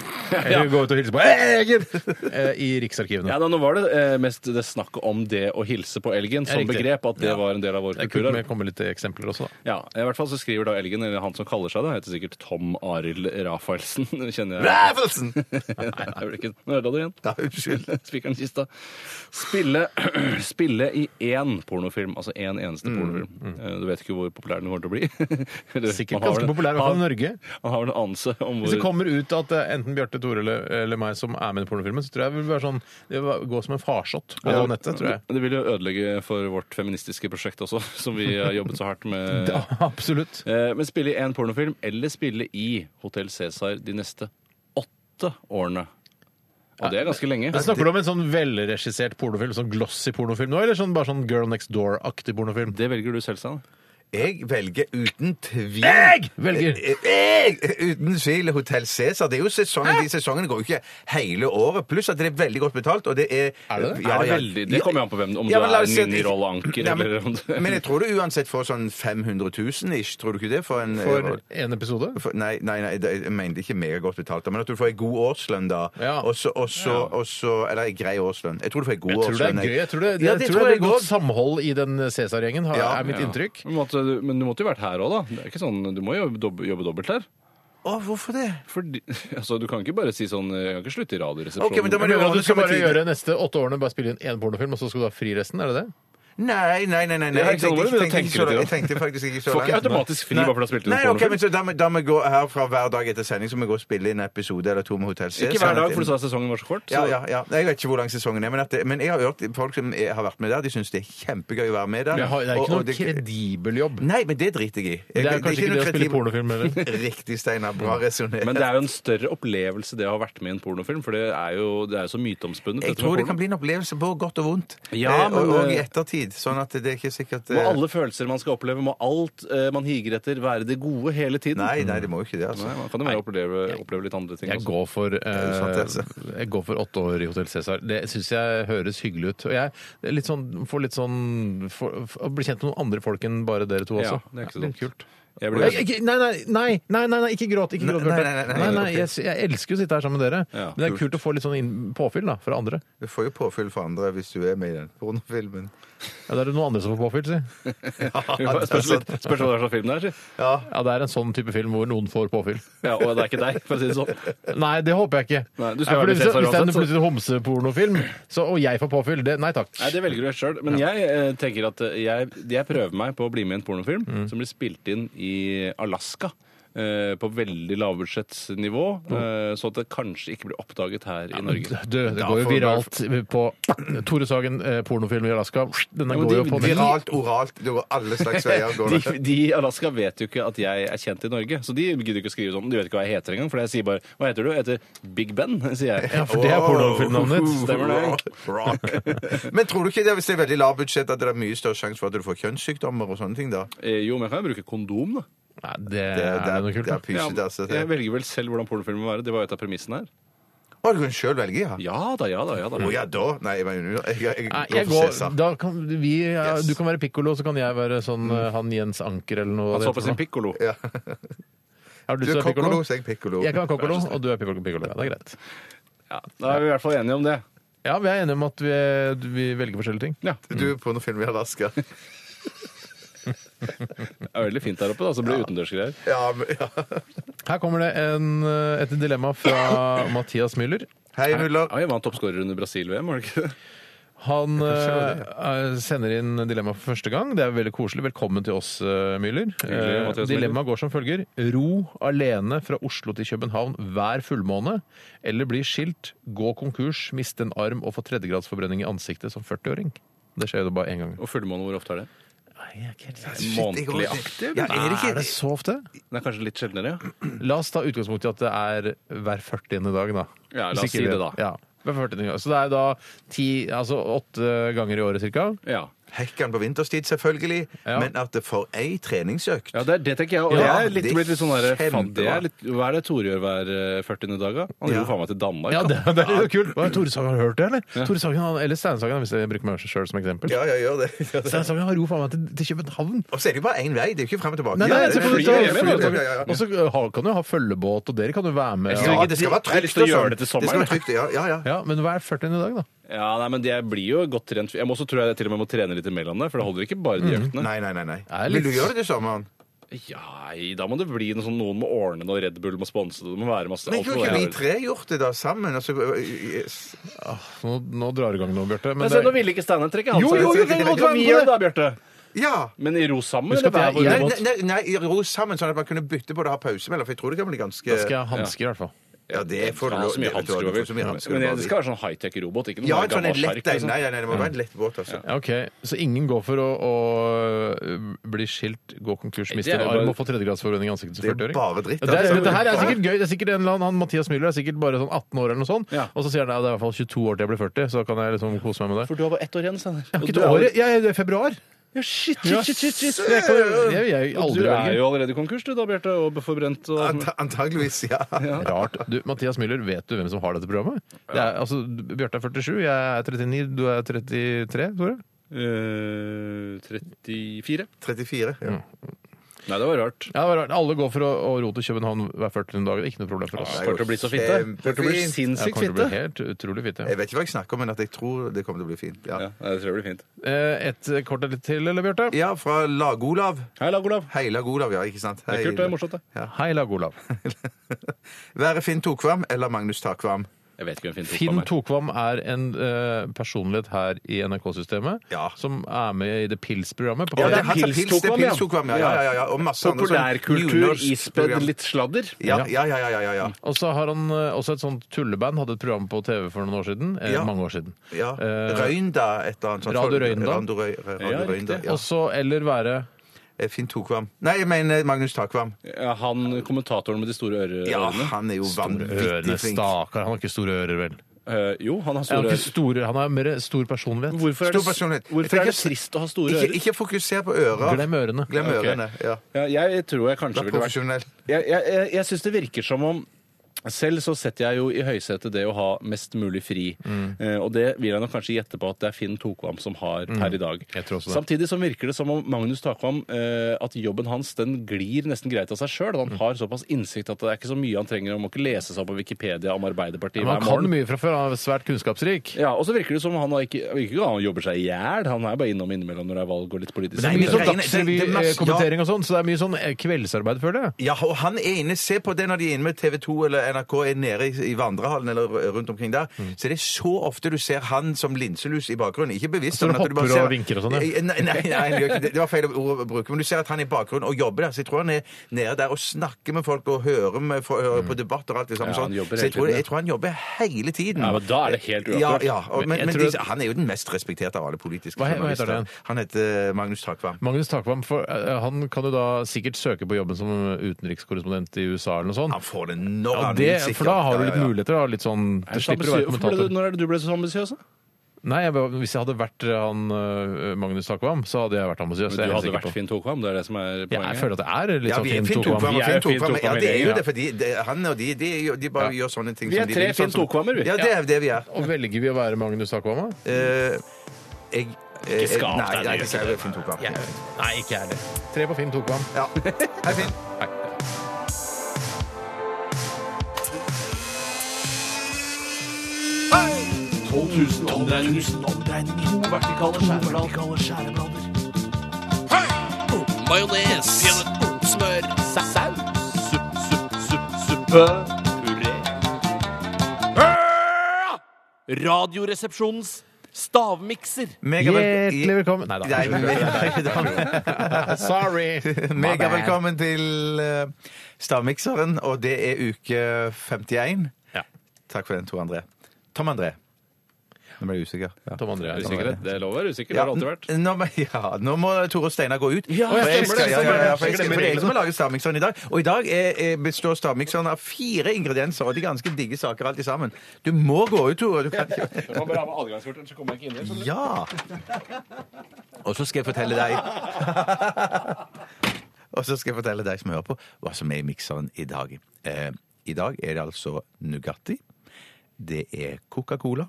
Speaker 8: Eller gå ut og hilse på [LAUGHS] elgen! eh, I Riksarkivene.
Speaker 7: Ja, da, nå var det eh, mest det snakket om det å hilse på elgen som
Speaker 8: riktig.
Speaker 7: begrep, at det
Speaker 8: Ja.
Speaker 7: var en del av vår
Speaker 8: Det er kult med
Speaker 7: kulturarv.
Speaker 8: å komme litt eksempler også, da.
Speaker 7: Ja, I hvert fall så skriver da elgen, eller han som kaller seg det, heter sikkert Tom Arild Rafaelsen. [LAUGHS] Kjenner jeg.
Speaker 3: Rævelsen!
Speaker 7: Nei, det ble ikke. Nå ødela du igjen.
Speaker 3: Ja, unnskyld.
Speaker 7: [LAUGHS] Spikeren kista. Spille, [CLEARS THROAT] spille i én pornofilm, altså én eneste
Speaker 8: Mm,
Speaker 7: pornofilm. Eh, Du vet ikke hvor populær den kommer til å bli. [LAUGHS] Eller,
Speaker 8: Sikkert
Speaker 7: man har
Speaker 8: ganske
Speaker 7: vel-
Speaker 8: populær, i hvert fall i
Speaker 7: har-
Speaker 8: Norge.
Speaker 7: Man har vel en anelse om
Speaker 8: Hvis det
Speaker 7: hvor
Speaker 8: kommer ut at det er enten Bjarte, Tore eller, eller meg som er med i pornofilmen, så tror jeg det vil være sånn Det vil gå som en farsott på
Speaker 7: Ja,
Speaker 8: nettet, tror jeg.
Speaker 7: Det vil jo ødelegge for vårt feministiske prosjekt også, [LAUGHS] som vi har jobbet så hardt
Speaker 8: [LAUGHS]
Speaker 7: med.
Speaker 8: Ja, absolutt.
Speaker 7: Eh, Men spille i én pornofilm, eller spille i Hotell Cæsar de neste åtte årene. Og det er ganske lenge.
Speaker 8: Men Snakker du om en sånn velregissert pornofilm, sånn glossy pornofilm nå, eller sånn bare sånn Girl Next Door-aktig pornofilm?
Speaker 7: Det velger du selv, Stein.
Speaker 3: Jeg velger uten tvil
Speaker 8: Jeg velger!
Speaker 3: Eh, Jeg! Uten tvil Hotell Cæsar. Det er jo sesongen, de sesongene går jo ikke hele året. Pluss at det er veldig godt betalt, og det er
Speaker 8: Er det det?
Speaker 3: Ja,
Speaker 7: Er det
Speaker 3: ja.
Speaker 7: veldig- det kommer jo an på hvem- om du
Speaker 3: men la
Speaker 7: er
Speaker 3: oss si at-
Speaker 7: Ninni-rolleanker,
Speaker 3: Nei, men-
Speaker 7: eller om du-
Speaker 3: Men jeg tror du uansett får sånn 500 000 ish, tror du ikke det? For en
Speaker 8: For en episode?
Speaker 3: For- Nei, nei, nei, det- jeg mente ikke megagodt betalt, men at du får en god årslønn, da.
Speaker 8: Ja.
Speaker 3: Og så, og så, og så Eller en grei årslønn. Jeg tror du får en god
Speaker 8: Jeg tror det er
Speaker 3: årslønn.
Speaker 8: gøy. Jeg tror det,
Speaker 3: ja,
Speaker 8: jeg
Speaker 3: det
Speaker 8: tror det er
Speaker 3: jeg
Speaker 8: godt
Speaker 3: også.
Speaker 8: samhold i den Cæsar-gjengen, har-
Speaker 3: Ja.
Speaker 8: er mitt inntrykk.
Speaker 7: Men, måtte, du- men du måtte jo vært her òg, da. Det er ikke sånn, du må jo dob- jobbe dobbelt her.
Speaker 3: Å, hvorfor det?
Speaker 7: Fordi, [LAUGHS] altså, du kan ikke bare si sånn Jeg kan ikke slutte i Radioresepsjonen.
Speaker 3: Ok, men da må
Speaker 8: Jeg mener at
Speaker 3: det
Speaker 8: Du skal
Speaker 3: kommer
Speaker 8: bare
Speaker 3: tidlig.
Speaker 8: gjøre neste åtte årene, bare spille inn én pornofilm, og så skal du ha fri resten? Er det det?
Speaker 3: Nei, nei, nei. nei, nei.
Speaker 7: Ja,
Speaker 3: Jeg,
Speaker 7: ikke sant,
Speaker 3: tenkte,
Speaker 7: hvordan
Speaker 3: jeg, tenkte ikke
Speaker 7: tenker
Speaker 3: så,
Speaker 7: du til
Speaker 3: langt. jeg tenkte
Speaker 7: det?
Speaker 3: faktisk ikke så
Speaker 7: Får ikke
Speaker 3: langt.
Speaker 7: automatisk fri
Speaker 3: Nei.
Speaker 7: bare for å liksom. ha spilt inn
Speaker 3: Nei, ok,
Speaker 7: pornofilm.
Speaker 3: men så da, må- da må vi gå herfra hver dag etter sending så må vi gå og spille inn en episode eller to med Hotell C. sånn
Speaker 7: Ikke hver
Speaker 3: at-
Speaker 7: dag, for du sa sesongen var så kort. Så
Speaker 3: Ja, ja, ja. Jeg vet ikke hvor lang sesongen er, men, at det, men jeg har hørt folk som er, har vært med der, de syns det er kjempegøy å være med der.
Speaker 8: Det har- det er
Speaker 3: Og-
Speaker 8: ikke
Speaker 3: og
Speaker 8: noen kredibel jobb.
Speaker 3: Nei, men det driter jeg i. Jeg-
Speaker 8: Det er kanskje ikke det å spille
Speaker 3: noe
Speaker 8: pornofilm heller.
Speaker 3: kredibel- [LAUGHS] Riktig, Steinar. Bra resonnert.
Speaker 7: Men det er jo en større opplevelse det å ha vært med i en pornofilm, for det er jo, det er jo så myteomspunnet.
Speaker 3: Jeg
Speaker 7: dette med
Speaker 3: tror det
Speaker 7: porno.
Speaker 3: kan bli en opplevelse på godt og vondt.
Speaker 7: Ja,
Speaker 3: Eh,
Speaker 7: men,
Speaker 3: og, og i
Speaker 7: eh,
Speaker 3: ettertid. Sånn at det er ikke sikkert eh,
Speaker 7: Må alle følelser man skal oppleve, må alt eh, man higer etter, være det gode hele tiden?
Speaker 3: Nei, nei, det må jo ikke det, altså.
Speaker 7: Nei, man kan jo bare oppleve, oppleve litt andre ting.
Speaker 8: Jeg
Speaker 7: også.
Speaker 8: går for, eh,
Speaker 3: sant, altså.
Speaker 8: jeg går for åtte år i Hotell Cæsar. Det syns jeg høres hyggelig ut. Og jeg er litt sånn, får litt sånn får, får, Blir kjent med noen andre folk enn bare dere to
Speaker 7: Ja,
Speaker 8: også.
Speaker 7: det er ikke så dumt.
Speaker 8: kult.
Speaker 7: Jeg
Speaker 8: Nei,
Speaker 7: blir-
Speaker 8: ikke- nei, nei, nei, nei, nei, nei, ikke gråt. Ikke
Speaker 3: Nei,
Speaker 8: gråt,
Speaker 3: nei,
Speaker 8: Bjarte.
Speaker 3: nei, nei,
Speaker 8: Nei,
Speaker 3: nei,
Speaker 8: nei, jeg, jeg elsker å sitte her sammen med dere.
Speaker 7: Ja,
Speaker 8: Men det er kult å få litt sånn inn, påfyll da, fra andre.
Speaker 3: Du får jo påfyll for andre hvis du er med i den
Speaker 8: [LAUGHS]
Speaker 3: pornofilmen.
Speaker 8: Ja, Da er det noen andre som får påfyll, si.
Speaker 7: [LAUGHS] Spørs
Speaker 3: altså,
Speaker 7: litt- spørs hva det er slags film det er, si.
Speaker 8: Ja, det er en sånn type film hvor noen får påfyll.
Speaker 7: Ja, og det er ikke deg, for å si det sånn.
Speaker 8: Nei, det håper jeg ikke.
Speaker 7: Nei, du skal
Speaker 8: for
Speaker 7: være
Speaker 8: hvis,
Speaker 7: litt Cæsar
Speaker 8: hvis det er en
Speaker 7: uansett, så-
Speaker 8: plutselig homsepornofilm, så- og jeg får påfyll, det, nei takk.
Speaker 7: Nei, Det velger du helt sjøl. Men jeg eh, tenker at eh, jeg, jeg prøver meg på å bli med i en pornofilm
Speaker 8: Mm.
Speaker 7: som blir spilt inn i Alaska. eh, På veldig lavbudsjettsnivå, eh, så at det kanskje ikke blir oppdaget her i Norge.
Speaker 8: Du, Mm. det går jo viralt på Tore Sagen, eh, pornofilm i Alaska. Denne
Speaker 7: Ja, men
Speaker 8: går jo
Speaker 7: de-
Speaker 8: på
Speaker 7: de-
Speaker 8: nett.
Speaker 3: Viralt, oralt, du går alle slags veier.
Speaker 8: [LAUGHS]
Speaker 3: Går
Speaker 7: De, de i Alaska vet jo ikke at jeg er kjent i Norge, så de gidder ikke å skrive sånn. De vet ikke hva jeg heter engang, for jeg sier bare Hva heter du? Jeg heter Big Ben, [LAUGHS] sier jeg.
Speaker 8: Ja, for det er pornofilmnavnet ditt.
Speaker 7: Stemmer det.
Speaker 3: Rock. [LAUGHS] Men tror du ikke det, hvis det er veldig lavt budsjett, at det er mye større sjanse for at du får kjønnssykdommer og sånne ting, da?
Speaker 7: Eh, Jo, men jeg kan jo bruke kondom, da.
Speaker 8: Nei, det
Speaker 3: Det,
Speaker 8: er
Speaker 3: det,
Speaker 8: jo noe
Speaker 3: er,
Speaker 8: kult.
Speaker 3: det
Speaker 8: da.
Speaker 3: er pysete, altså.
Speaker 7: jeg velger vel selv hvordan pornofilmen må være. Det var jo et av premissene her.
Speaker 3: Å, du kan sjøl velge, ja.
Speaker 7: Ja da, ja da. ja da.
Speaker 3: Å ja, da Nei, jeg, mener, jeg, jeg,
Speaker 8: Mm. Nei,
Speaker 3: går
Speaker 8: jeg
Speaker 3: for
Speaker 8: går,
Speaker 3: Cæsar.
Speaker 8: da kan vi, ja,
Speaker 3: Yes.
Speaker 8: Du kan være pikkolo, så kan jeg være sånn eh, han Jens Anker eller noe.
Speaker 7: Han
Speaker 8: det
Speaker 7: så
Speaker 8: heter
Speaker 7: på sin
Speaker 8: for noe.
Speaker 7: pikkolo.
Speaker 3: Ja.
Speaker 8: Har du
Speaker 3: Du
Speaker 8: lyst til å
Speaker 3: er
Speaker 8: være pikkolo?
Speaker 3: kokkolo, så jeg er pikkolo.
Speaker 8: Jeg kan være kokkolo, og du er pikkolo. pikkolo. Ja, det er greit.
Speaker 7: Ja, da er vi i hvert fall enige om det.
Speaker 8: Ja, vi er enige om at vi, eh, vi velger forskjellige ting.
Speaker 7: Ja,
Speaker 3: Du er pornofilm i Alaska.
Speaker 7: Det er veldig fint der oppe, da, så blir det utendørsgreier.
Speaker 3: Ja, men- ja.
Speaker 8: Her kommer det en, eh, et dilemma [COUGHS] fra Mathias Müller.
Speaker 3: Hei, Muller.
Speaker 7: Ja, jeg var en toppskårer under Brasil-VM, var det ikke det?
Speaker 8: Han eh, er- sender inn dilemma for første gang. Det er veldig koselig. Velkommen til oss, eh, Müller.
Speaker 7: Hyggelig,
Speaker 8: Eh,
Speaker 7: Mathias
Speaker 8: Dilemmaet går som følger. Ro alene fra Oslo til København hver fullmåne, eller bli skilt, gå konkurs, miste en arm og få tredjegradsforbrenning i ansiktet som 40-åring. Det skjer jo bare én gang.
Speaker 7: Og fullmåne, hvor ofte er det?
Speaker 3: jeg går-
Speaker 7: Månedlig aktig?
Speaker 3: Ja,
Speaker 7: eller?
Speaker 3: er det
Speaker 8: Er det
Speaker 3: ikke
Speaker 8: så ofte?
Speaker 7: Det er kanskje litt sjeldnere, ja.
Speaker 8: La oss ta utgangspunkt i at det er hver 40. dag, da.
Speaker 7: Ja, la
Speaker 8: Hvis
Speaker 7: oss
Speaker 8: ikke
Speaker 7: si
Speaker 8: vi-
Speaker 7: det da.
Speaker 8: Ja, hver 40. dag. Så det er da ti, altså åtte ganger i året cirka.
Speaker 7: ja.
Speaker 3: Hekkan på vinterstid, selvfølgelig,
Speaker 8: Ja.
Speaker 3: men at det for ei treningsøkt
Speaker 7: Ja, det, er- det tenker jeg. Og
Speaker 3: Ja,
Speaker 7: jeg er litt,
Speaker 3: det er
Speaker 7: blitt litt sånn der, faen, det
Speaker 3: kjempebra.
Speaker 7: er litt, Hva er det Tore gjør hver eh, 40. dag, da? Han dro
Speaker 3: Ja.
Speaker 7: faen meg til Danmark.
Speaker 8: Ja,
Speaker 7: da.
Speaker 8: det, det er jo kult. Hva, Tore Sagen, har du hørt det, eller? Tore Sagen, han, eller Stein Sagen, hvis jeg bruker meg selv som eksempel.
Speaker 3: Ja, ja, gjør det. Gjør det.
Speaker 8: Stein Sagen har ro faen meg til, til København.
Speaker 3: Og så er det jo bare én vei. Det er jo ikke frem og tilbake.
Speaker 8: Nei, nei,
Speaker 3: Ja,
Speaker 8: så
Speaker 3: det-
Speaker 8: får du
Speaker 7: fly
Speaker 8: ta fly
Speaker 7: hjem, ja,
Speaker 8: tilbake.
Speaker 3: ja, ja, ja.
Speaker 8: Og så har- kan du jo ha følgebåt, og dere kan jo være med.
Speaker 3: Ja,
Speaker 8: Ja,
Speaker 3: det skal være
Speaker 7: Jeg har
Speaker 3: trygt
Speaker 7: lyst til å
Speaker 3: og
Speaker 7: gjøre
Speaker 3: sånn.
Speaker 7: det til sommeren,
Speaker 3: Det skal være
Speaker 7: jeg.
Speaker 3: trygt, ja, ja, ja.
Speaker 8: ja men hver 40. dag, da.
Speaker 7: Ja, nei, men Jeg blir jo godt trent. Jeg må også, tror jeg til og med må trene litt imellom det, for det holder ikke bare de øktene.
Speaker 3: Nei, nei, nei. nei.
Speaker 8: Er
Speaker 3: Vil
Speaker 8: litt-
Speaker 3: du gjøre det til sommeren?
Speaker 7: Ja, da må det bli noe sånn, noen må ordne noe, Red Bull må sponse det, det må være masse
Speaker 3: Men
Speaker 7: alt
Speaker 3: kunne
Speaker 7: må
Speaker 3: ikke vi
Speaker 7: være-
Speaker 3: tre gjort det da sammen? Altså, yes.
Speaker 8: Nå, nå drar det i gang nå, Bjarte. Men
Speaker 7: Men se, Nå
Speaker 8: det,
Speaker 7: ville ikke Steinar trekke han
Speaker 8: Jo, jo, jo, vi kan godt være med på
Speaker 7: gjør
Speaker 8: det.
Speaker 7: det da, Bjarte.
Speaker 3: Ja!
Speaker 7: Men i ro sammen,
Speaker 8: Husk
Speaker 7: eller
Speaker 8: at jeg-
Speaker 7: hver
Speaker 8: jeg-
Speaker 7: vår
Speaker 3: Nei,
Speaker 7: båt?
Speaker 3: nei, nei, nei, ro sammen, sånn at man kunne bytte på det og ha pause mellom. For jeg tror det kan bli ganske
Speaker 8: da skal jeg ha hansker, i hvert fall.
Speaker 3: Ja, det får du
Speaker 7: Han har
Speaker 3: det vet
Speaker 7: så mye
Speaker 3: du hva,
Speaker 7: hansker
Speaker 3: du
Speaker 7: over.
Speaker 3: får så mye hansker
Speaker 7: Men
Speaker 3: over.
Speaker 7: det skal være sånn high-tech-robot, ikke noe
Speaker 3: Ja,
Speaker 7: sånn
Speaker 3: en sånn en
Speaker 7: gammel
Speaker 3: lett
Speaker 7: sjark.
Speaker 3: en.
Speaker 7: Liksom.
Speaker 3: Nei, nei, nei, det må være en lett båt, altså.
Speaker 8: Ja, Ok, Så ingen går for å, å øh, bli skilt, gå konkurs, miste
Speaker 7: Det er
Speaker 8: en
Speaker 7: jo
Speaker 8: arm
Speaker 7: bare-
Speaker 8: og få tredjegradsforbrenning i ansiktet som
Speaker 3: Det er
Speaker 8: 40-åring?
Speaker 3: bare dritt,
Speaker 8: Ja, det, er,
Speaker 3: altså.
Speaker 8: dette her er sikkert gøy. Det er sikkert en eller annen, han Mathias Müller er sikkert bare sånn 18 år eller noe sånt.
Speaker 7: Ja.
Speaker 8: Og så sier han at det er i hvert fall 22 år til jeg blir 40, så kan jeg liksom kose meg med det.
Speaker 7: For du har bare ett år igjen, Steinar.
Speaker 8: Jeg har ikke et år, jeg er i februar.
Speaker 7: Ja, shit,
Speaker 8: Ja.
Speaker 7: shit, shit, shit, shit.
Speaker 8: Det kan jo- det vil jeg
Speaker 7: Og
Speaker 8: aldri
Speaker 7: Du er
Speaker 8: velge.
Speaker 7: jo allerede konkurs, du da, Bjarte, og forbrent. Og... sånn. alt mulig.
Speaker 3: Anta- Antageligvis, ja.
Speaker 8: Rart. Du, Mathias Müller, vet du hvem som har dette programmet? Det er, altså, Bjarte er 47, jeg er 39, du er 33, Tore?
Speaker 7: Eh, 34?
Speaker 3: 34. Ja.
Speaker 7: Nei, det var rart.
Speaker 8: Ja, det var rart. Alle går for å, å ro til København hver 40. dag. Det er ikke noe problem for oss.
Speaker 3: Nei,
Speaker 7: Kommer til å bli så fitte. Kommer til å bli
Speaker 3: kjempefint.
Speaker 8: Ja, det
Speaker 7: sinnssykt
Speaker 8: kommer til å bli
Speaker 7: fitte.
Speaker 8: helt utrolig fitte.
Speaker 3: Jeg vet ikke hva jeg snakker om, men at jeg tror det kommer til å bli fint. Ja,
Speaker 7: Ja, det tror jeg blir fint.
Speaker 8: Eh, Et kort eller til, eller Bjarte?
Speaker 3: ja fra Lag-Olav.
Speaker 7: Hei, Lag Olav.
Speaker 3: Hei, Lag-Olav, ja, ikke sant? [LAUGHS]
Speaker 7: Det er kult, det er morsomt, det.
Speaker 8: Hei, Lag Olav.
Speaker 3: Være Finn Tokvam eller Magnus Takvam?
Speaker 7: Jeg vet ikke hvem Finn tok
Speaker 8: Finn
Speaker 7: meg.
Speaker 8: Tokvam er en eh, personlighet her i NRK-systemet
Speaker 3: Ja.
Speaker 8: som er med i det Pils-programmet. på
Speaker 3: Ja, det er
Speaker 8: P3.
Speaker 3: han som pils, det er
Speaker 7: Pilstokvam, ja.
Speaker 3: Pilstokvam, ja. Ja, ja, ja, ja. Og masse andre sånn
Speaker 7: Populærkultur
Speaker 3: nynorsk
Speaker 7: ispedd
Speaker 3: program.
Speaker 7: litt Mm. sladder.
Speaker 3: Ja, ja, ja, ja, ja, ja, ja.
Speaker 8: Og så har han eh, også et sånt tulleband, hadde et program på TV for noen år siden. Eh,
Speaker 3: Ja.
Speaker 8: Mange år siden.
Speaker 3: ja.
Speaker 8: Eh,
Speaker 3: Røynda, et eller annet sånt.
Speaker 8: Radio Røynda.
Speaker 3: Radio, Røy, Radio
Speaker 7: Ja, riktig.
Speaker 3: Røynda, ja.
Speaker 8: Og så eller være
Speaker 3: Eh, Finn Tokvam. Nei, jeg mener Magnus Takvam.
Speaker 7: Ja, Han kommentatoren med de store øre-
Speaker 3: Ja,
Speaker 7: ørene.
Speaker 3: han er jo vanvittig
Speaker 8: Ørene,
Speaker 3: flink.
Speaker 8: stakkar. Han har ikke store ører, vel?
Speaker 7: Eh, jo, han har
Speaker 8: Han har,
Speaker 7: store
Speaker 8: ikke store, han har mer stor personlighet.
Speaker 7: Hvorfor er
Speaker 3: Stor
Speaker 7: det,
Speaker 3: personlighet.
Speaker 7: hvorfor
Speaker 3: Jeg
Speaker 7: er det
Speaker 3: tenker-
Speaker 7: trist å ha store
Speaker 3: Ikke,
Speaker 7: ører?
Speaker 3: ikke fokuser på øra.
Speaker 8: Glem ørene.
Speaker 3: Glem
Speaker 7: Ok.
Speaker 3: ørene, ja.
Speaker 7: Ja, jeg tror jeg
Speaker 3: Vær
Speaker 7: kanskje ville vært
Speaker 3: profesjonell.
Speaker 7: Jeg, jeg, jeg, jeg syns det virker som om selv så setter jeg jo i høysetet det å ha mest mulig fri.
Speaker 8: Mm.
Speaker 7: Eh, og det vil jeg nok kanskje gjette på at det er Finn Tokvam som har per i dag.
Speaker 8: Jeg tror også det.
Speaker 7: Samtidig så virker det som om Magnus Takvam eh, at jobben hans den glir nesten greit av seg sjøl.
Speaker 8: Mm.
Speaker 7: Han har såpass innsikt at det er ikke så mye han trenger. Han må ikke lese seg opp på Wikipedia om Arbeiderpartiet.
Speaker 8: Men han
Speaker 7: hver
Speaker 8: kan
Speaker 7: morgen.
Speaker 8: mye fra før. Han er svært kunnskapsrik.
Speaker 7: Ja, Og så virker det som om han har ikke, virker ikke, han jobber seg i hjel. Han er bare innom innimellom når det er valg og litt politisk.
Speaker 8: Det er mye sånn
Speaker 3: Reine- det- det er masse-
Speaker 8: Dagsrevy-kommentering og sånn, så det er mye sånn eh, kveldsarbeid, føler jeg.
Speaker 3: Ja, og han er inne, se på det når de er inne med TV 2 eller NRK er nede i, i vandrehallen eller rundt omkring der, så det er så ofte du ser han som linselus i bakgrunnen. Ikke bevisst.
Speaker 8: Altså,
Speaker 3: men
Speaker 8: han
Speaker 3: at du bare
Speaker 8: hopper og
Speaker 3: ser-
Speaker 8: vinker og sånn, ja.
Speaker 3: Eh, Nei, nei, nei, han gjør ikke det. det var feil ord å bruke, men du ser at han er i bakgrunnen og jobber der, så jeg tror han er nede der og snakker med folk og hører, med, for, hører på debatter og alt det samme
Speaker 7: Ja, han
Speaker 3: sånn.
Speaker 7: jobber
Speaker 3: Så jeg
Speaker 7: hele
Speaker 3: tror,
Speaker 7: tiden,
Speaker 3: jeg tror han jobber hele tiden.
Speaker 7: Ja, men da er det helt
Speaker 3: Ja,
Speaker 7: uaktuelt.
Speaker 3: ja, og, men,
Speaker 8: jeg
Speaker 3: men
Speaker 8: tror-
Speaker 3: de, han er jo den mest respekterte av alle politiske
Speaker 8: Hva he- hva heter
Speaker 3: journalister. Han heter eh, Magnus Takvam.
Speaker 8: Magnus Takvam for, eh, han kan jo da sikkert søke på jobben som utenrikskorrespondent i USA eller noe sånt.
Speaker 3: Han får det når
Speaker 8: Ja,
Speaker 3: han
Speaker 8: det,
Speaker 3: vil, sikkert.
Speaker 8: for da har du
Speaker 3: Ja, ja,
Speaker 8: litt
Speaker 3: ja.
Speaker 8: muligheter. Da, litt sånn,
Speaker 7: Er
Speaker 8: du
Speaker 7: du så
Speaker 8: slipper å være
Speaker 7: ambisiøs? Hvorfor ble
Speaker 8: kommentator.
Speaker 7: du- Når er det du ble så ambisiøs? da?
Speaker 8: Nei, jeg, var- Hvis jeg hadde vært eh, han øh, Magnus Takvam, så hadde jeg vært ambisiøs.
Speaker 7: Men
Speaker 8: det er
Speaker 7: Du
Speaker 8: jeg
Speaker 7: hadde
Speaker 8: helt
Speaker 7: vært
Speaker 8: sikker på.
Speaker 7: Finn Tokvam, det er det som er
Speaker 8: Ja, jeg
Speaker 7: poenget.
Speaker 8: føler at det er litt
Speaker 3: Ja,
Speaker 8: sånn
Speaker 3: vi er
Speaker 8: Finn
Speaker 3: Finn Tokvam.
Speaker 8: Tokvam.
Speaker 3: vi er
Speaker 7: Vi er
Speaker 3: Finn
Speaker 7: Finn
Speaker 3: Tokvam. Ja,
Speaker 7: Tokvam i
Speaker 3: det er jo
Speaker 7: gjengen,
Speaker 3: det, fordi det, han og de, de, de bare
Speaker 8: Ja.
Speaker 3: gjør sånne ting
Speaker 7: Vi
Speaker 3: som
Speaker 7: er
Speaker 3: de
Speaker 7: tre
Speaker 3: vil,
Speaker 7: Finn
Speaker 3: sånn som-
Speaker 7: Tokvammer, vi.
Speaker 3: Ja, det er det vi er.
Speaker 8: Og velger vi å være Magnus Takvam, da?
Speaker 3: Eh, jeg eh,
Speaker 7: Ikke skap
Speaker 3: Nei, jeg
Speaker 7: deg, du
Speaker 3: ikke skap deg, Finn Tokvam. Ja.
Speaker 8: Nei, ikke jeg heller. Tre på Finn Tokvam.
Speaker 3: Hei, Finn.
Speaker 10: Radioresepsjonens stavmikser.
Speaker 8: Hjertelig velkommen Nei
Speaker 3: [LAUGHS] Nei, men-
Speaker 8: da. Sorry.
Speaker 3: [LAUGHS] Mega
Speaker 8: My bad.
Speaker 3: velkommen til eh, Stavmikseren, og det er uke 51.
Speaker 8: Ja.
Speaker 3: Takk for den, Tor André. Tom André. Nå ble jeg usikker. Ja.
Speaker 8: Tom André
Speaker 7: Er
Speaker 8: er
Speaker 7: du
Speaker 8: usikker.
Speaker 7: sikker? Det er lov å være usikker. Det
Speaker 3: Ja,
Speaker 7: har det alltid vært.
Speaker 3: nå, må- [LAUGHS] ja, nå må Tore Steinar gå ut.
Speaker 7: Ja,
Speaker 3: For jeg
Speaker 7: stemmer det,
Speaker 3: skal- ja, ja,
Speaker 7: stemmer det.
Speaker 3: ja, for jeg skal-
Speaker 7: Glemmer
Speaker 3: for det er jeg
Speaker 7: reglene.
Speaker 3: som har laget stavmikseren i dag. Og i dag er, er, består stavmikseren av fire ingredienser, og de er ganske digge saker alt i sammen. Du må gå ut, Tore. Du kan [LAUGHS] ikke
Speaker 7: [LAUGHS] Jeg må bare ha med adgangskortet, så kommer jeg ikke inn igjen.
Speaker 3: Ja! Og så skal jeg fortelle deg [LAUGHS] Og så skal jeg fortelle deg som hører på, hva som er i mikseren i dag. Eh, I dag er det altså Nugatti. Det er Coca-Cola.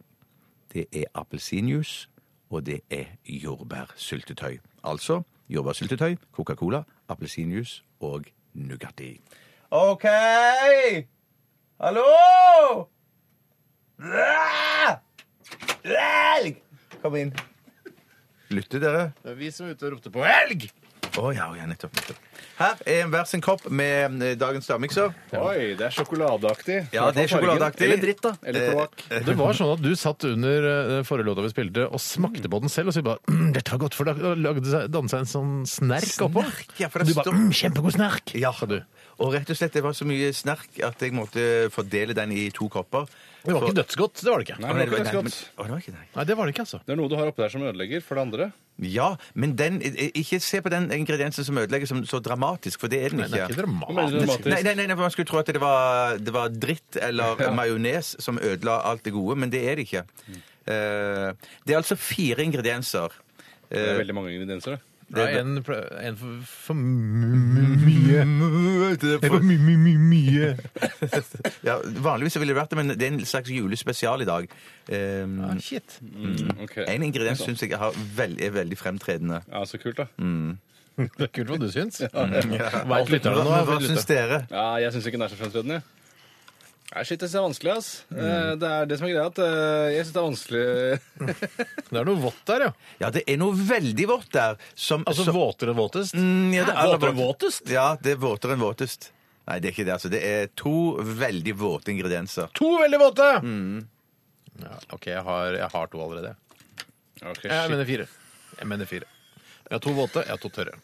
Speaker 3: Det er appelsinjuice. Og det er jordbærsyltetøy. Altså jordbærsyltetøy, Coca-Cola, appelsinjuice og Nugatti. OK! Hallo! Elg! Kom inn. Lytter dere?
Speaker 8: Det er vi som er ute og ropte på helg!
Speaker 3: Å ja, å ja, nettopp. nettopp. Her er hver sin kopp med eh, dagens stavmikser.
Speaker 7: Oi, det er sjokoladeaktig.
Speaker 3: Ja, det er sjokoladeaktig.
Speaker 7: Eller dritt, da.
Speaker 3: Eh,
Speaker 7: Eller kloakk.
Speaker 8: Og Det var sånn at du satt under eh, forrige låta vi spilte, og smakte på den selv, og så bare mm, 'Dette var godt', for da lagde seg, dannet seg en sånn snerk oppå.
Speaker 3: Snerk, ja, for
Speaker 8: Og du
Speaker 3: det
Speaker 8: bare
Speaker 3: står-
Speaker 8: mm, 'Kjempegod snerk',
Speaker 3: Ja.
Speaker 8: sa du.
Speaker 3: Og rett og slett, det var så mye snerk at jeg måtte fordele den i to kopper.
Speaker 8: Det var ikke dødsgodt, det var det ikke.
Speaker 7: Nei, det var ikke ganske godt.
Speaker 3: Å, det var ikke det.
Speaker 8: Nei, det var det ikke, altså.
Speaker 7: Det er noe du har oppi der som ødelegger for det andre.
Speaker 3: Ja, men den, ikke se på den ingrediensen som ødelegger som så dramatisk, for det er den
Speaker 8: Nei, det er
Speaker 3: ikke.
Speaker 8: ikke
Speaker 7: Hva mener du
Speaker 8: dramatisk.
Speaker 7: dramatisk?
Speaker 3: Nei, nei, nei, for Man skulle tro at det var, det var dritt eller majones som ødela alt det gode, men det er det ikke. Eh, det er altså fire ingredienser.
Speaker 7: Det er
Speaker 3: Eh,
Speaker 7: veldig mange ingredienser, det.
Speaker 8: Det er en, pl- en for, for mye Det er for mye, mye, mye, mye.
Speaker 3: ja, vanligvis så ville det vært det, men det er en slags julespesial i dag. Eh,
Speaker 8: Ah, shit.
Speaker 5: Mm.
Speaker 7: Mm, Ok.
Speaker 3: en ingrediens syns jeg har vel- er veldig fremtredende.
Speaker 7: Ja, så kult, da.
Speaker 5: Mm.
Speaker 8: Det er kult hva du syns. Mm.
Speaker 3: Hva,
Speaker 8: Veit lytterne nå?
Speaker 3: hva
Speaker 8: vet
Speaker 3: syns
Speaker 8: lytterne.
Speaker 3: dere?
Speaker 7: Ja, jeg syns ikke den er så fremtredende. Nei, shit, det er vanskelig, ass.
Speaker 5: Mm.
Speaker 7: Eh, Det er det som er greia, at eh, jeg syns det er vanskelig [LAUGHS]
Speaker 8: Det er noe vått der, ja.
Speaker 3: Ja, det er noe veldig vått der. Som,
Speaker 8: Altså
Speaker 3: som-
Speaker 8: våtere enn våtest.
Speaker 3: Mm, ja, det er aller
Speaker 8: Våtere enn
Speaker 3: våt-
Speaker 8: våtest?
Speaker 3: Ja, det er våtere enn våtest.
Speaker 5: Nei, det er ikke det. altså. Det er to veldig våte ingredienser.
Speaker 8: To veldig våte!
Speaker 3: Mm.
Speaker 8: Ja, OK, jeg har, jeg har to allerede.
Speaker 7: Ok,
Speaker 8: Jeg
Speaker 7: shit.
Speaker 8: mener fire. Jeg mener fire. Jeg har to våte, jeg har to tørre.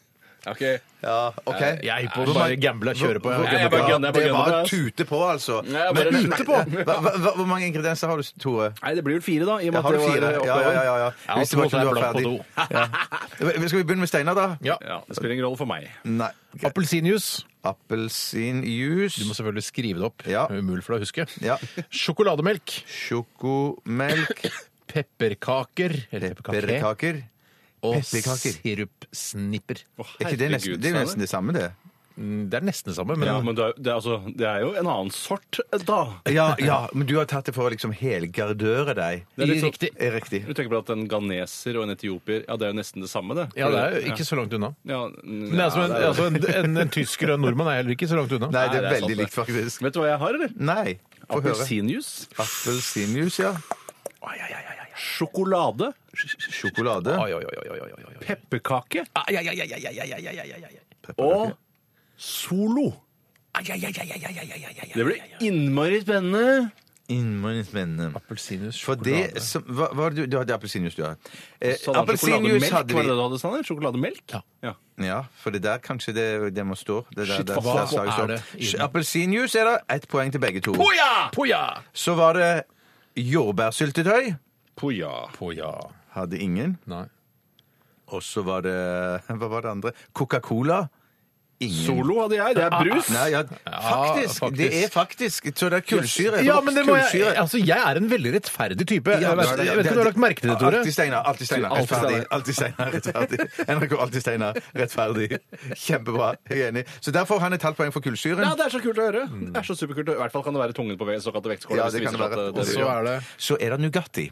Speaker 7: Ok.
Speaker 5: Ja, ok.
Speaker 3: Eh,
Speaker 8: Jeg er hypp på å bare gamble og kjøre på.
Speaker 5: Hvor-
Speaker 8: Jeg
Speaker 7: jeg bare
Speaker 5: Ja,
Speaker 7: gønner, jeg
Speaker 5: det
Speaker 7: bare gønner på
Speaker 5: var
Speaker 7: det, ass.
Speaker 5: tute på, altså.
Speaker 7: Ja, jeg bare tute på.
Speaker 5: Hva, hva, hva, hvor mange ingredienser har du, Tore?
Speaker 7: Nei, det blir vel fire, da. I og
Speaker 5: Ja,
Speaker 7: med
Speaker 5: har du
Speaker 7: at det
Speaker 5: fire?
Speaker 7: var
Speaker 5: Ja, ja,
Speaker 7: oppover.
Speaker 5: ja. ja.
Speaker 8: Ja,
Speaker 5: Hvis det var
Speaker 8: altså,
Speaker 5: ikke du var
Speaker 8: jeg er
Speaker 5: ferdig. [LAUGHS]
Speaker 8: blank
Speaker 5: Ja. Skal vi begynne med Steinar, da?
Speaker 8: Ja.
Speaker 7: Ja, Det spiller ingen rolle for meg.
Speaker 5: Nei. greit.
Speaker 8: Appelsinjuice. Du må
Speaker 5: Appelsinjuice,
Speaker 8: selvfølgelig skrive det opp.
Speaker 5: Ja.
Speaker 8: Det er Umulig for deg å huske.
Speaker 5: Ja.
Speaker 8: Sjokolademelk.
Speaker 5: sjokomelk,
Speaker 8: Pepperkaker. Eller pepperkake.
Speaker 5: [COUGHS] pepperkaker
Speaker 8: Og
Speaker 5: Pepperkaker.
Speaker 8: sirupsnipper.
Speaker 5: Er ikke det nesten det, er jo nesten det samme, det?
Speaker 8: Mm, Det er nesten det samme, men,
Speaker 7: Ja, men det er, det, er, altså, det er jo en annen sort, da.
Speaker 5: Ja, ja, men du har tatt det for å liksom helgardøre deg.
Speaker 7: Det er litt sånn-
Speaker 8: riktig.
Speaker 5: Er Riktig.
Speaker 7: Du tenker på at en ganeser og en etiopier Ja, det er jo nesten det samme, det.
Speaker 8: Ja, det er jo ikke så langt unna.
Speaker 7: ja,
Speaker 8: Men det er som en, altså en, en, en tysker og en nordmann er heller ikke så langt unna.
Speaker 5: Nei, det er
Speaker 7: Nei, det er
Speaker 5: veldig
Speaker 7: sant,
Speaker 5: likt, faktisk.
Speaker 7: Vet du hva jeg har, eller?
Speaker 5: Nei. Få høre.
Speaker 7: Appelsinjuice.
Speaker 5: Appelsinjuice, ja.
Speaker 7: Sjokolade.
Speaker 5: Sjokolade.
Speaker 8: Oi, oi, oi, oi, oi, oi, oi.
Speaker 7: Pepperkake. Og Solo. Det blir innmari spennende.
Speaker 5: Innmari spennende.
Speaker 8: Appelsinjuice,
Speaker 5: For
Speaker 8: sjokolade.
Speaker 5: det som hva, hva, var det Du du hadde appelsinjuice, du, ja. Eh,
Speaker 7: Så hadde han
Speaker 5: Appelsinjuice
Speaker 7: sjokolademelk,
Speaker 5: hadde
Speaker 7: Var det
Speaker 5: vi.
Speaker 7: det du hadde, Sander? Sjokolademelk?
Speaker 8: Ja.
Speaker 5: Ja, for det der kanskje det, det må stå. Det der,
Speaker 8: Shit,
Speaker 5: der,
Speaker 8: hva-
Speaker 5: der
Speaker 8: hva
Speaker 5: slages
Speaker 8: er
Speaker 5: opp.
Speaker 8: det i den?
Speaker 5: Appelsinjuice er det ett poeng til begge to.
Speaker 8: Poja!
Speaker 5: Så var det jordbærsyltetøy.
Speaker 7: Poja.
Speaker 8: Poja.
Speaker 5: Hadde ingen.
Speaker 8: Nei.
Speaker 5: Og så var det [LAUGHS] Hva var det andre? Coca-Cola. Ingen.
Speaker 7: Solo hadde jeg. Det er brus.
Speaker 5: Nei, ja, faktisk,
Speaker 8: faktisk.
Speaker 5: Det er faktisk Så det er kullsyre.
Speaker 8: Ja, men det må jeg,
Speaker 5: Kullsyre.
Speaker 8: altså, jeg er en veldig rettferdig type. Jeg vet jeg vet ikke om du har lagt merke til det, Tore.
Speaker 5: Alltid Steinar. Alltid Steinar.
Speaker 7: Alltid
Speaker 5: Rettferdig.
Speaker 7: Steinar.
Speaker 5: Alltid Steinar. Rettferdig. [LAUGHS] NRK Alltid Steinar. Rettferdig. Kjempebra. Jeg er enig. Så der får han et halvt poeng for kullsyren.
Speaker 7: Ja, det er så kult å høre. Det er så superkult å høre. I hvert fall kan det være tungen på vei, såkalte vektskåla.
Speaker 5: Ja,
Speaker 7: hvis
Speaker 5: det kan
Speaker 7: viser seg
Speaker 5: det være.
Speaker 7: at
Speaker 8: Og så er det
Speaker 5: Så er det Nugatti.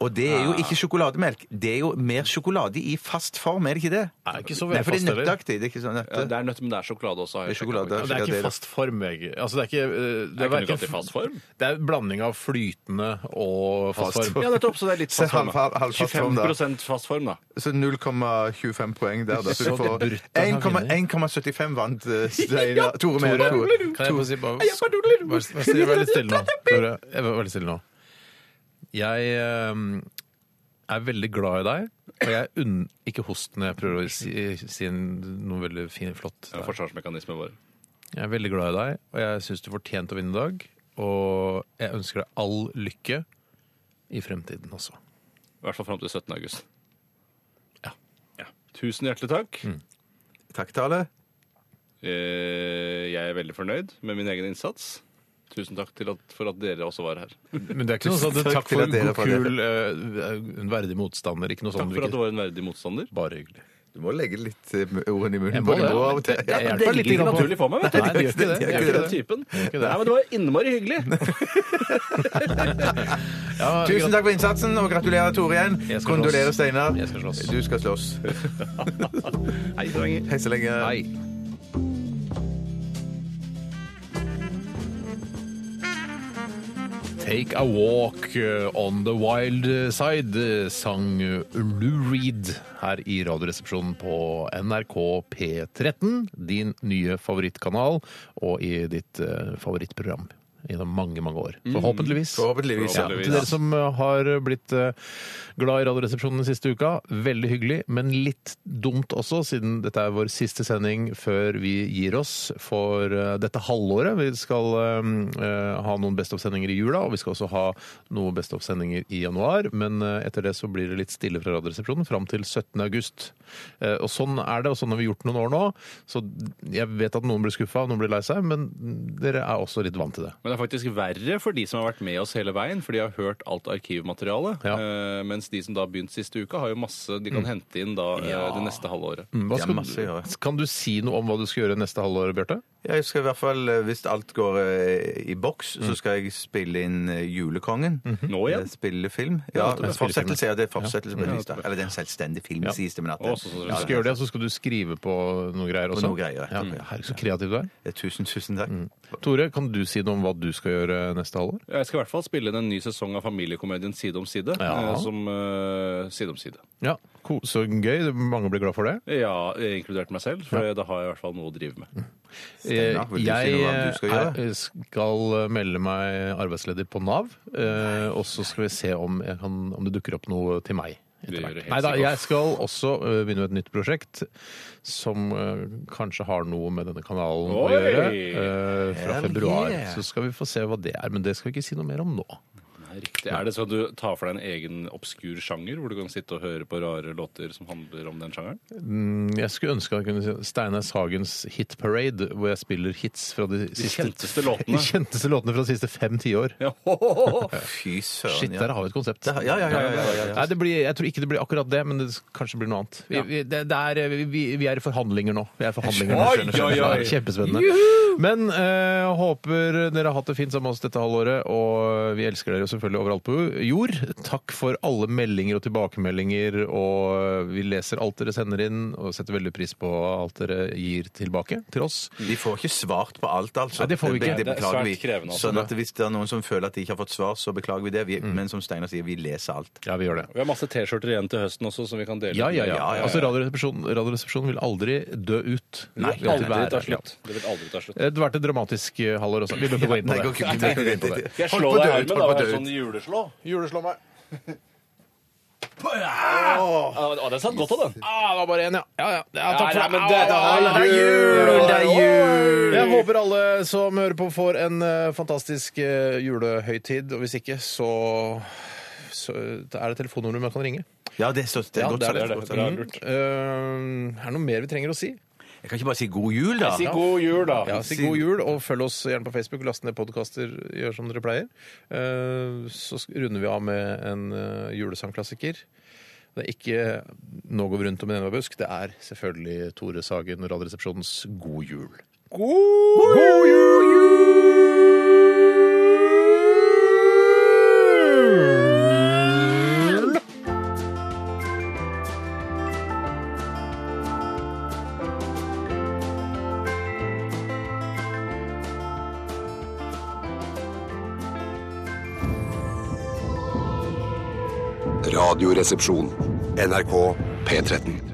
Speaker 5: Og det er jo ikke sjokolademelk. Det er jo mer sjokolade i fast form, er det ikke det?
Speaker 8: Nei, ikke så veldig
Speaker 5: Nei, for det er
Speaker 8: fast, eller?
Speaker 5: nøtteaktig. Det er ikke sånn
Speaker 7: Ja,
Speaker 5: nøtte.
Speaker 7: det er nøtt, men det er sjokolade også. har jeg
Speaker 5: Det er sjokolade.
Speaker 7: sjekket.
Speaker 8: Men det er ikke fast form. jeg- Altså, det er ikke, eh, det
Speaker 7: Det
Speaker 8: er
Speaker 7: er ikke
Speaker 8: hverken-
Speaker 7: nøtt i fast form.
Speaker 8: det er en blanding av flytende og fast
Speaker 5: Fast
Speaker 8: form.
Speaker 7: Ja, nettopp. Så det er litt
Speaker 5: Se,
Speaker 7: fast form.
Speaker 5: halv-
Speaker 7: da.
Speaker 5: halv- halvfast form, da.
Speaker 7: 25 fast form, da.
Speaker 5: Så 0,25 poeng der, da. Så
Speaker 8: Så
Speaker 5: du får
Speaker 8: det burde han ha
Speaker 5: 1,- 1,75 vant eh,
Speaker 3: [LAUGHS]
Speaker 5: Steinar. Tore med Tore.
Speaker 8: Kan jeg få si bare
Speaker 7: Jeg bare dodler.
Speaker 8: Vær vær stille, vær litt
Speaker 5: [LAUGHS]
Speaker 8: stille nå. Tore, jeg var veldig stille nå. Jeg eh, er veldig glad i deg, og jeg unn... Ikke host når jeg prøver å si, si en- noe veldig fin, flott.
Speaker 7: Det er forsvarsmekanismen vår.
Speaker 8: Jeg er veldig glad i deg, og jeg syns du fortjente å vinne i dag. Og jeg ønsker deg all lykke i fremtiden også.
Speaker 7: I hvert fall fram til 17. august. Ja. Tusen hjertelig takk.
Speaker 5: Takk, Tale.
Speaker 7: Eh, Jeg er veldig fornøyd med min egen innsats. Tusen takk til at, for at dere også var her.
Speaker 8: Men det er ikke noe sånn
Speaker 5: Takk
Speaker 8: takk
Speaker 5: til
Speaker 8: for
Speaker 5: at
Speaker 8: en
Speaker 5: dere
Speaker 8: god,
Speaker 5: var
Speaker 8: kul, eh, en verdig motstander. Ikke noe sånn.
Speaker 7: Takk for at
Speaker 8: hvilket-
Speaker 7: du var en verdig motstander.
Speaker 8: Bare hyggelig.
Speaker 5: Du må legge litt eh, ordene i
Speaker 8: Jeg
Speaker 5: munnen på
Speaker 8: må
Speaker 5: dem
Speaker 8: det.
Speaker 5: også av og til.
Speaker 8: Det- det
Speaker 5: Ja.
Speaker 8: hjelper litt grann på-
Speaker 7: naturlig for meg, vet du.
Speaker 8: Nei, det gjør ikke det.
Speaker 7: Jeg er
Speaker 8: Det
Speaker 7: ikke
Speaker 8: gjør
Speaker 7: den
Speaker 8: ikke det.
Speaker 7: typen.
Speaker 8: Det gjør ikke det.
Speaker 7: Nei, men det var innmari hyggelig.
Speaker 8: Ja,
Speaker 5: Tusen takk for innsatsen, og gratulerer, Tore, igjen.
Speaker 8: Jeg skal slåss.
Speaker 5: Kondolerer, Steinar.
Speaker 8: Jeg skal slåss.
Speaker 5: Du skal slåss.
Speaker 7: Hei, så lenge.
Speaker 5: Hei så lenge.
Speaker 8: Hei. Take a walk eh, on the wild side, eh, sang eh, Lou Reed her i Radioresepsjonen på NRK P13, din nye favorittkanal, og i ditt eh, favorittprogram gjennom mange, mange år. Forhåpentligvis.
Speaker 5: Forhåpentligvis.
Speaker 8: Ja,
Speaker 7: Forhåpentligvis.
Speaker 8: til dere som eh, har blitt eh, glad i Radioresepsjonen den siste uka, veldig hyggelig, men litt dumt også, siden dette er vår siste sending før vi gir oss for eh, dette halvåret. Vi skal eh, eh, ha noen Best of-sendinger i jula, og vi skal også ha noen Best of-sendinger i januar. Men eh, etter det så blir det litt stille fra Radioresepsjonen fram til 17. august. Eh, Og sånn er det, og sånn har vi gjort noen år nå. Så jeg vet at noen blir skuffa, noen blir lei seg, men dere er også litt vant til det.
Speaker 7: Men det er faktisk verre for de som har vært med oss hele veien, for de har hørt alt arkivmaterialet.
Speaker 8: Ja. Mm.
Speaker 7: Eh, mens de som da har begynt siste uka, har jo masse de kan hente inn da eh, det neste halve året.
Speaker 8: Hva
Speaker 5: Det er
Speaker 8: skal,
Speaker 5: masse å gjøre.
Speaker 8: Kan du si noe om hva du skal gjøre neste halvår, Bjarte?
Speaker 5: Ja, Jeg skal i hvert fall, eh, Hvis alt går eh, i boks, så skal jeg spille inn eh, Julekongen.
Speaker 7: Nå igjen?
Speaker 5: Eh, Spille film. Ja,
Speaker 8: nettopp.
Speaker 5: fortsettelse. Ja, det er fortsettelse på
Speaker 7: Ja,
Speaker 5: en vis, da. Eller det er en selvstendig film,
Speaker 8: Ja.
Speaker 5: sies det. Men at
Speaker 7: Også sånn som
Speaker 8: Du
Speaker 7: vi
Speaker 5: ja,
Speaker 8: skal gjøre det, og så skal du skrive på noen greier også.
Speaker 5: noen greier,
Speaker 8: ja.
Speaker 5: ja.
Speaker 8: Herregud, så kreativ du er.
Speaker 5: ja, tusen, tusen takk.
Speaker 8: Tore, kan du si noe om hva du skal gjøre neste halvår?
Speaker 7: Jeg skal i hvert fall spille inn en ny sesong av familiekomedien Side om side.
Speaker 8: Ja.
Speaker 7: eh, Som eh, Side om side.
Speaker 8: Ja, ko- Så gøy. Mange blir glad for det.
Speaker 7: Ja, eh, inkludert meg selv, for da har jeg i hvert fall noe å drive med.
Speaker 8: Eh,
Speaker 3: Steinar, vil du si
Speaker 8: Jeg
Speaker 3: noe om hva du skal
Speaker 8: er-
Speaker 3: gjøre?
Speaker 8: skal melde meg arbeidsledig på Nav, eh, og så skal vi se om, jeg kan, om det dukker opp noe til meg.
Speaker 7: Det gjør det helt
Speaker 8: Nei da,
Speaker 7: sikkert.
Speaker 8: jeg skal også eh, begynne med et nytt prosjekt som eh, kanskje har noe med denne kanalen å
Speaker 7: Oi!
Speaker 8: gjøre. eh, Fra
Speaker 3: Hell
Speaker 8: februar.
Speaker 3: yeah.
Speaker 8: Så skal vi få se hva det er, men det skal vi ikke si noe mer om nå.
Speaker 7: Nei, riktig. Er det sånn at du tar for deg en egen obskur sjanger, hvor du kan sitte og høre på rare låter som handler om den sjangeren?
Speaker 8: Mm, Jeg skulle ønske jeg kunne si Steinar Sagens Hit Parade, hvor jeg spiller hits fra de, siste,
Speaker 7: kjenteste låtene.
Speaker 8: [LAUGHS] de kjenteste låtene fra de siste fem tiår.
Speaker 7: Ja.
Speaker 3: Fy søren.
Speaker 8: Shit, der har vi et konsept.
Speaker 3: Det har- ja, ja, ja, ja, ja, ja.
Speaker 8: Nei, det blir, jeg tror ikke det blir akkurat det, men det s- kanskje blir noe annet. Vi, vi, det, det er, eh, vi, vi er i forhandlinger nå. Vi er i forhandlinger nå,
Speaker 7: Oi,
Speaker 8: skjønner, skjønner,
Speaker 7: oi, oi.
Speaker 8: Det er Kjempespennende. Men eh, håper dere har hatt det fint sammen med oss dette halvåret, og vi elsker dere selvfølgelig overalt på jord. Takk for alle meldinger og tilbakemeldinger, og eh, vi leser alt dere sender inn, og setter veldig pris på alt dere gir tilbake til oss.
Speaker 3: Vi får ikke svart på alt, altså.
Speaker 8: Nei, det får vi ikke.
Speaker 3: Det,
Speaker 7: Det er
Speaker 3: beklager
Speaker 7: svært
Speaker 3: vi.
Speaker 7: krevende, altså.
Speaker 3: Sånn at Hvis det er noen som føler at de ikke har fått svar, så beklager vi det. Vi, Men som Steinar sier, vi leser alt.
Speaker 8: Ja, vi gjør det.
Speaker 7: [LAUGHS] Vi har masse T-skjorter igjen til høsten også, som vi kan dele Eh,
Speaker 8: Ja, ja, ja.
Speaker 3: Ja, ja, ja.
Speaker 8: Altså, Radioresepsjonen radioresepsjonen vil aldri dø ut.
Speaker 3: Nei,
Speaker 8: Det vil
Speaker 7: Det
Speaker 8: alltid
Speaker 7: vil aldri
Speaker 8: være-
Speaker 7: ta slutt. Det vil aldri ta
Speaker 3: Eh,
Speaker 7: slutt.
Speaker 8: Det har vært et dramatisk eh, halvår også. Vi bør ikke gå inn på
Speaker 3: Nei,
Speaker 8: det.
Speaker 3: går ikke- går
Speaker 8: [LAUGHS]
Speaker 3: ikke inn på det.
Speaker 7: Jeg
Speaker 3: Holdt på
Speaker 7: slår
Speaker 3: å
Speaker 7: deg
Speaker 3: dø ut,
Speaker 7: i armen,
Speaker 3: holdt på å
Speaker 7: da. var
Speaker 3: dø
Speaker 7: det
Speaker 3: ut.
Speaker 7: Sånn juleslå.
Speaker 8: Juleslå meg.
Speaker 7: Ja, ah, den satt godt av, den.
Speaker 8: Ah, det var bare én, ja. Ja, ja. ja. Takk for
Speaker 7: Nei, nei, men
Speaker 8: Au,
Speaker 7: det-
Speaker 8: au, au,
Speaker 7: det er
Speaker 8: au.
Speaker 7: jul, det er jul.
Speaker 8: Jeg håper alle som hører på, får en eh, fantastisk eh, julehøytid. Og hvis ikke, så, så er det telefonnummeret man kan ringe.
Speaker 3: Ja, det er, så, det er
Speaker 8: Ja,
Speaker 3: godt
Speaker 8: det er
Speaker 3: sagt.
Speaker 7: det,
Speaker 3: godt
Speaker 7: det er
Speaker 3: sagt.
Speaker 7: lurt.
Speaker 8: Eh, er det noe mer vi trenger å si?
Speaker 3: Jeg kan ikke bare si god jul, da.
Speaker 7: Si god jul, da.
Speaker 8: Ja, Si god jul, og følg oss gjerne på Facebook. Last ned podkaster, gjør som dere pleier. Eh, Så sk- runder vi av med en eh, julesangklassiker. Det er ikke 'Nå går vi rundt om en enhver busk'. Det er selvfølgelig Tore Sagen og Radioresepsjonens God jul. God jul!
Speaker 6: Radioresepsjon. NRK P13.